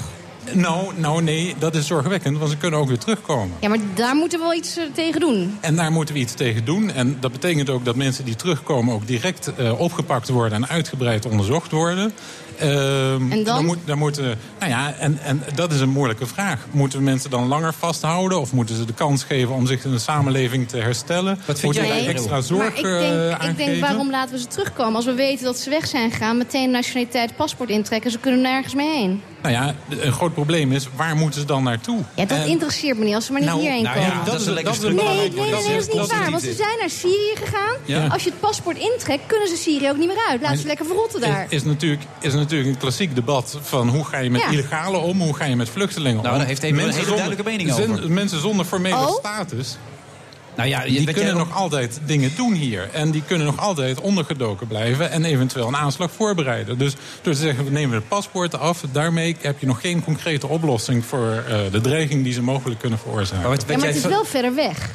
Speaker 18: Nou, nou nee, dat is zorgwekkend, want ze kunnen ook weer terugkomen.
Speaker 9: maar daar moeten we wel iets eh, tegen doen.
Speaker 18: En daar moeten we iets tegen doen. En dat betekent ook dat mensen die terugkomen ook direct eh, opgepakt worden en uitgebreid onderzocht worden. Ehm,
Speaker 9: En dan?
Speaker 18: moet, dan moeten, nou ja, en, en dat is een moeilijke vraag. Moeten we mensen dan langer vasthouden? Of moeten ze de kans geven om zich in de samenleving te herstellen? Wat moeten we
Speaker 9: Nee,
Speaker 18: daar extra zorg
Speaker 9: maar ik
Speaker 18: eh,
Speaker 9: denk, ik denk,
Speaker 18: aangeven?
Speaker 9: waarom laten we ze terugkomen? Als we weten dat ze weg zijn gegaan, meteen nationaliteit, paspoort intrekken. Ze kunnen nergens mee heen.
Speaker 18: Nou ja, een groot probleem is, waar moeten ze dan naartoe?
Speaker 9: Ja, dat
Speaker 18: En-
Speaker 9: interesseert me niet als ze maar niet hierheen komen.
Speaker 18: Nou, dat is een lekker
Speaker 9: Nee, nee, nee, dat is niet waar. Want ze zijn naar Syrië gegaan.
Speaker 18: Ja.
Speaker 9: Als je het paspoort intrekt, kunnen ze Syrië ook niet meer uit. Laten ze
Speaker 18: En-
Speaker 9: lekker verrotten daar.
Speaker 18: Is, is, natuurlijk, is natuurlijk een klassiek debat van hoe ga je met
Speaker 9: Ja.
Speaker 18: illegale om, hoe ga je met vluchtelingen om.
Speaker 8: Nou, daar heeft Ebru een hele duidelijke mening
Speaker 18: zin-
Speaker 8: over.
Speaker 18: Mensen zonder formele
Speaker 8: Oh?
Speaker 18: status.
Speaker 8: Nou ja, je-
Speaker 18: die
Speaker 8: weet
Speaker 18: kunnen
Speaker 8: jij-
Speaker 18: nog altijd dingen doen hier. En die kunnen nog altijd ondergedoken blijven en eventueel een aanslag voorbereiden. Dus door te zeggen, we nemen de paspoorten af, daarmee heb je nog geen concrete oplossing voor eh, de dreiging die ze mogelijk kunnen veroorzaken.
Speaker 9: Ja, maar het is wel verder weg.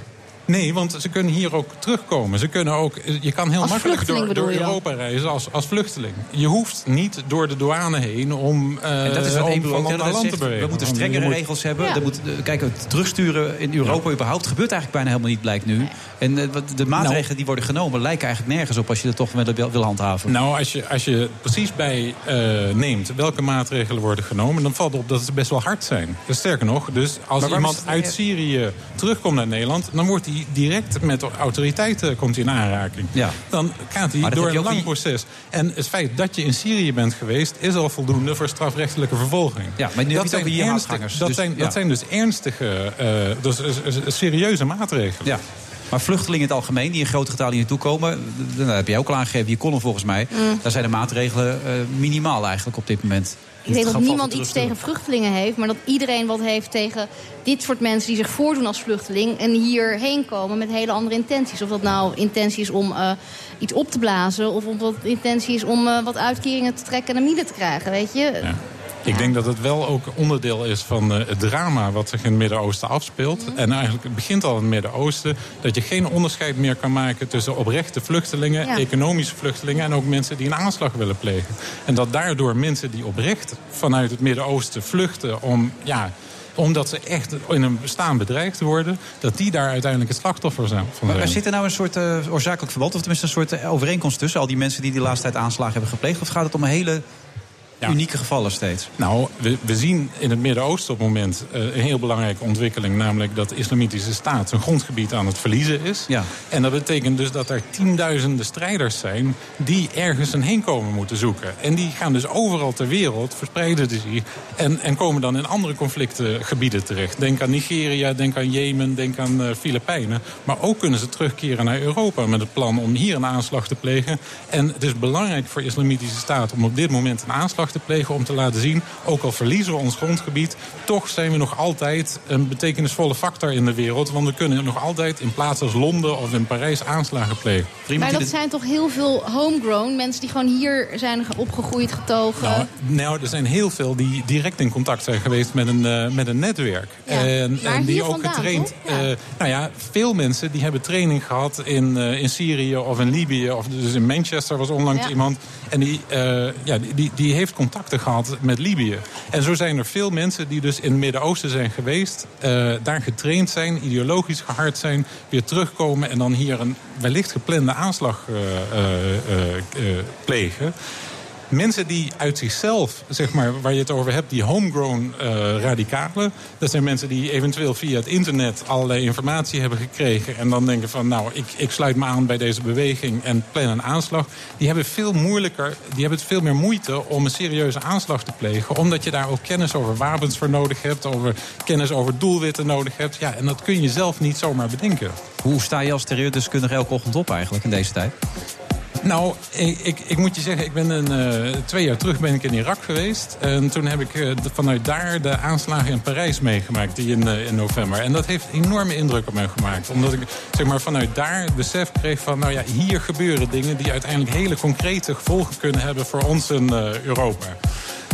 Speaker 18: Nee, want ze kunnen hier ook terugkomen. Ze kunnen ook, je kan heel
Speaker 9: Als
Speaker 18: makkelijk
Speaker 9: vluchteling
Speaker 18: door, door
Speaker 9: bedoel je dan?
Speaker 18: Europa reizen als, als vluchteling. Je hoeft niet door de douane heen om, eh
Speaker 8: En dat is wat
Speaker 18: om
Speaker 8: Ebru ook
Speaker 18: van land
Speaker 8: heel
Speaker 18: naar
Speaker 8: erg
Speaker 18: land te
Speaker 8: zegt.
Speaker 18: bewegen.
Speaker 8: We moeten
Speaker 18: Want je
Speaker 8: strengere
Speaker 18: moet-
Speaker 8: regels hebben.
Speaker 18: Ja.
Speaker 8: Dat moet, eh, kijk, het terugsturen in Europa überhaupt gebeurt eigenlijk bijna helemaal niet, blijkt nu. En eh, wat-
Speaker 18: Nou.
Speaker 8: de maatregelen die worden genomen lijken eigenlijk nergens op als je dat toch wil, wil handhaven.
Speaker 18: Nou, als je, als je precies bij eh, neemt welke maatregelen worden genomen, dan valt op dat ze best wel hard zijn. Dus Sterker nog, dus als
Speaker 8: waarom is
Speaker 18: iemand
Speaker 8: het-
Speaker 18: uit Syrië terugkomt naar Nederland, dan wordt hij direct met de autoriteiten komt hij in aanraking. Dan gaat
Speaker 8: Maar
Speaker 18: hij
Speaker 8: dat
Speaker 18: door
Speaker 8: heb je
Speaker 18: een
Speaker 8: ook
Speaker 18: lang
Speaker 8: in-
Speaker 18: proces. En het feit dat je in Syrië bent geweest, is al voldoende voor strafrechtelijke vervolging.
Speaker 8: Ja, maar nu heb je het over
Speaker 18: zijn
Speaker 8: jihadgangers,
Speaker 18: ernstig- Dat,
Speaker 8: dus-
Speaker 18: zijn,
Speaker 8: ja.
Speaker 18: dat zijn dus ernstige, eh, dus, eh, eh, serieuze maatregelen.
Speaker 8: Ja. Maar vluchtelingen in het algemeen, die in grote getalen hier naartoe komen... d- dat heb jij ook al aangegeven, je kon hem volgens mij.
Speaker 9: Mm.
Speaker 8: Daar zijn de maatregelen eh, minimaal eigenlijk op dit moment.
Speaker 9: Ik denk dat niemand iets tegen vluchtelingen heeft, maar dat iedereen wat heeft tegen dit soort mensen die zich voordoen als vluchteling en hierheen komen met hele andere intenties. Of dat nou intentie is om eh, iets op te blazen, of omdat het intentie is om eh, wat uitkeringen te trekken en een mine te krijgen, weet je?
Speaker 18: Ik denk dat het wel ook onderdeel is van eh, het drama wat zich in het Midden-Oosten afspeelt. En eigenlijk het begint al in het Midden-Oosten. Dat je geen onderscheid meer kan maken tussen oprechte vluchtelingen,
Speaker 19: Ja.
Speaker 18: economische vluchtelingen en ook mensen die een aanslag willen plegen. En dat daardoor mensen die oprecht vanuit het Midden-Oosten vluchten om. Ja, omdat ze echt in hun bestaan bedreigd worden, dat die daar uiteindelijk het slachtoffer zijn. Van
Speaker 8: Maar, maar
Speaker 18: zijn.
Speaker 8: zit er nou een soort eh, oorzakelijk verband... of tenminste een soort eh, overeenkomst tussen al die mensen... die de laatste tijd aanslagen hebben gepleegd? Of gaat het om hele unieke gevallen steeds?
Speaker 18: Nou, we, we zien in het Midden-Oosten op het moment eh, een heel belangrijke ontwikkeling. Namelijk dat de Islamitische Staat zijn grondgebied aan het verliezen is. En dat betekent dus dat er tienduizenden strijders zijn die ergens een heenkomen moeten zoeken. En die gaan dus overal ter wereld, verspreiden ze zich. En, en komen dan in andere conflictgebieden terecht. Denk aan Nigeria, denk aan Jemen, denk aan eh, Filipijnen. Maar ook kunnen ze terugkeren naar Europa met het plan om hier een aanslag te plegen. En het is belangrijk voor de Islamitische Staat om op dit moment een aanslag te plegen. Om te laten zien, ook al verliezen we ons grondgebied, toch zijn we nog altijd een betekenisvolle factor in de wereld. Want we kunnen nog altijd in plaatsen als Londen of in Parijs aanslagen plegen.
Speaker 9: Maar dat zijn toch heel veel homegrown mensen die gewoon hier zijn ge- opgegroeid, getogen.
Speaker 18: Nou, nou, er zijn heel veel die direct in contact zijn geweest met een, eh, met een netwerk. en,
Speaker 9: maar
Speaker 18: en die
Speaker 9: hier
Speaker 18: ook
Speaker 9: vandaan,
Speaker 18: getraind. eh, nou ja, veel mensen die hebben training gehad in, eh, in Syrië of in Libië. Of dus in Manchester was onlangs
Speaker 19: Ja.
Speaker 18: iemand. En die, eh, ja, die, die, die heeft contacten gehad met Libië. En zo zijn er veel mensen die dus in het Midden-Oosten zijn geweest. eh, daar getraind zijn, ideologisch gehard zijn. Weer terugkomen en dan hier een wellicht geplande aanslag eh, eh, eh, eh, plegen. Mensen die uit zichzelf, zeg maar, waar je het over hebt, die homegrown eh, radicalen. Dat zijn mensen die eventueel via het internet allerlei informatie hebben gekregen. En dan denken van, nou, ik, ik sluit me aan bij deze beweging en plan een aanslag. Die hebben veel moeilijker, die hebben het veel meer moeite om een serieuze aanslag te plegen. Omdat je daar ook kennis over wapens voor nodig hebt, over kennis over doelwitten nodig hebt. Ja, en dat kun je zelf niet zomaar bedenken.
Speaker 8: Hoe sta je als terreurdeskundige elke ochtend op eigenlijk in deze tijd?
Speaker 18: Nou, ik, ik, ik moet je zeggen, ik ben een, eh, twee jaar terug ben ik in Irak geweest. En toen heb ik eh, de- vanuit daar de aanslagen in Parijs meegemaakt, die in, eh, in november. En dat heeft enorme indruk op me gemaakt. Omdat ik zeg maar, vanuit daar het besef kreeg van, nou ja, hier gebeuren dingen die uiteindelijk hele concrete gevolgen kunnen hebben voor ons in eh, Europa.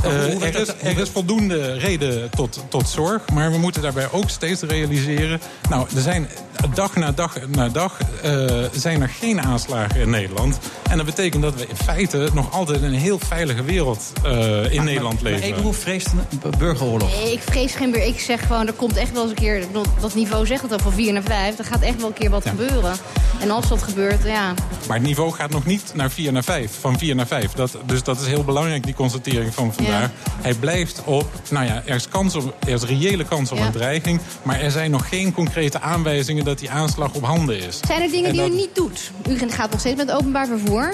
Speaker 15: Hoe- hoe
Speaker 18: Eh,
Speaker 15: werd
Speaker 18: er, is,
Speaker 15: dat- hoe
Speaker 18: er is voldoende reden tot, tot zorg, maar we moeten daarbij ook steeds realiseren. Nou, er zijn dag na dag na dag eh, zijn er geen aanslagen in Nederland. En dat betekent dat we in feite nog altijd in een heel veilige wereld eh, in
Speaker 8: maar-
Speaker 18: Nederland
Speaker 8: maar
Speaker 18: leven.
Speaker 8: Ebro
Speaker 18: vreest een burgeroorlog.
Speaker 9: Nee, ik vrees geen meer. Ik zeg gewoon, er komt echt wel eens een keer... ik bedoel, Dat niveau zegt het al, van 4 naar 5. Er gaat echt wel een keer wat gebeuren. En als dat gebeurt, ja...
Speaker 18: Maar het niveau gaat nog niet naar 4 naar 5, van 4 naar 5. Dat, dus dat is heel belangrijk, die constatering van vandaag. Hij blijft op, nou ja, er is, kans op, er is reële kans op
Speaker 9: Ja.
Speaker 18: een dreiging... maar er zijn nog geen concrete aanwijzingen dat die aanslag op handen is.
Speaker 9: Zijn er dingen
Speaker 18: En
Speaker 9: die
Speaker 18: dat-
Speaker 9: u niet doet? U gaat nog steeds met openbaar vervoer.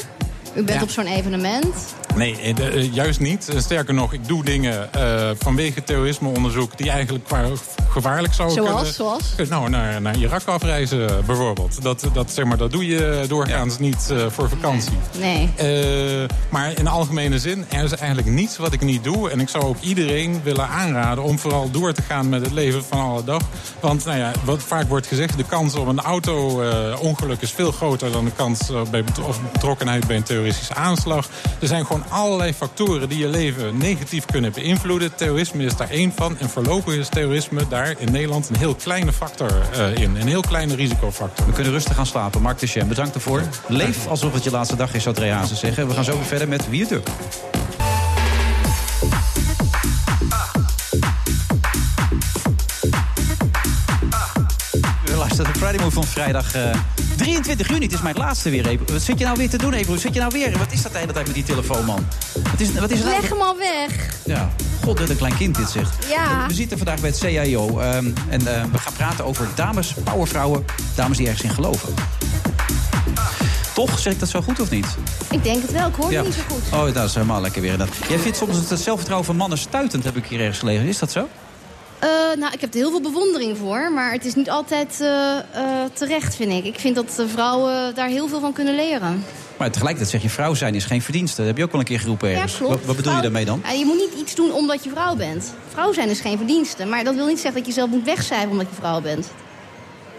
Speaker 9: U bent
Speaker 18: Ja.
Speaker 9: op zo'n evenement.
Speaker 18: Nee, eh, de- eh, juist niet. Eh, Sterker nog, ik doe dingen eh, vanwege terrorismeonderzoek die eigenlijk qua- gevaarlijk
Speaker 8: Oh,
Speaker 18: zouden
Speaker 9: Zoals?
Speaker 18: kunnen.
Speaker 9: Zoals?
Speaker 18: Nou, naar, naar Irak afreizen eh, bijvoorbeeld. Dat, dat, zeg maar, dat doe je doorgaans niet eh, voor vakantie.
Speaker 9: Nee.
Speaker 18: Eh, maar in algemene zin, er is eigenlijk niets wat ik niet doe. En ik zou ook iedereen willen aanraden om vooral door te gaan met het leven van alle dag. Want nou ja, wat vaak wordt gezegd, de kans op een auto-ongeluk is veel groter dan de kans eh, bij betro- of betrokkenheid bij een terroristische aanslag. Er zijn gewoon allerlei factoren die je leven negatief kunnen beïnvloeden. Terrorisme is daar één van. En voorlopig is terrorisme daar in Nederland een heel kleine factor eh, in. Een heel kleine risicofactor.
Speaker 8: We kunnen rustig gaan slapen. Mark de Sjem, bedankt ervoor. Leef alsof het je laatste dag is, zou Dre Hazen zeggen. We gaan zo weer verder met Wie het Up. We luisteren de Friday Move van vrijdag eh, 23 juni. Het is mijn laatste weer, Ebro. Wat zit je nou weer te doen, Ebro? Wat Zit je nou weer? Wat is dat de hele tijd met die telefoon, man? Wat is, wat is nou- het
Speaker 9: Leg
Speaker 8: eigenlijk?
Speaker 9: hem al weg.
Speaker 8: Ja, god dat een klein kind dit zegt.
Speaker 9: Ja.
Speaker 8: We zitten vandaag bij het CIO ehm, en eh, we gaan praten over dames, powervrouwen, dames die ergens in geloven. Toch? Zeg ik dat zo goed of niet?
Speaker 9: Ik denk het wel, ik hoor het niet zo goed.
Speaker 8: Oh, dat is helemaal lekker weer. Dat. Jij vindt soms het zelfvertrouwen van mannen stuitend, heb ik hier ergens gelezen. Is dat zo?
Speaker 9: Eh, nou, ik heb er heel veel bewondering voor, maar het is niet altijd eh, eh, terecht, vind ik. Ik vind dat eh, vrouwen daar heel veel van kunnen leren.
Speaker 8: Maar tegelijkertijd zeg je vrouw zijn is geen verdienste. Dat heb je ook al een keer geroepen ergens.
Speaker 9: klopt.
Speaker 8: Wat, wat bedoel je daarmee dan?
Speaker 9: Ja, je moet niet iets doen omdat je vrouw bent. Vrouw zijn is geen verdienste, maar dat wil niet zeggen dat je zelf moet wegcijferen omdat je vrouw bent.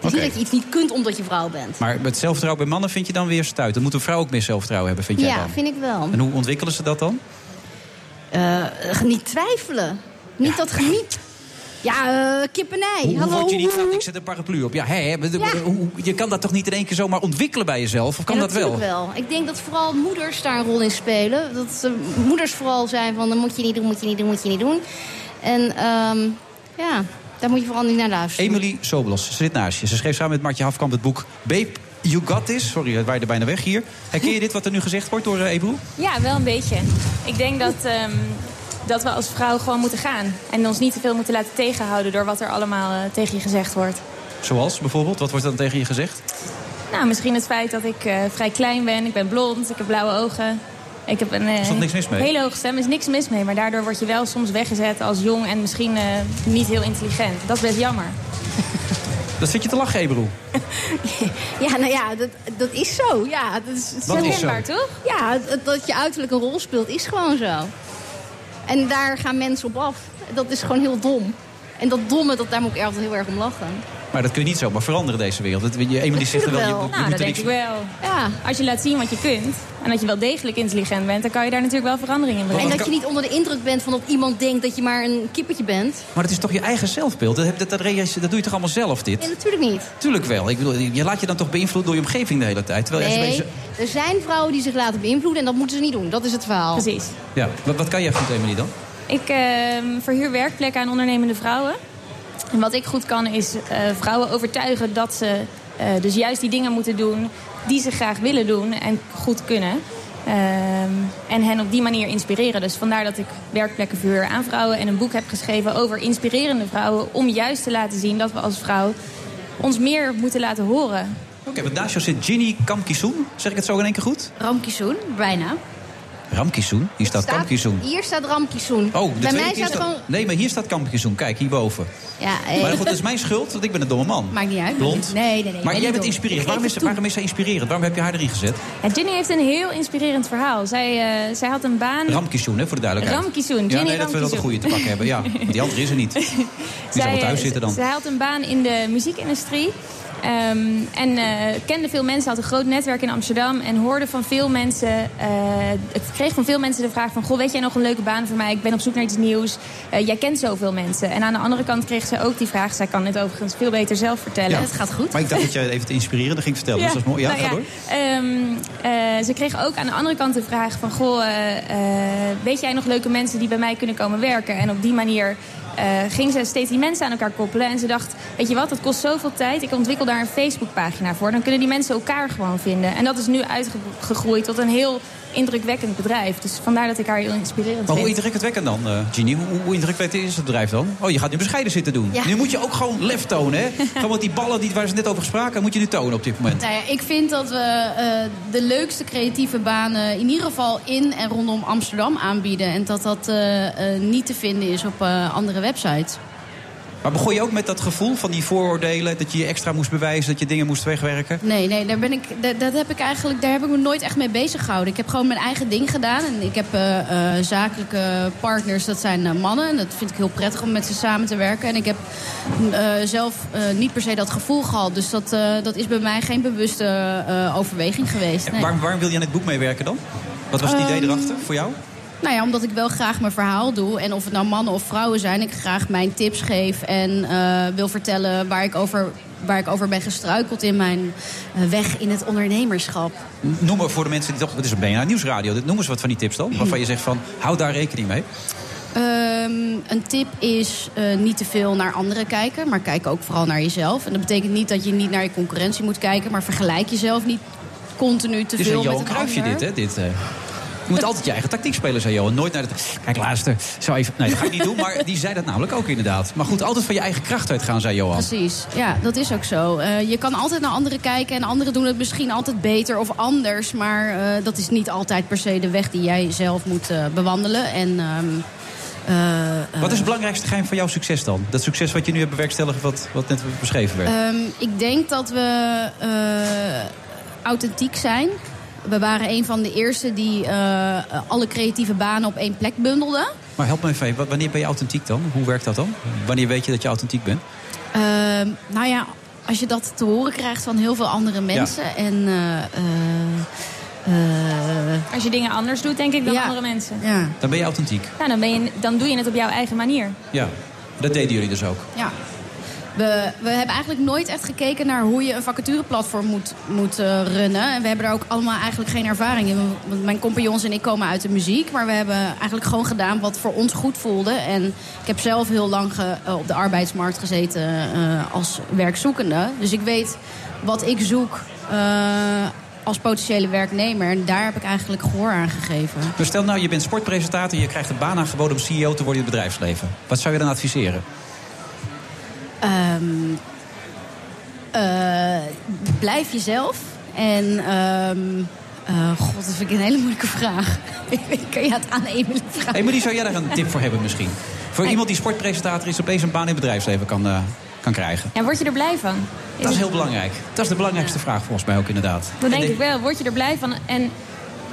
Speaker 9: Het is niet
Speaker 8: Oké.
Speaker 9: dat je iets niet kunt omdat je vrouw bent.
Speaker 8: Maar het zelfvertrouwen bij mannen vind je dan weer stuitend. Moet een vrouw ook meer zelfvertrouwen hebben, vind jij
Speaker 9: ja,
Speaker 8: dan?
Speaker 9: vind ik wel.
Speaker 8: En hoe ontwikkelen ze dat dan?
Speaker 9: Eh, niet twijfelen. Niet dat geniet. Ja, eh kippernij.
Speaker 8: Hoe, hoe
Speaker 9: Hallo.
Speaker 8: word je niet Ik zet een paraplu op. Ja, hè, hè, maar de-
Speaker 9: Ja.
Speaker 8: hoe- je kan dat toch niet in één keer zomaar ontwikkelen bij jezelf? Of kan
Speaker 9: Ja,
Speaker 8: dat wel?
Speaker 9: natuurlijk wel. Ik denk dat vooral moeders daar een rol in spelen. Dat ze moeders vooral zijn van, dat moet je niet doen, moet je niet doen, moet je niet doen. En ehm, ja, daar moet je vooral niet naar luisteren.
Speaker 8: Emily Sobelos, ze zit naast je. Ze schreef samen met Martje Hafkamp het boek Babe, You Got This. Sorry, het waaide bijna weg hier. Herken je dit wat er nu gezegd wordt door eh, Ebru?
Speaker 19: Ja, wel een beetje. Ik denk dat, ehm, dat we als vrouw gewoon moeten gaan. En ons niet te veel moeten laten tegenhouden door wat er allemaal eh, tegen je gezegd wordt.
Speaker 8: Zoals bijvoorbeeld, wat wordt dan tegen je gezegd?
Speaker 19: Nou, misschien het feit dat ik eh, vrij klein ben. Ik ben blond, ik heb blauwe ogen. Ik heb een eh,
Speaker 8: Is dat niks mis mee?
Speaker 19: hele hoge stem. is niks mis mee. Maar daardoor word je wel soms weggezet als jong en misschien eh, niet heel intelligent. Dat is best jammer.
Speaker 8: Dat zit je te lachen, Ebru.
Speaker 9: Ja, nou ja, dat, dat is zo. Ja, dat is, het
Speaker 8: Wat is zo? Herkenbaar,
Speaker 9: toch? Ja, dat, dat je uiterlijk een rol speelt is gewoon zo. En daar gaan mensen op af. Dat is gewoon heel dom. En dat domme, dat, daar moet ik altijd heel erg om lachen.
Speaker 8: Maar dat kun je niet zomaar veranderen, deze wereld. Dat, je, Emily zegt er wel, je, je
Speaker 19: nou,
Speaker 8: doet
Speaker 19: dat
Speaker 8: er
Speaker 19: denk
Speaker 8: niks
Speaker 19: ik wel. Als je laat zien wat je kunt en dat je wel degelijk intelligent bent, dan kan je daar natuurlijk wel verandering in brengen.
Speaker 9: En dat je niet onder de indruk bent van dat iemand denkt dat je maar een kippertje bent.
Speaker 8: Maar het is toch je eigen zelfbeeld? Dat, heb- dat, dat, reage- dat doe je toch allemaal zelf, dit?
Speaker 9: Ja, natuurlijk niet.
Speaker 8: Tuurlijk wel. Ik bedoel, je laat je dan toch beïnvloeden door je omgeving de hele tijd. Terwijl als je
Speaker 9: Nee,
Speaker 8: bij
Speaker 9: er zijn vrouwen die zich laten beïnvloeden en dat moeten ze niet doen. Dat is het verhaal.
Speaker 19: Precies.
Speaker 8: je- ja, wat, wat kan jij goed, Emily, dan?
Speaker 19: Ik ehm, verhuur werkplekken aan ondernemende vrouwen. En wat ik goed kan is eh, vrouwen overtuigen dat ze eh, dus juist die dingen moeten doen die ze graag willen doen en goed kunnen. Ehm, en hen op die manier inspireren. Dus vandaar dat ik werkplekken verhuur aan vrouwen en een boek heb geschreven over inspirerende vrouwen. Om juist te laten zien dat we als vrouw ons meer moeten laten horen.
Speaker 8: Oké, want naast jou zit Ginny Kamkisoen. Zeg ik het zo in één keer goed?
Speaker 20: Ramkisoen, bijna.
Speaker 8: Ramkisoen? Hier staat
Speaker 21: Staat-
Speaker 8: Kamkisoen.
Speaker 21: Hier staat Ramkisoen.
Speaker 8: Oh, de
Speaker 21: Bij
Speaker 8: tweede
Speaker 21: mij
Speaker 8: keer
Speaker 21: staat
Speaker 8: staat-
Speaker 21: gewoon...
Speaker 8: Nee, maar hier staat Kamkisoen. Kijk, hierboven.
Speaker 21: Ja, eh,
Speaker 8: Maar goed, dat is mijn schuld, want ik ben een domme man.
Speaker 21: Maakt niet uit.
Speaker 8: Blond.
Speaker 21: Nee, nee, nee,
Speaker 8: maar
Speaker 21: nee,
Speaker 8: jij
Speaker 21: niet
Speaker 8: bent
Speaker 21: dom.
Speaker 8: inspirerend.
Speaker 21: Ik
Speaker 8: Waarom
Speaker 21: geef
Speaker 8: is, waarom is zij inspirerend? Waarom heb je haar erin gezet?
Speaker 19: Ja, Ginny heeft een heel inspirerend verhaal. Zij, eh, zij had een baan.
Speaker 8: Ramkisoen, hè, voor de duidelijkheid.
Speaker 19: Ramkisoen,
Speaker 8: Ja,
Speaker 19: Jenny
Speaker 8: nee, dat we wel de
Speaker 19: Ramkisoen.
Speaker 8: goede te pakken hebben. Ja, want die andere is er niet. Die zal wel thuis
Speaker 19: eh,
Speaker 8: zitten dan.
Speaker 19: Zij had een baan in de muziekindustrie. Ehm, en eh, kende veel mensen, had een groot netwerk in Amsterdam. En hoorde van veel mensen, eh, het kreeg van veel mensen de vraag van... Goh, weet jij nog een leuke baan voor mij? Ik ben op zoek naar iets nieuws. Eh, jij kent zoveel mensen. En aan de andere kant kreeg ze ook die vraag. Zij kan dit overigens veel beter zelf vertellen.
Speaker 8: Ja. Maar ik dacht dat jij even te inspireren ging vertellen. Dus dat is mooi. Ja,
Speaker 19: nou
Speaker 8: ga
Speaker 19: ja,
Speaker 8: door.
Speaker 19: ehm, eh, ze kreeg ook aan de andere kant de vraag van... Goh, eh, eh, weet jij nog leuke mensen die bij mij kunnen komen werken? En op die manier eh, ging ze steeds die mensen aan elkaar koppelen. En ze dacht, weet je wat, dat kost zoveel tijd. Ik ontwikkel daar een Facebookpagina voor. Dan kunnen die mensen elkaar gewoon vinden. En dat is nu uitgegroeid tot een heel indrukwekkend bedrijf. Dus vandaar dat ik haar heel inspirerend
Speaker 8: Maar hoe
Speaker 19: vind.
Speaker 8: indrukwekkend dan, eh Ginny? Hoe, hoe indrukwekkend is het bedrijf dan? Oh, je gaat nu bescheiden zitten doen.
Speaker 22: Ja.
Speaker 8: Nu moet je ook gewoon lef tonen, hè? gewoon die ballen die, waar ze net over spraken, moet je nu tonen op dit moment.
Speaker 21: Nou ja, ik vind dat we eh, de leukste creatieve banen in ieder geval in en rondom Amsterdam aanbieden. En dat dat eh, eh, niet te vinden is op eh, andere websites.
Speaker 8: Maar begon je ook met dat gevoel van die vooroordelen... dat je je extra moest bewijzen, dat je dingen moest wegwerken?
Speaker 21: Nee, nee, daar ben ik, da- dat heb ik eigenlijk, daar heb ik me nooit echt mee bezig gehouden. Ik heb gewoon mijn eigen ding gedaan. En ik heb eh, eh, zakelijke partners, dat zijn eh, mannen. En dat vind ik heel prettig om met ze samen te werken. En ik heb eh, zelf eh, niet per se dat gevoel gehad. Dus dat, eh, dat is bij mij geen bewuste eh, overweging geweest. Nee.
Speaker 8: Waarom, waarom wil je aan het boek meewerken dan? Wat was het idee
Speaker 21: Ehm,
Speaker 8: erachter voor jou?
Speaker 21: Nou ja, omdat ik wel graag mijn verhaal doe. En of het nou mannen of vrouwen zijn, ik graag mijn tips geef. En eh, wil vertellen waar ik, over, waar ik over ben gestruikeld in mijn eh, weg in het ondernemerschap.
Speaker 8: Noem maar voor de mensen die toch... Het is een BNR Nieuwsradio. Dit- Noem eens wat van die tips dan. Waarvan je zegt van, hou daar rekening mee.
Speaker 21: Ehm, een tip is eh, niet te veel naar anderen kijken, maar kijk ook vooral naar jezelf. En dat betekent niet dat je niet naar je concurrentie moet kijken, maar vergelijk jezelf niet continu te
Speaker 8: Het is
Speaker 21: veel
Speaker 8: een
Speaker 21: met
Speaker 8: Johan
Speaker 21: een
Speaker 8: Cruijffje
Speaker 21: ander.
Speaker 8: dit, hè? Dit, eh. Je moet altijd je eigen tactiek spelen, zei Johan. Nooit naar het... Kijk, luister. Zou even... Nee, dat ga ik niet doen, maar die zei dat namelijk ook inderdaad. Maar goed, altijd van je eigen kracht uitgaan, zei Johan.
Speaker 21: Precies, ja, dat is ook zo. Eh, je kan altijd naar anderen kijken en anderen doen het misschien altijd beter of anders. Maar eh, dat is niet altijd per se de weg die jij zelf moet eh, bewandelen. En, ehm, eh, eh,
Speaker 8: Wat is het belangrijkste geheim van jouw succes dan? Dat succes wat je nu hebt bewerkstelligd, wat, wat net beschreven werd.
Speaker 21: Ehm, ik denk dat we eh, authentiek zijn. We waren een van de eerste die eh, alle creatieve banen op één plek bundelden.
Speaker 8: maar help me even, wa- wanneer ben je authentiek dan? Hoe werkt dat dan? Wanneer weet je dat je authentiek bent?
Speaker 21: Ehm, nou ja, als je dat te horen krijgt van heel veel andere mensen. En, eh, eh, eh,
Speaker 19: Als je dingen anders doet, denk ik, dan andere mensen.
Speaker 21: Ja.
Speaker 8: Dan ben je authentiek.
Speaker 19: Nou, dan, ben je, dan doe je het op jouw eigen manier.
Speaker 8: Ja, dat deden jullie dus ook.
Speaker 21: ja. We, we hebben eigenlijk nooit echt gekeken naar hoe je een vacatureplatform moet, moet eh, runnen. En we hebben daar ook allemaal eigenlijk geen ervaring in. Want mijn compagnons en ik komen uit de muziek. Maar we hebben eigenlijk gewoon gedaan wat voor ons goed voelde. En ik heb zelf heel lang ge- eh, op de arbeidsmarkt gezeten eh, als werkzoekende. Dus ik weet wat ik zoek eh, als potentiële werknemer. En daar heb ik eigenlijk gehoor aan gegeven.
Speaker 8: Maar stel nou, je bent sportpresentator, je krijgt een baan aangeboden om CEO te worden in het bedrijfsleven. Wat zou je dan adviseren?
Speaker 21: Ehm, eh, blijf jezelf. En ehm, eh, god, dat vind ik een hele moeilijke vraag. Ik weet- kan je het aan Emily vragen?
Speaker 8: Hey, maar die zou jij daar een tip voor hebben misschien? Voor iemand die sportpresentator is, opeens een baan in het bedrijfsleven kan, eh, kan krijgen.
Speaker 19: En word je er blij van? Is
Speaker 8: Dat is
Speaker 19: het-
Speaker 8: heel belangrijk. Dat is de belangrijkste vraag volgens mij ook inderdaad.
Speaker 19: Dat denk ik wel. Word je er blij van? En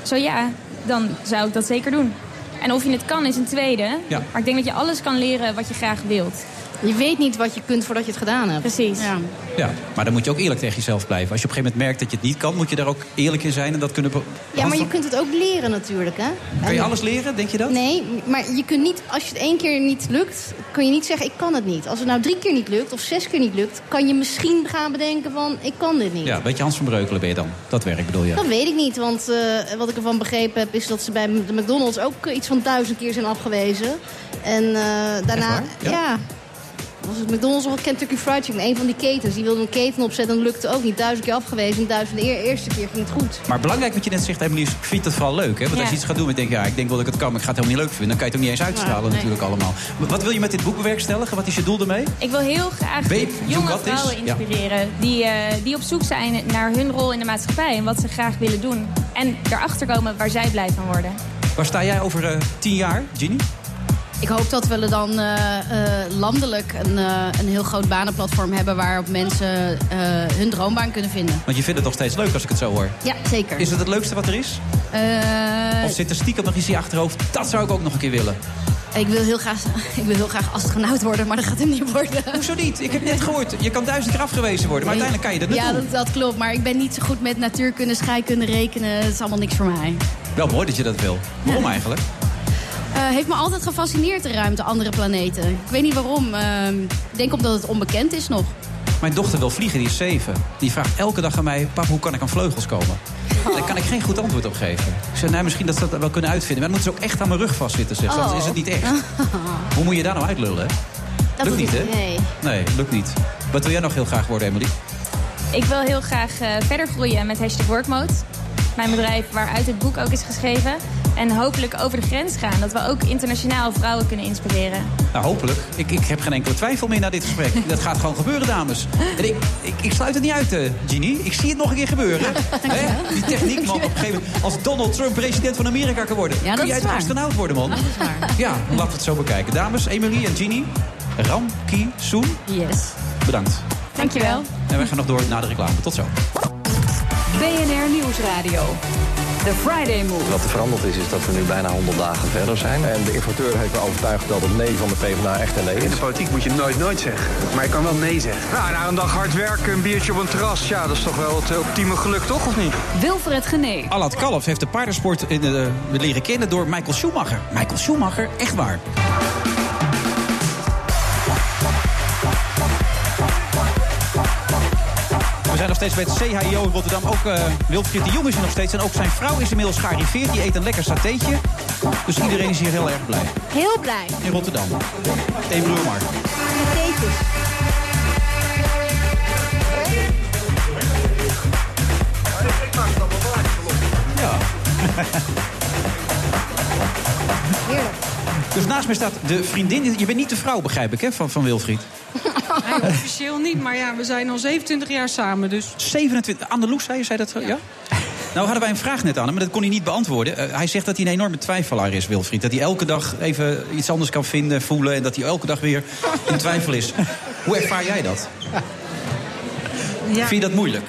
Speaker 19: zo ja, dan zou ik dat zeker doen. En of je het kan, is een tweede.
Speaker 8: Ja.
Speaker 19: Maar ik denk dat je alles kan leren wat je graag wilt.
Speaker 21: Je weet niet wat je kunt voordat je het gedaan hebt.
Speaker 19: Precies.
Speaker 8: Ja, maar dan moet je ook eerlijk tegen jezelf blijven. Als je op een gegeven moment merkt dat je het niet kan, moet je daar ook eerlijk in zijn en dat kunnen. be-
Speaker 21: Ja, maar je kunt het ook leren natuurlijk, hè?
Speaker 8: Kun je alles leren, denk je dat?
Speaker 21: Nee, maar je kunt niet, als je het één keer niet lukt, kun je niet zeggen ik kan het niet. Als het nou drie keer niet lukt of zes keer niet lukt, kan je misschien gaan bedenken van ik kan dit niet.
Speaker 8: Ja, een beetje Hans van Breukelen ben je dan. Dat werk bedoel je.
Speaker 21: Dat weet ik niet, want eh, wat ik ervan begrepen heb... is dat ze bij de McDonald's ook iets van duizend keer zijn afgewezen. En eh, daarna... Ja. Was het McDonald's of Kentucky Fried Chicken? Een van die ketens. Die wilde een keten opzetten en dat lukte ook niet. Duizend keer afgewezen en duizend eer, eerste keer ging het goed.
Speaker 8: Maar belangrijk wat je net zegt, Emily, is ik vind het vooral leuk. Hè? Want als je
Speaker 21: Ja.
Speaker 8: iets gaat doen, dan denk je, ja, ik denk wel dat ik het kan, maar ik ga het helemaal niet leuk vinden. Dan kan je het ook niet eens uitstralen
Speaker 19: Nee.
Speaker 8: natuurlijk allemaal. Maar wat wil je met dit boek bewerkstelligen? Wat is je doel ermee?
Speaker 19: Ik wil heel graag
Speaker 8: Weet je
Speaker 19: jonge
Speaker 8: wat is?
Speaker 19: vrouwen
Speaker 8: Ja.
Speaker 19: inspireren. Die, eh, die op zoek zijn naar hun rol in de maatschappij. En wat ze graag willen doen. En erachter komen waar zij blij van worden.
Speaker 8: Waar sta jij over eh, tien jaar, Ginny?
Speaker 9: Ik hoop dat we er dan eh, eh, landelijk een, eh, een heel groot banenplatform hebben waarop mensen eh, hun droombaan kunnen vinden.
Speaker 8: Want je vindt het nog steeds leuk als ik het zo hoor.
Speaker 9: Ja, zeker.
Speaker 8: Is het het leukste wat er is?
Speaker 9: Eh,
Speaker 8: Of zit er stiekem nog iets in je achterhoofd? Dat zou ik ook nog een keer willen.
Speaker 9: ik, wil heel graag, ik wil heel graag astronaut worden, maar dat gaat hem niet worden.
Speaker 8: Hoezo niet? Ik heb net gehoord, je kan duizend keer afgewezen worden. Maar uiteindelijk kan je dat niet
Speaker 9: Ja,
Speaker 8: doen.
Speaker 9: dat, dat klopt. Maar ik ben niet zo goed met natuurkunde, scheikunde, rekenen. Het is allemaal niks voor mij.
Speaker 8: Wel mooi dat je dat wil. Waarom eigenlijk?
Speaker 9: Eh, heeft me altijd gefascineerd, de ruimte, andere planeten. Ik weet niet waarom. Eh, ik denk omdat het onbekend is nog.
Speaker 8: Mijn dochter wil vliegen, die is zeven. Die vraagt elke dag aan mij, pap, hoe kan ik aan vleugels komen? Daar kan ik geen goed antwoord op geven. Ik zei, nou, misschien dat ze dat wel kunnen uitvinden. Maar dan moeten ze ook echt aan mijn rug vastzitten, zegt ze. Anders is het
Speaker 13: Oh.
Speaker 8: niet echt. Hoe moet je daar nou uitlullen, hè?
Speaker 19: Dat
Speaker 8: lukt niet,
Speaker 19: doe
Speaker 8: hè?
Speaker 19: ik niet, nee.
Speaker 8: Nee, lukt niet. Wat wil jij nog heel graag worden, Emily?
Speaker 19: Ik wil heel graag eh, verder groeien met hashtag workmode. Mijn bedrijf waaruit het boek ook is geschreven. En hopelijk over de grens gaan. Dat we ook internationaal vrouwen kunnen inspireren.
Speaker 8: Nou, hopelijk. Ik, ik heb geen enkele twijfel meer na dit gesprek. Dat gaat gewoon gebeuren, dames. En ik, ik, ik sluit het niet uit, eh, Ginny. Ik zie het nog een keer gebeuren. Hè? Die techniek, man. Op een gegeven moment, als Donald Trump president van Amerika kan worden...
Speaker 20: dat
Speaker 8: kun
Speaker 20: is
Speaker 8: jij toch
Speaker 20: waar.
Speaker 8: astronaut worden, man? Ja, laten we het zo bekijken. Dames, Emily en Ginny. Ram, Ki, Soen.
Speaker 9: Yes.
Speaker 8: Bedankt.
Speaker 4: Dankjewel.
Speaker 8: En wij gaan nog door naar de reclame. Tot zo.
Speaker 4: BNR Nieuwsradio. The Friday Move.
Speaker 5: Wat er veranderd is, is dat we nu bijna 100 dagen verder zijn.
Speaker 6: En de importeur heeft me overtuigd dat het nee van de PvdA echt een nee
Speaker 7: In
Speaker 6: is.
Speaker 7: de politiek moet je nooit nooit zeggen. Maar je kan wel nee zeggen. Nou, na een dag hard werken, een biertje op een terras. Ja, dat is toch wel het eh, ultieme geluk, toch? Of niet?
Speaker 4: Wilfred Genee.
Speaker 8: Allard Kalf heeft de paardensport in, eh, leren kennen door Michael Schumacher. Michael Schumacher, echt waar. We zijn nog steeds bij het CHIO in Rotterdam. Ook eh, Wilfried de Jong is er nog steeds. En ook zijn vrouw is inmiddels gearriveerd. Die eet een lekker satéetje. Dus iedereen is hier heel erg blij.
Speaker 9: Heel blij.
Speaker 8: In Rotterdam. Eén broer Mark. Ja. Dus naast mij staat de vriendin. Je bent niet de vrouw, begrijp ik, hè, van, van Wilfried.
Speaker 23: Nee, officieel niet, maar ja, we zijn al 27 jaar samen, dus...
Speaker 8: 27, Anneloes zei je, zei dat zo? Ja. Nou hadden wij een vraag net aan hem, maar dat kon hij niet beantwoorden. Eh, hij zegt dat hij een enorme twijfelaar is, Wilfried. Dat hij elke dag even iets anders kan vinden, voelen... en dat hij elke dag weer in twijfel is. Hoe ervaar jij dat?
Speaker 23: Ja.
Speaker 8: Vind je dat moeilijk?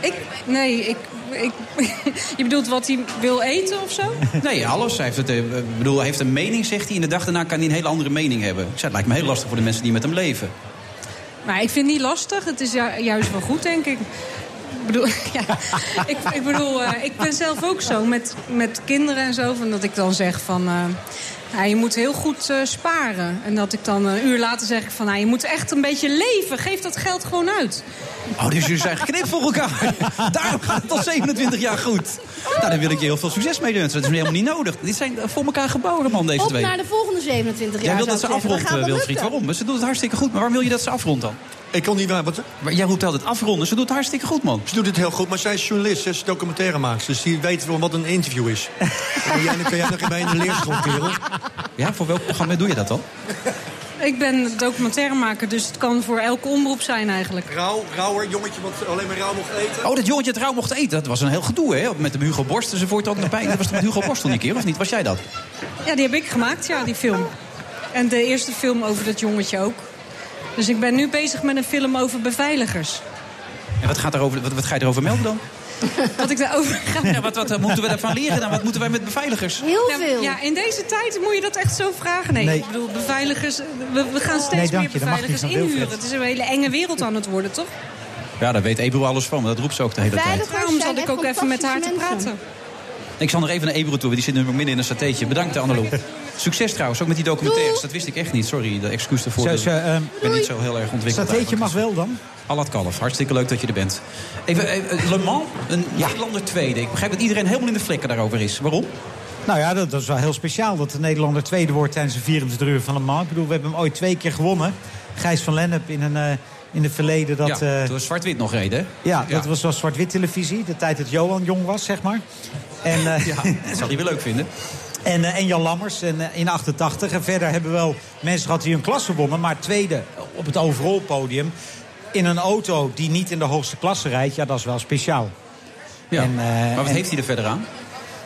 Speaker 23: Ik, nee, ik, ik... Je bedoelt wat hij wil eten of zo?
Speaker 8: Nee, alles. Hij heeft, het, eh, ik bedoel, hij heeft een mening, zegt hij. En de dag daarna kan hij een hele andere mening hebben. Ik zei, het lijkt me heel lastig voor de mensen die met hem leven.
Speaker 23: Maar ik vind het niet lastig. Het is ju- juist wel goed, denk ik. Ik bedoel, ja, ik, ik, bedoel eh, ik ben zelf ook zo met, met kinderen en zo. Van dat ik dan zeg van... eh, nou, je moet heel goed eh, sparen. En dat ik dan een uur later zeg van... nou, je moet echt een beetje leven. Geef dat geld gewoon uit.
Speaker 8: Oh, dus jullie zijn geknipt voor elkaar. Daarom gaat het al 27 jaar goed. Nou, daar wil ik je heel veel succes mee wensen. Dat is helemaal niet nodig. Dit zijn eh, voor elkaar gebouwde man, deze
Speaker 9: Op
Speaker 8: twee.
Speaker 9: naar de volgende 27 jaar.
Speaker 8: Jij wil
Speaker 9: zou
Speaker 8: dat ze
Speaker 9: ik zeggen.
Speaker 8: afrondt,
Speaker 9: Dat
Speaker 8: eh,
Speaker 9: gaat wel
Speaker 8: Wilfried.
Speaker 9: lukken.
Speaker 8: Waarom? Ze doet het hartstikke goed. Maar waarom wil je dat ze afrondt dan?
Speaker 15: Ik kon niet waar. Wat...
Speaker 8: Maar jij roept altijd afronden. Ze doet het hartstikke goed, man.
Speaker 15: Ze doet het heel goed, maar zij is journalist. Zij is documentairemaakster. Dus die weet wel wat een interview is. en jij kan jij nog bij in de leerschool, kerel.
Speaker 8: Ja, voor welk programma doe je dat dan?
Speaker 23: Ik ben documentairemaker, dus het kan voor elke omroep zijn eigenlijk.
Speaker 15: Rauw, rauwer jongetje wat alleen maar rauw mocht eten.
Speaker 8: Oh, dat jongetje het rauw mocht eten. Dat was een heel gedoe, hè? Met de Hugo Borst enzovoort. Ook nog bij. Dat was toch met Hugo Borst toen die keer, of niet? Was jij dat?
Speaker 23: Ja, die heb ik gemaakt, ja, die film. En de eerste film over dat jongetje ook. Dus ik ben nu bezig met een film over beveiligers.
Speaker 8: En wat, gaat daarover, wat, wat ga je erover melden dan?
Speaker 23: Wat ik daarover ga...
Speaker 8: Ja, wat, wat eh, moeten we daarvan leren dan? Wat moeten wij met beveiligers?
Speaker 23: Heel veel. Nou, Ja, in deze tijd moet je dat echt zo vragen. Nee,
Speaker 8: Nee.
Speaker 23: ik bedoel, beveiligers... We, we gaan
Speaker 8: Nee,
Speaker 23: steeds
Speaker 8: dank
Speaker 23: meer
Speaker 8: je, dat mag niet
Speaker 23: beveiligers
Speaker 8: van
Speaker 23: inhuren.
Speaker 8: Wilfred.
Speaker 23: Het is een hele enge wereld aan het worden, toch?
Speaker 8: Ja, daar weet Ebro alles van. Maar dat roept ze ook de hele tijd.
Speaker 23: Daarom zat
Speaker 9: echt
Speaker 23: ik ook even met haar te
Speaker 9: fantastische
Speaker 23: praten.
Speaker 8: Ik zal nog even naar Ebro toe, want die zit nu midden in een satéetje. Bedankt, Annelou. Succes trouwens, ook met die documentaires. Dat wist ik echt niet, sorry. De excuus daarvoor.
Speaker 12: Zo, zo, ehm,
Speaker 8: ik ben niet zo heel erg ontwikkeld.
Speaker 12: Satéetje mag wel dan?
Speaker 8: Alad Kalf, hartstikke leuk dat je er bent. Even, eh, Le Mans, een Nederlander tweede. Ik begrijp dat iedereen helemaal in de flikken daarover is. Waarom?
Speaker 12: Nou ja, dat, dat is wel heel speciaal dat de Nederlander tweede wordt tijdens de 24 uur van Le Mans. Ik bedoel, we hebben hem ooit twee keer gewonnen. Gijs van Lennep in een... eh, in het verleden dat...
Speaker 8: ja,
Speaker 12: eh,
Speaker 8: toen was zwart-wit nog reden, hè?
Speaker 12: Ja, dat was, was zwart-wit televisie. De tijd dat Johan jong was, zeg maar. En, eh,
Speaker 8: Dat zal hij wel leuk vinden.
Speaker 12: en, eh, en Jan Lammers en, eh, in 88. En verder hebben we wel mensen gehad die hun klasse wonnen. Maar tweede op het overall podium. In een auto die niet in de hoogste klasse rijdt. Ja, dat is wel speciaal.
Speaker 8: Ja.
Speaker 12: En, eh,
Speaker 8: maar wat
Speaker 12: en-
Speaker 8: heeft hij er verder aan?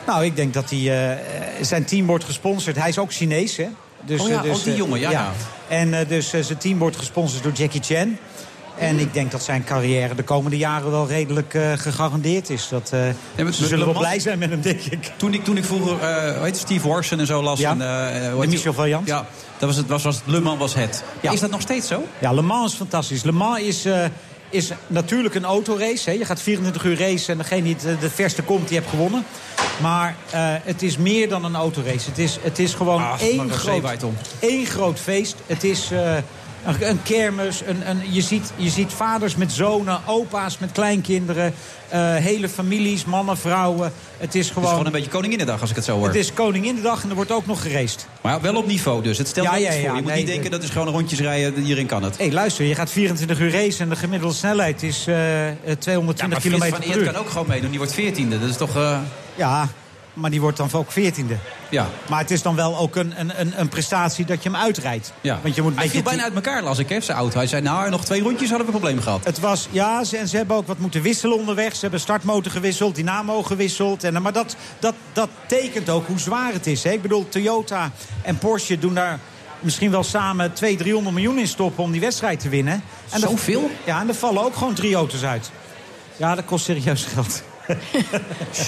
Speaker 12: Nou, ik denk dat hij... eh, zijn team wordt gesponsord. Hij is ook Chinees, hè? Dus,
Speaker 8: Oh ja,
Speaker 12: eh, dus,
Speaker 8: oh, die
Speaker 12: eh,
Speaker 8: jongen, ja, ja.
Speaker 12: En eh, dus eh, zijn team wordt gesponsord door Jackie Chan. En ik denk dat zijn carrière de komende jaren wel redelijk eh, gegarandeerd is. Dat, eh, ze zullen wel blij zijn met hem, denk ik.
Speaker 8: Toen ik, toen ik vroeger eh, hoe heet het, Steve Warson en zo las. En, eh, hoe heet
Speaker 12: Michel Vaillant.
Speaker 8: Ja, dat was het, was, was het Le Mans was het. Is dat nog steeds zo?
Speaker 12: Ja, Le Mans is fantastisch. Le Mans is, eh, is natuurlijk een autorace. Hè. Je gaat 24 uur racen en degene die het, eh, de verste komt, die hebt gewonnen. Maar eh, het is meer dan een autorace. Het is, het is gewoon
Speaker 8: Ah, maar
Speaker 12: één,
Speaker 8: Rosé
Speaker 12: groot,
Speaker 8: waait om.
Speaker 12: één groot feest. Het is eh, een, een kermis. Een, een, je, ziet, je ziet vaders met zonen, opa's met kleinkinderen. eh, hele families, mannen, vrouwen. Het is
Speaker 8: Het is
Speaker 12: gewoon...
Speaker 8: gewoon een beetje Koninginnedag als ik het zo hoor.
Speaker 12: Oh. Het is Koninginnedag en er wordt ook nog geraced.
Speaker 8: Maar ja, wel op niveau dus. Het stelt
Speaker 12: Ja,
Speaker 8: wel
Speaker 12: ja,
Speaker 8: iets voor.
Speaker 12: ja,
Speaker 8: Je moet
Speaker 12: nee,
Speaker 8: niet denken
Speaker 12: ik-
Speaker 8: dat is gewoon rondjes rijden. Hierin kan het.
Speaker 12: Hé, luister, je gaat 24 uur racen en de gemiddelde snelheid is eh, eh, 220
Speaker 8: Frits
Speaker 12: km
Speaker 8: van
Speaker 12: per
Speaker 8: Eert kan
Speaker 12: uur.
Speaker 8: ook gewoon meedoen. Die wordt veertiende. Dat is toch... eh,
Speaker 12: Ja, maar die wordt dan ook 14e.
Speaker 8: ja.
Speaker 12: Maar het is dan wel ook een, een, een, een prestatie dat je hem uitrijdt.
Speaker 8: Ja.
Speaker 12: Want je moet een
Speaker 8: Hij viel
Speaker 12: beetje
Speaker 8: bijna uit elkaar, las ik, hè, zijn auto. Hij zei, nou, nog twee rondjes hadden we een probleem gehad.
Speaker 12: Het was, ja, ze, en ze hebben ook wat moeten wisselen onderweg. Ze hebben startmotor gewisseld, dynamo gewisseld. En, eh, maar dat, dat, dat tekent ook hoe zwaar het is. Hè? Ik bedoel, Toyota en Porsche doen daar misschien wel samen 200, 300 miljoen in stoppen om die wedstrijd te winnen. En er-
Speaker 8: Zoveel?
Speaker 12: Ja, en er vallen ook gewoon drie auto's uit. Ja, dat kost serieus geld.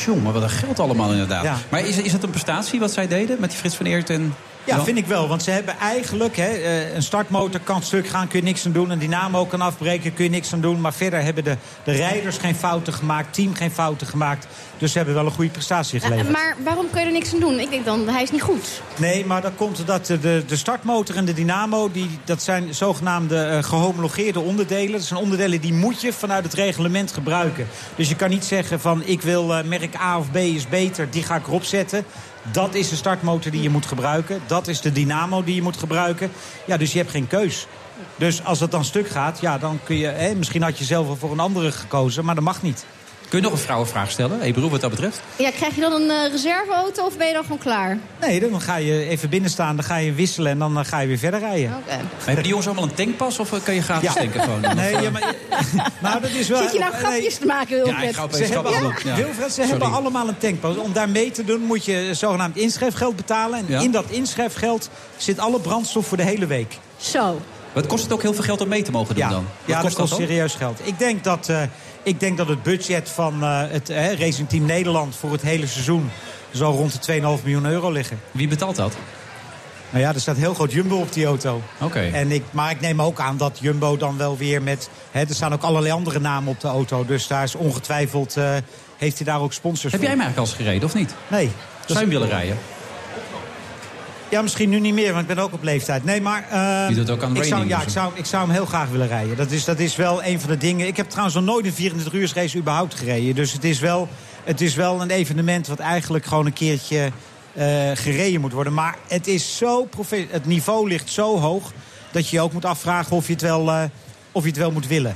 Speaker 8: Jongen, wat een geld allemaal inderdaad.
Speaker 12: Ja.
Speaker 8: Maar is, is dat een prestatie wat zij deden met die Frits van Eert en...
Speaker 12: Ja, vind ik wel. Want ze hebben eigenlijk... Hè, eh, een startmotor kan stuk gaan, kun je niks aan doen. Een dynamo kan afbreken, kun je niks aan doen. Maar verder hebben de, de rijders geen fouten gemaakt. Team geen fouten gemaakt. Dus ze hebben wel een goede prestatie
Speaker 9: Ja,
Speaker 12: geleverd.
Speaker 9: Eh, maar waarom kun je er niks aan doen? Ik denk dan, hij is niet goed.
Speaker 12: Nee, maar dat komt omdat eh, de, de startmotor en de dynamo... Die, dat zijn zogenaamde eh, gehomologeerde onderdelen. Dat zijn onderdelen die moet je vanuit het reglement gebruiken. Dus je kan niet zeggen van ik wil eh, merk A of B is beter, die ga ik erop zetten. Dat is de startmotor die je moet gebruiken. Dat is de dynamo die je moet gebruiken. Ja, dus je hebt geen keus. Dus als dat dan stuk gaat, ja, dan kun je... Hè, misschien had je zelf wel voor een andere gekozen, maar dat mag niet.
Speaker 8: Kun je nog een vrouwenvraag stellen, Ebro, wat dat betreft?
Speaker 9: Ja, krijg je dan een eh, reserveauto of ben je dan gewoon klaar?
Speaker 12: Nee, dan ga je even binnenstaan, dan ga je wisselen... en dan eh, ga je weer verder rijden.
Speaker 8: Maar Hebben die jongens allemaal een tankpas of eh, kan je
Speaker 12: Ja.
Speaker 8: gratis tanken gewoon? eh,
Speaker 12: Nee, ja, maar... Nou, dat is wel...
Speaker 9: Zit je nou grapjes te maken, Wilfred?
Speaker 8: Ja, ik ga opeens
Speaker 12: Ze hebben,
Speaker 8: grappig
Speaker 12: al-
Speaker 8: doen, ja.
Speaker 12: Wilfred, ze
Speaker 8: Sorry.
Speaker 12: hebben allemaal een tankpas. Om daar mee te doen moet je zogenaamd inschrijfgeld betalen. En
Speaker 8: Ja.
Speaker 12: in dat inschrijfgeld zit alle brandstof voor de hele week.
Speaker 9: Zo.
Speaker 8: Wat kost het ook heel veel geld om mee te mogen doen dan? Wat
Speaker 12: Ja, dat kost
Speaker 8: dan?
Speaker 12: serieus geld. Ik denk dat, eh, ik denk dat het budget van eh, het eh, Racing Team Nederland voor het hele seizoen zo rond de 2,5 miljoen euro liggen.
Speaker 8: Wie betaalt dat?
Speaker 12: Nou ja, er staat heel groot Jumbo op die auto.
Speaker 8: Oké.
Speaker 12: En ik, maar ik neem ook aan dat Jumbo dan wel weer met... Hè, er staan ook allerlei andere namen op de auto. Dus daar is ongetwijfeld... eh, heeft hij daar ook sponsors
Speaker 8: Heb
Speaker 12: voor.
Speaker 8: jij hem eigenlijk al eens gereden, of niet?
Speaker 12: Nee.
Speaker 8: Zou je hem willen rijden?
Speaker 12: Ja, misschien nu niet meer, want ik ben ook op leeftijd. Nee, maar... eh,
Speaker 8: Je doet ook aan
Speaker 12: ik zou,
Speaker 8: raining
Speaker 12: ja,
Speaker 8: of
Speaker 12: ik
Speaker 8: zo.
Speaker 12: zou, ik zou hem heel graag willen rijden. Dat is, dat is wel een van de dingen. Ik heb trouwens nog nooit een 24 uur race überhaupt gereden. Dus het is, wel, het is wel een evenement wat eigenlijk gewoon een keertje eh, gereden moet worden. Maar het, is zo profe- het niveau ligt zo hoog dat je je ook moet afvragen of je het wel, eh, of je het wel moet willen.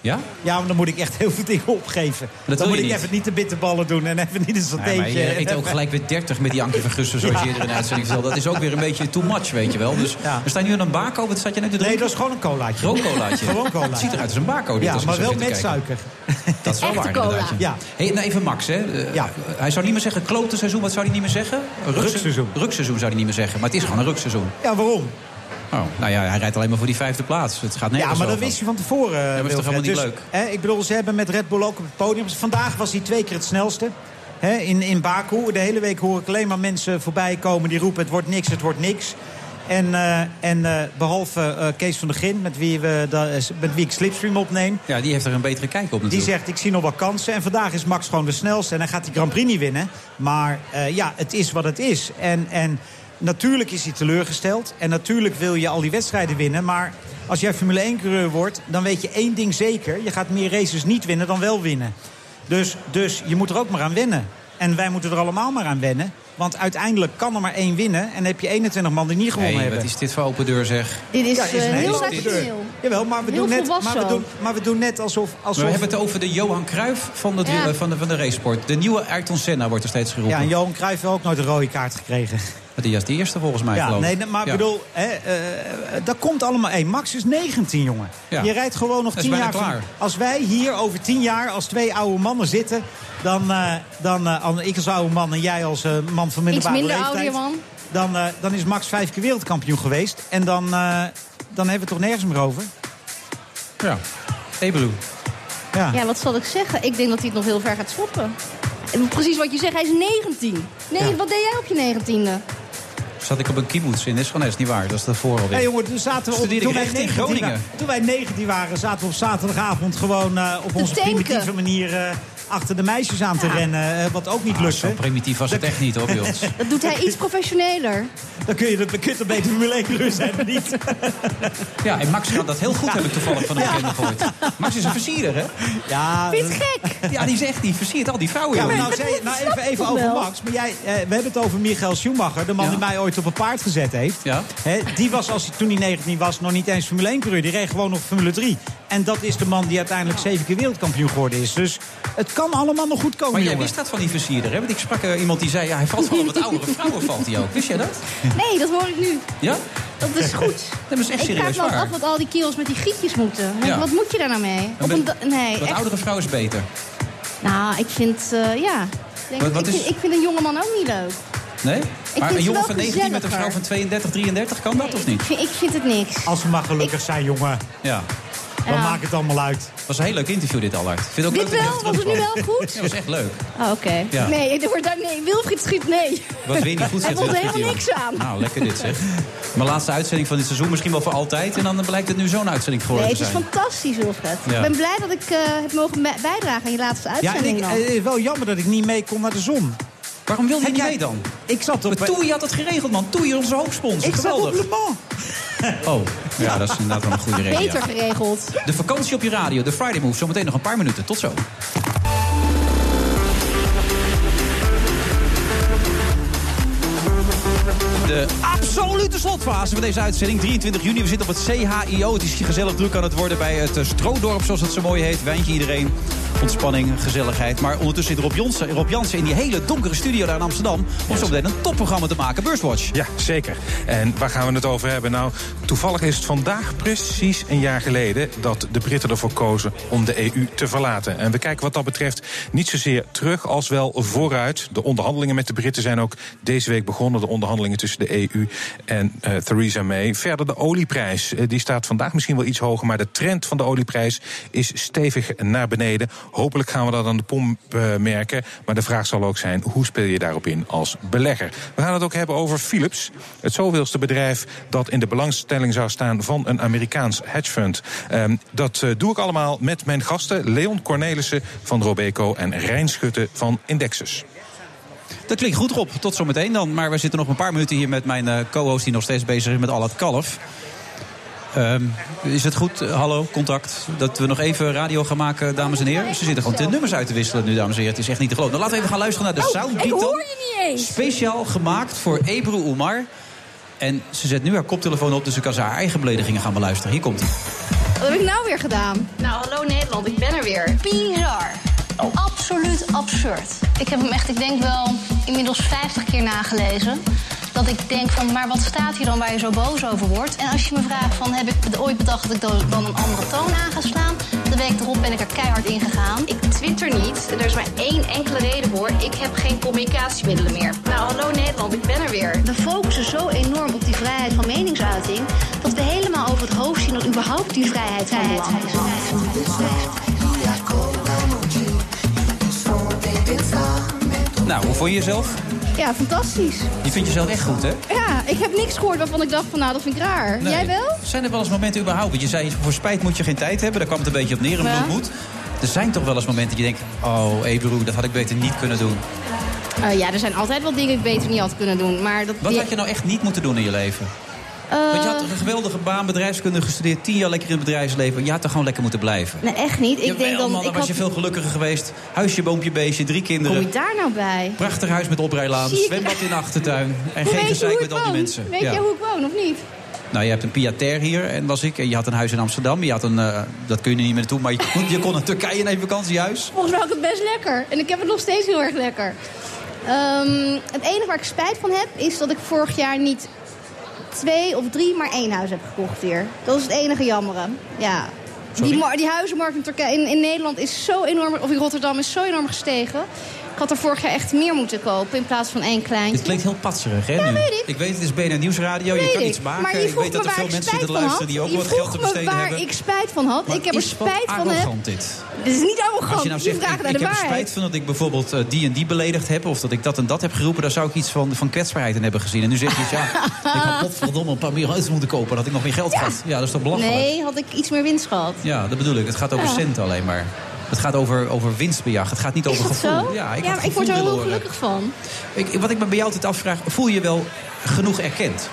Speaker 8: Ja?
Speaker 12: Ja, want dan moet ik echt heel veel dingen opgeven.
Speaker 8: wil
Speaker 12: dan moet
Speaker 8: je
Speaker 12: ik
Speaker 8: niet.
Speaker 12: even niet de bitterballen doen en even niet een satéetje.
Speaker 8: Nee, maar je eet ook
Speaker 12: En-
Speaker 8: gelijk weer 30 met die Ankie van Gussen, zoals je eerder in de uitzending vertelde. Dat is ook weer een beetje too much, weet je wel. Dus we staan nu aan een bako. Wat zat je net te
Speaker 12: Nee,
Speaker 8: drinken?
Speaker 12: dat is gewoon een colaatje.
Speaker 8: Gewoon colaatje.
Speaker 12: Gewoon colaatje.
Speaker 8: Het ziet eruit als een bako. dit,
Speaker 12: Ja,
Speaker 8: als ik
Speaker 12: maar
Speaker 8: zo
Speaker 12: wel
Speaker 8: zit te
Speaker 12: met
Speaker 8: kijken.
Speaker 12: suiker.
Speaker 8: Dat is wel
Speaker 12: Echte
Speaker 8: waar,
Speaker 12: cola.
Speaker 8: inderdaad.
Speaker 12: Ja.
Speaker 8: Hey, nou even Max, hè. Eh,
Speaker 12: Ja.
Speaker 8: Hij zou niet meer zeggen klote seizoen. Wat zou hij niet meer zeggen? Rukse-
Speaker 12: Rukseizoen.
Speaker 8: Rukseizoen zou hij niet meer zeggen. Maar het is gewoon een rukseizoen.
Speaker 12: Ja, waarom?
Speaker 8: Oh, nou ja, hij rijdt alleen maar voor die vijfde plaats. Het gaat nergens
Speaker 12: ja, maar dat
Speaker 8: over.
Speaker 12: wist je van tevoren.
Speaker 8: maar is toch
Speaker 12: Wilfred.
Speaker 8: helemaal niet
Speaker 12: Dus, hè, ik bedoel, ze hebben met Red Bull ook op het podium. Vandaag was hij twee keer het snelste. Hè, in, in Baku. De hele week hoor ik alleen maar mensen voorbij komen die roepen: het wordt niks, het wordt niks. En, eh, en eh, behalve eh, Kees van der Gin, met wie, we, da- eh, met wie ik Slipstream opneem.
Speaker 8: Ja, die heeft er een betere kijk op natuurlijk.
Speaker 12: Die zegt, ik zie nog wel kansen. En vandaag is Max gewoon de snelste. En hij gaat die Grand Prix niet winnen. Maar eh, ja, het is wat het is. En, en natuurlijk is hij teleurgesteld. En natuurlijk wil je al die wedstrijden winnen. Maar als jij Formule 1-coureur wordt, dan weet je één ding zeker. Je gaat meer races niet winnen dan wel winnen. Dus, dus je moet er ook maar aan wennen. En wij moeten er allemaal maar aan wennen. Want uiteindelijk kan er maar één winnen. En heb je 21 man die niet gewonnen
Speaker 8: Hey,
Speaker 12: hebben.
Speaker 8: wat is dit voor open deur, zeg?
Speaker 9: Dit is,
Speaker 12: Ja,
Speaker 9: eh,
Speaker 12: een
Speaker 9: heel
Speaker 12: hele
Speaker 9: rationeel.
Speaker 12: deur. Jawel, maar we,
Speaker 9: Heel
Speaker 12: doen net, maar,
Speaker 9: volwassen
Speaker 12: we doen,
Speaker 9: ook.
Speaker 12: maar we doen net alsof... alsof
Speaker 8: Maar we hebben het over de Johan Cruijff van, het,
Speaker 12: Ja.
Speaker 8: wiel- van, de, van de racesport. De nieuwe Ayrton Senna wordt er steeds geroepen.
Speaker 12: Ja, en Johan Cruijff heeft ook nooit een rode kaart gekregen.
Speaker 8: Dat is juist de eerste volgens mij,
Speaker 12: Ja,
Speaker 8: geloof ik.
Speaker 12: nee, maar ik
Speaker 8: Ja.
Speaker 12: bedoel, hè, eh, dat komt allemaal. Hey, Max is 19, jongen.
Speaker 8: Ja.
Speaker 12: Je rijdt gewoon nog
Speaker 8: Dat is
Speaker 12: 10 jaar.
Speaker 8: bijna klaar.
Speaker 12: Als wij hier over 10 jaar als twee oude mannen zitten, dan, eh, dan eh, Anne, ik als oude man en jij als eh, man van middelbare
Speaker 9: Iets minder
Speaker 12: leeftijd.
Speaker 9: oude man.
Speaker 12: Dan, eh, dan is Max vijf keer wereldkampioen geweest. En dan, eh, dan hebben we het toch nergens meer over.
Speaker 8: Ja. Ebru.
Speaker 12: Ja.
Speaker 9: Ja, wat zal ik zeggen? Ik denk dat hij het nog heel ver gaat schoppen. En Precies wat je zegt, hij is 19. Nee,
Speaker 8: Ja.
Speaker 9: wat deed jij op je 19e?
Speaker 8: Zat ik op een kibbutz in Israël? Nee, is niet waar. Dat is de vooralweer.
Speaker 12: Hey, jongen, toen, zaten we op,
Speaker 8: Studeerde
Speaker 12: toen,
Speaker 8: ik
Speaker 12: wij
Speaker 8: recht in
Speaker 12: 19
Speaker 8: Groningen.
Speaker 12: wa- toen wij 19 waren, zaten we op zaterdagavond gewoon eh, op
Speaker 9: Te
Speaker 12: onze
Speaker 9: tanken.
Speaker 12: primitieve manier eh, achter de meisjes aan te rennen. eh, wat ook niet
Speaker 8: Ah,
Speaker 12: lukte.
Speaker 8: zo primitief was het echt niet, hoor, bij ons.
Speaker 9: Dat doet hij iets professioneler.
Speaker 12: Dan kun je dat kut een beetje Formule 1 gerust hebben, niet?
Speaker 8: Ja, en Max gaat dat heel goed, heb ik toevallig van hem gehoord. Max is een versierder, hè?
Speaker 12: Ja. eh,
Speaker 8: Vind gek? Ja, die is echt, die versiert al die vrouwen.
Speaker 12: Ja,
Speaker 8: joh.
Speaker 12: maar nou, zei- nou even, even over Max. Maar jij, eh, we hebben het over Michael Schumacher, de man die mij ooit op een paard gezet heeft. Hè, die was, als hij, toen hij 19 was, nog niet eens Formule 1 coureur. Die reed gewoon nog Formule 3. En dat is de man die uiteindelijk zeven keer wereldkampioen geworden is. Dus het kan allemaal nog goed komen,
Speaker 8: Maar jij
Speaker 12: jongen.
Speaker 8: wist dat van die versierder, hè? Want ik sprak eh, iemand die zei, ja, hij valt wel op wat oudere vrouwen, valt hij ook. Wist jij dat?
Speaker 9: Nee, dat hoor ik nu.
Speaker 8: Ja?
Speaker 9: Dat is goed.
Speaker 8: Dat is echt
Speaker 9: ik vraag
Speaker 8: serieus
Speaker 9: me ook
Speaker 8: waar.
Speaker 9: af wat al die kerels met die gietjes moeten. Want
Speaker 8: Ja.
Speaker 9: Wat moet je daar nou mee? Op
Speaker 8: Maar
Speaker 9: een
Speaker 8: dat-
Speaker 9: da- nee,
Speaker 8: Wat
Speaker 9: echt.
Speaker 8: oudere vrouw is beter.
Speaker 9: Nou, ik vind, eh, ja. Ik denk-
Speaker 8: Wat- wat
Speaker 9: ik,
Speaker 8: is-
Speaker 9: vind, ik vind een jongeman ook niet leuk.
Speaker 8: Nee?
Speaker 9: vind
Speaker 8: Maar een
Speaker 9: het
Speaker 8: jongen
Speaker 9: wel
Speaker 8: van 19 met een vrouw
Speaker 9: gezelliger.
Speaker 8: van 32, 33, kan dat of niet?
Speaker 9: Ik vind, ik vind het niks.
Speaker 12: Als we maar gelukkig zijn, jongen.
Speaker 8: Ja.
Speaker 12: Dan maakt het allemaal uit.
Speaker 8: was een heel leuk interview dit, Allard. Ik Vind het ook
Speaker 9: Dit
Speaker 8: leuk dat je
Speaker 9: wel?
Speaker 8: er
Speaker 9: Was het nu
Speaker 8: terugkwam.
Speaker 9: wel goed?
Speaker 8: Ja, was echt leuk.
Speaker 9: Oh, Oké.
Speaker 8: Ja.
Speaker 9: Nee, er wordt daar, nee, Wilfried schiet nee.
Speaker 8: Wat weer niet goed
Speaker 9: Hij
Speaker 8: zegt,
Speaker 9: vond er
Speaker 8: Wilfried
Speaker 9: helemaal
Speaker 8: Dion.
Speaker 9: niks aan.
Speaker 8: Nou, lekker dit zeg. Mijn laatste uitzending van dit seizoen, misschien wel voor altijd. En dan blijkt het nu zo'n uitzending geworden
Speaker 9: Nee,
Speaker 8: te
Speaker 9: het is
Speaker 8: zijn.
Speaker 9: fantastisch, Wilfred.
Speaker 8: Ja.
Speaker 9: Ik ben blij dat ik eh, heb mogen bij- bijdragen aan je laatste
Speaker 12: Ja, en
Speaker 9: uitzending.
Speaker 12: ik,
Speaker 9: dan.
Speaker 12: eh, wel jammer dat ik niet mee kon naar de zon.
Speaker 8: Waarom wilde
Speaker 12: je niet mee
Speaker 8: dan?
Speaker 12: Ik zat op...
Speaker 8: Maar Toei had het geregeld, man. Toei, onze hoofdsponsor.
Speaker 12: Ik zat op
Speaker 8: Geweldig.
Speaker 12: Le Mans.
Speaker 8: Oh, ja, dat is inderdaad wel een goede reden.
Speaker 9: Beter
Speaker 8: ja.
Speaker 9: geregeld.
Speaker 8: De vakantie op je radio, de Friday Move. Zometeen nog een paar minuten. Tot zo. De absolute slotfase van deze uitzending. 23 juni, we zitten op het CHIO. Het is hier gezellig druk aan het worden bij het eh, Stroodorp, zoals het zo mooi heet. Wijntje iedereen, ontspanning, gezelligheid. Maar ondertussen zit Rob Jansen, Rob Jansen in die hele donkere studio daar in Amsterdam... om zo meteen een topprogramma te maken, Beurswatch.
Speaker 20: Ja, zeker. En waar gaan we het over hebben? Nou, toevallig is het vandaag precies een jaar geleden dat de Britten ervoor kozen om de EU te verlaten. En we kijken wat dat betreft niet zozeer terug als wel vooruit. De onderhandelingen met de Britten zijn ook deze week begonnen. De onderhandelingen tussen de EU en eh, Theresa May. Verder de olieprijs. Eh, die staat vandaag misschien wel iets hoger, maar de trend van de olieprijs is stevig naar beneden. Hopelijk gaan we dat aan de pomp eh, merken. Maar de vraag zal ook zijn: hoe speel je daarop in als belegger? We gaan het ook hebben over Philips, het zoveelste bedrijf dat in de belangstelling zou staan van een Amerikaans hedgefund. Ehm, dat eh, doe ik allemaal met mijn gasten Leon Cornelissen van Robeco en Rijn Schutte van Indexus.
Speaker 8: Dat klinkt goed, Rob. Tot zometeen dan. Maar we zitten nog een paar minuten hier met mijn eh, co-host... die nog steeds bezig is met al het kalf. Ehm, is het goed, Eh, hallo, contact, dat we nog even radio gaan maken, dames en heren? Ze zitten gewoon de nummers uit te wisselen nu, dames en heren. Het is echt niet te geloven. Nou, laten we even gaan luisteren naar de
Speaker 4: Oh,
Speaker 8: soundbeat dan.
Speaker 17: Oh, je niet eens.
Speaker 8: Speciaal gemaakt voor Ebru Umar. En ze zet nu haar koptelefoon op, dus ik kan ze haar eigen beledigingen gaan beluisteren. Hier komt hij.
Speaker 9: Wat heb ik nou weer gedaan? Nou, hallo Nederland, ik ben er weer. Bizar. Absoluut absurd. Ik heb hem echt, ik denk wel, inmiddels 50 keer nagelezen. Dat ik denk van, maar wat staat hier dan waar je zo boos over wordt? En als je me vraagt van, heb ik het ooit bedacht dat ik dan dan een andere toon aan ga slaan? De week erop ben ik er keihard in gegaan. Ik twitter niet. Er is maar één enkele reden voor. Ik heb geen communicatiemiddelen meer. Nou, hallo Nederland, ik ben er weer. We focussen zo enorm op die vrijheid van meningsuiting... dat we helemaal over het hoofd zien dat überhaupt die vrijheid van belang is.
Speaker 8: Nou, hoe vond je jezelf?
Speaker 9: Ja, fantastisch.
Speaker 8: Je vindt jezelf echt goed, hè?
Speaker 9: Ja, ik heb niks gehoord waarvan ik dacht van, nou, dat vind ik raar.
Speaker 8: Nee.
Speaker 9: Jij wel?
Speaker 8: Zijn er wel eens momenten überhaupt? Want je zei, voor spijt moet je geen tijd hebben. Daar kwam het een beetje op neer, omdat
Speaker 9: Ja.
Speaker 8: het moet. Er zijn toch wel eens momenten dat je denkt... oh, Ebru, dat had ik beter niet kunnen doen.
Speaker 9: Eh, ja, er zijn altijd wel dingen die ik beter niet had kunnen doen. Maar dat,
Speaker 8: Wat
Speaker 9: die-
Speaker 8: had je nou echt niet moeten doen in je leven?
Speaker 9: Eh,
Speaker 8: Want je had een geweldige baan, bedrijfskunde gestudeerd... tien jaar lekker in het bedrijfsleven. Je had er gewoon lekker moeten blijven.
Speaker 9: Nee, echt niet. Ik
Speaker 8: Jawel,
Speaker 9: denk dan...
Speaker 8: man,
Speaker 9: ik
Speaker 8: was je veel gelukkiger geweest. Huisje, boompje, beestje, drie
Speaker 9: Kom
Speaker 8: kinderen.
Speaker 9: je daar nou bij?
Speaker 8: Prachtig huis met oprijlaan,
Speaker 9: Zie ik-
Speaker 8: zwembad in de achtertuin.
Speaker 9: Hoe
Speaker 8: En geen
Speaker 9: weet je hoe
Speaker 8: gezeik
Speaker 9: ik
Speaker 8: met al die
Speaker 9: woon?
Speaker 8: mensen.
Speaker 9: Weet
Speaker 8: Ja.
Speaker 9: je hoe ik woon, of niet?
Speaker 8: Nou, je hebt een piater hier en was ik. En je had een huis in Amsterdam. Je had een, eh, dat kun je nu niet meer naartoe, maar je, kon- je kon naar Turkije in een vakantiehuis.
Speaker 9: Volgens mij had ik het best lekker. En ik heb het nog steeds heel erg lekker. Ehm, het enige waar ik spijt van heb, is dat ik vorig jaar niet twee of drie, maar één huis heb gekocht hier. Dat is het enige jammere. Ja. Die, mar- die huizenmarkt in, Turkije, in, in Nederland is zo enorm, of in Rotterdam is zo enorm gestegen. Ik had er vorig jaar echt meer moeten kopen in plaats van één kleintje.
Speaker 8: Dit klinkt heel patserig, hè?
Speaker 9: Ja,
Speaker 8: nu?
Speaker 9: weet ik.
Speaker 8: weet, het is BNR Nieuwsradio, je
Speaker 9: Weet
Speaker 8: kan
Speaker 9: ik.
Speaker 8: iets maken.
Speaker 9: Maar je
Speaker 8: ik
Speaker 9: vroeg
Speaker 8: weet
Speaker 9: me
Speaker 8: dat er
Speaker 9: waar
Speaker 8: veel
Speaker 9: ik
Speaker 8: mensen
Speaker 9: spijt
Speaker 8: er
Speaker 9: van
Speaker 8: luisteren die
Speaker 9: had.
Speaker 8: ook
Speaker 9: Je
Speaker 8: wat geld
Speaker 9: vroeg
Speaker 8: te
Speaker 9: me
Speaker 8: besteden
Speaker 9: waar
Speaker 8: hebben.
Speaker 9: ik spijt van had.
Speaker 8: Maar
Speaker 9: ik heb er
Speaker 8: is wat
Speaker 9: spijt van Oh, heb.
Speaker 8: arrogant dit.
Speaker 9: Dit is niet arrogant.
Speaker 8: Als je nou zegt,
Speaker 9: vraagt
Speaker 8: ik,
Speaker 9: naar
Speaker 8: ik
Speaker 9: de
Speaker 8: heb er
Speaker 9: waarheid.
Speaker 8: spijt van dat ik bijvoorbeeld eh, die en die beledigd heb... of dat ik dat en dat heb geroepen, daar zou ik iets van, van kwetsbaarheid in hebben gezien. En nu zeg je, dus, ja, ik had potverdomme een paar meer huizen moeten kopen... dan had ik nog meer geld gehad. Ja, dat is toch belachelijk?
Speaker 9: Nee, had ik iets meer winst gehad.
Speaker 8: Ja, dat bedoel ik. Het gaat over
Speaker 9: Ja.
Speaker 8: centen alleen maar. Het gaat over, over winstbejag. Het gaat niet
Speaker 9: Is
Speaker 8: over
Speaker 9: dat
Speaker 8: gevoel.
Speaker 9: zo?
Speaker 8: Ja, ik, had
Speaker 9: maar ik
Speaker 8: gevoel
Speaker 9: word er
Speaker 8: willen
Speaker 9: heel
Speaker 8: horen.
Speaker 9: gelukkig van.
Speaker 8: Ik, wat ik me bij jou altijd afvraag, voel je je wel genoeg erkend?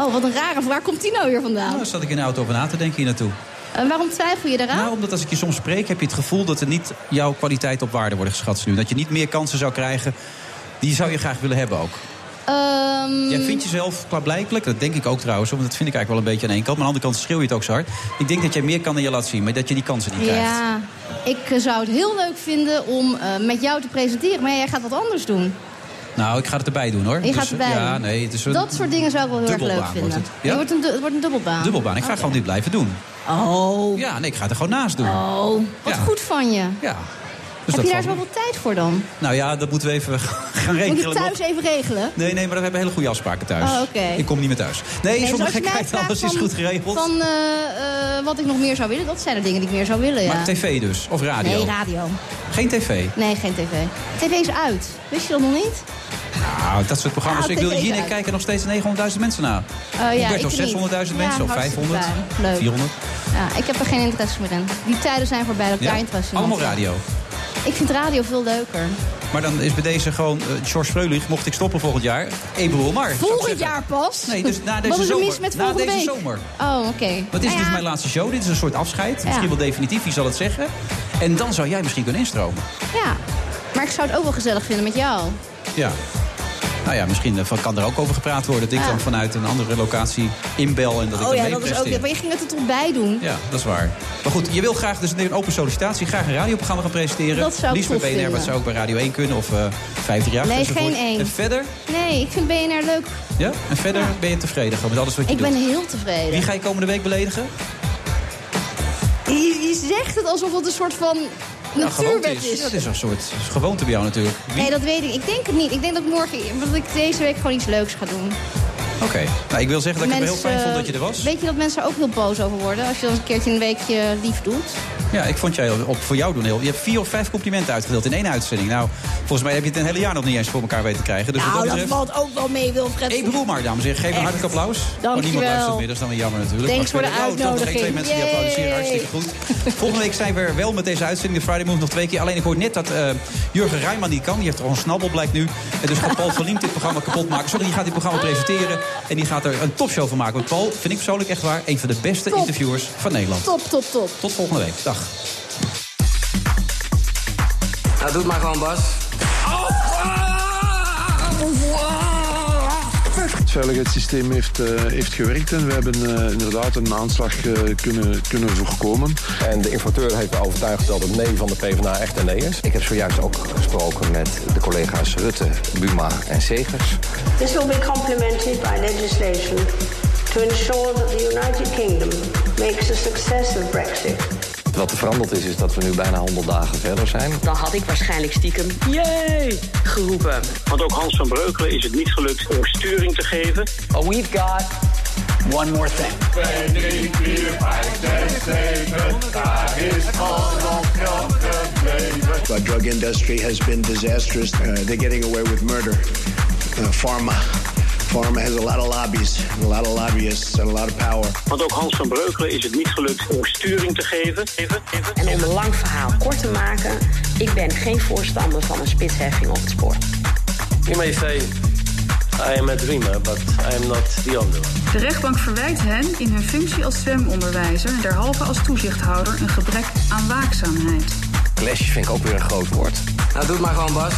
Speaker 9: Oh, wat een rare vraag. Waar komt die nou weer vandaan?
Speaker 8: Daar zat ik in de auto over na te denken hier naartoe.
Speaker 9: En waarom twijfel je eraan?
Speaker 8: Nou, omdat als ik je soms spreek, heb je het gevoel dat er niet jouw kwaliteit op waarde worden geschatst nu. Dat je niet meer kansen zou krijgen die je zou je graag willen hebben ook.
Speaker 9: Mm. Ehm,
Speaker 8: Jij vindt jezelf klaarblijkelijk, dat denk ik ook trouwens, want dat vind ik eigenlijk wel een beetje aan één kant. Maar aan de andere kant schreeuw je het ook zo hard. Ik denk dat jij meer kan dan je laat zien, maar dat je die kansen niet krijgt.
Speaker 9: Ja, ik eh, zou het heel leuk vinden om eh, met jou te presenteren. Maar jij gaat wat anders doen.
Speaker 8: Nou, ik ga het erbij doen hoor.
Speaker 9: Je gaat
Speaker 8: Dus,
Speaker 9: erbij
Speaker 8: Ja,
Speaker 9: doen.
Speaker 8: nee, het is een
Speaker 9: Dat soort dingen zou ik wel heel erg leuk
Speaker 8: dubbelbaan
Speaker 9: vinden.
Speaker 8: wordt het. Ja?
Speaker 9: wordt een, du- het wordt een dubbelbaan.
Speaker 8: dubbelbaan. Ik ga gewoon dit blijven doen.
Speaker 9: Oh.
Speaker 8: Ja, nee, ik ga het er gewoon naast doen.
Speaker 9: Oh, wat goed van je.
Speaker 8: Ja. Dus
Speaker 9: Heb
Speaker 8: dat
Speaker 9: je daar
Speaker 8: valt
Speaker 9: zoveel tijd voor dan?
Speaker 8: Nou ja, dat moeten we even gaan
Speaker 9: Moet je
Speaker 8: regelen.
Speaker 9: het
Speaker 8: nog.
Speaker 9: thuis even regelen?
Speaker 8: Nee, nee, maar we hebben hele goede afspraken thuis.
Speaker 9: Oh, oké.
Speaker 8: Ik kom niet meer thuis. Nee,
Speaker 9: dus
Speaker 8: zonder
Speaker 9: als je mij
Speaker 8: gekheid,
Speaker 9: vraagt
Speaker 8: alles is
Speaker 9: van-
Speaker 8: goed geregeld.
Speaker 9: Van eh, eh, wat ik nog meer zou willen, dat zijn de dingen die ik meer zou willen. Ja.
Speaker 8: Maar tv dus, of radio?
Speaker 9: Nee, radio.
Speaker 8: Geen tv?
Speaker 9: Nee, geen tv. TV is uit. Wist je dat nog niet?
Speaker 8: Nou, dat soort programma's.
Speaker 9: Ja,
Speaker 8: ik wil
Speaker 9: tv is
Speaker 8: hierna
Speaker 9: uit.
Speaker 8: kijken nog steeds 900.000 mensen naar.
Speaker 9: Eh, ja,
Speaker 8: ik werd
Speaker 9: ik
Speaker 8: nog
Speaker 9: niet.
Speaker 8: 600.000
Speaker 9: Ja,
Speaker 8: mensen, of
Speaker 9: hartstikke
Speaker 8: 500,
Speaker 9: fijn. Leuk.
Speaker 8: 400.
Speaker 9: Ja, ik heb er geen interesse meer in. Die tijden zijn voorbij, dat ik daar interesse in had.
Speaker 8: Allemaal radio.
Speaker 9: Ik vind radio veel leuker.
Speaker 8: Maar dan is bij deze gewoon eh, George Freulich, mocht ik stoppen volgend jaar, Ebro Mar.
Speaker 9: Volgend jaar pas?
Speaker 8: Nee, dus na deze
Speaker 9: Wat is er
Speaker 8: zomer.
Speaker 9: mis met
Speaker 8: Na
Speaker 9: volgende
Speaker 8: deze
Speaker 9: week?
Speaker 8: zomer.
Speaker 9: Oh, oké.
Speaker 8: Dat is
Speaker 9: Nou
Speaker 8: dus
Speaker 9: ja,
Speaker 8: mijn laatste show. Dit is een soort afscheid. Misschien wel definitief, wie zal het zeggen? En dan zou jij misschien kunnen instromen.
Speaker 9: Ja, maar ik zou het ook wel gezellig vinden met jou.
Speaker 8: Ja. Nou ja, misschien eh, van- kan er ook over gepraat worden. Dat ik
Speaker 9: Ja.
Speaker 8: dan vanuit een andere locatie inbel en dat ik
Speaker 9: oh
Speaker 8: dan
Speaker 9: ja,
Speaker 8: mee
Speaker 9: dat is ook...
Speaker 8: presteer.
Speaker 9: Maar je ging het er toch bij doen?
Speaker 8: Ja, dat is waar. Maar goed, je wil graag, dus het is een open sollicitatie, graag een radioprogramma gaan presenteren.
Speaker 9: Dat zou ik
Speaker 8: Liefst
Speaker 9: tof
Speaker 8: bij BNR, wat
Speaker 9: vinden.
Speaker 8: zou ook bij Radio 1 kunnen of eh 50 jaar.
Speaker 9: nee,
Speaker 8: enzovoort.
Speaker 9: geen één.
Speaker 8: En verder,
Speaker 9: Nee, ik vind BNR leuk.
Speaker 8: ja? en verder ben je tevreden gewoon met alles wat je
Speaker 9: Ik
Speaker 8: doet.
Speaker 9: ben heel tevreden.
Speaker 8: Wie ga je komende week beledigen?
Speaker 9: Je, je zegt het alsof het een soort van
Speaker 8: Ja, gewoonte
Speaker 9: natuurwet
Speaker 8: is.
Speaker 9: is.
Speaker 8: Nou, Ja, dat is een soort gewoonte bij jou natuurlijk. Wie-
Speaker 9: Nee, dat weet ik. Ik denk het niet. Ik denk dat ik morgen, dat ik deze week gewoon iets leuks ga doen.
Speaker 8: Oké, nou, ik wil zeggen dat ik het heel
Speaker 9: Mensen,
Speaker 8: fijn vond dat je er was.
Speaker 9: Weet je dat mensen er ook heel boos over worden als je dan een keertje een weekje lief doet?
Speaker 8: Ja, ik vond jij op, voor jou doen heel... Je hebt vier of vijf complimenten uitgedeeld in één uitzending. Nou, volgens mij heb je het een hele jaar nog niet eens voor elkaar weten te krijgen. Dus wat dat betreft...
Speaker 9: Nou, valt ook wel mee, Wilfred.
Speaker 8: Ik bedoel maar, dames en heren, geef een hartelijk applaus.
Speaker 9: Dankjewel.
Speaker 8: Oh, niemand luistert meer, dat is dan weer jammer natuurlijk.
Speaker 9: Thanks
Speaker 8: Maar
Speaker 9: voor de
Speaker 8: oh, toch nog één, twee
Speaker 9: uitnodiging.
Speaker 8: mensen die
Speaker 9: Yay.
Speaker 8: applaudisseren, hartstikke goed. Volgende week zijn we er wel met deze uitzending, de Friday Move, nog twee keer. Alleen ik hoor net dat eh, Jurgen Rijman niet kan. Die heeft al een snabbel, blijkt nu. En dus gaat Paul van Liem dit programma kapot maken. Sorry, die gaat dit programma presenteren. En die gaat er een topshow van maken. Want Paul, vind ik persoonlijk echt waar, een van de beste
Speaker 9: Top.
Speaker 8: interviewers van Nederland.
Speaker 9: Top, top, top.
Speaker 8: Tot volgende week. Dag.
Speaker 5: Nou, doe het maar gewoon, Bas.
Speaker 6: Het veiligheidssysteem heeft, eh, heeft gewerkt en we hebben eh, inderdaad een aanslag eh, kunnen, kunnen voorkomen.
Speaker 5: En de informateur heeft overtuigd dat het nee van de PvdA echt een nee is. Ik heb zojuist ook gesproken met de collega's Rutte, Buma en Segers.
Speaker 2: This will be complemented by legislation to ensure that the United Kingdom makes a success of Brexit.
Speaker 5: Wat er veranderd is, is dat we nu bijna 100 dagen verder zijn.
Speaker 24: Dan had ik waarschijnlijk stiekem yay geroepen.
Speaker 25: Want ook Hans van Breukelen is het niet gelukt om sturing te geven.
Speaker 24: Oh, we've got one more thing.
Speaker 26: Our drug industry has been disastrous. Uh, they're getting away with murder. Uh, pharma. Pharma has a lot of lobbies, a lot of lobbyists, and a lot of power.
Speaker 25: Want ook Hans van Breukelen is het niet gelukt om sturing te geven. Even, even.
Speaker 24: En om een lang verhaal kort te maken, ik ben geen voorstander van een spitsheffing op het spoor.
Speaker 25: You may say, I am a dreamer, but I am not the only one.
Speaker 27: De rechtbank verwijt hen in hun functie als zwemonderwijzer en derhalve als toezichthouder een gebrek aan waakzaamheid.
Speaker 5: Clash vind ik ook weer een groot woord. Nou, doe het maar gewoon, Bas.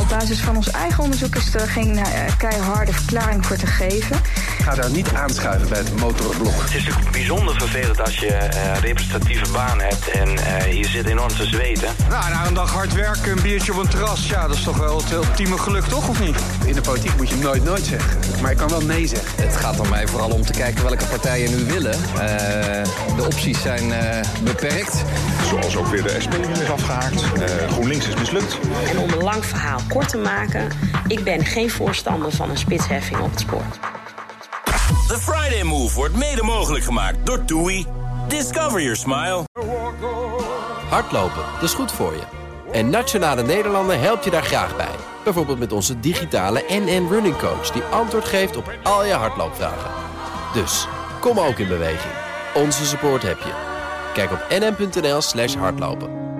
Speaker 27: Op basis van ons eigen onderzoek is er geen eh, keiharde verklaring voor te geven.
Speaker 28: ga daar niet aanschuiven bij het motorblok.
Speaker 29: Het is natuurlijk bijzonder vervelend als je eh, representatieve baan hebt en eh, je zit enorm te zweten.
Speaker 7: Nou, na een dag hard werken, een biertje op een terras, ja, dat is toch wel het ultieme geluk, toch, of niet?
Speaker 28: In de politiek moet je nooit nooit zeggen, maar ik kan wel nee zeggen.
Speaker 30: Het gaat er mij vooral om te kijken welke partijen nu willen. Eh, de opties zijn eh, beperkt.
Speaker 31: Zoals ook weer de SP is afgehaakt. Eh, GroenLinks is mislukt.
Speaker 24: En om een lang verhaal kort te maken, ik ben geen voorstander van een spitsheffing op het spoor.
Speaker 3: The Friday Move wordt mede mogelijk gemaakt door TUI. Discover your smile.
Speaker 5: Hardlopen, dat is goed voor je. En Nationale Nederlanden helpt je daar graag bij. Bijvoorbeeld met onze digitale NN Running Coach... die antwoord geeft op al je hardloopvragen. Dus, kom ook in beweging. Onze support heb je. Kijk op nn.nl slash hardlopen.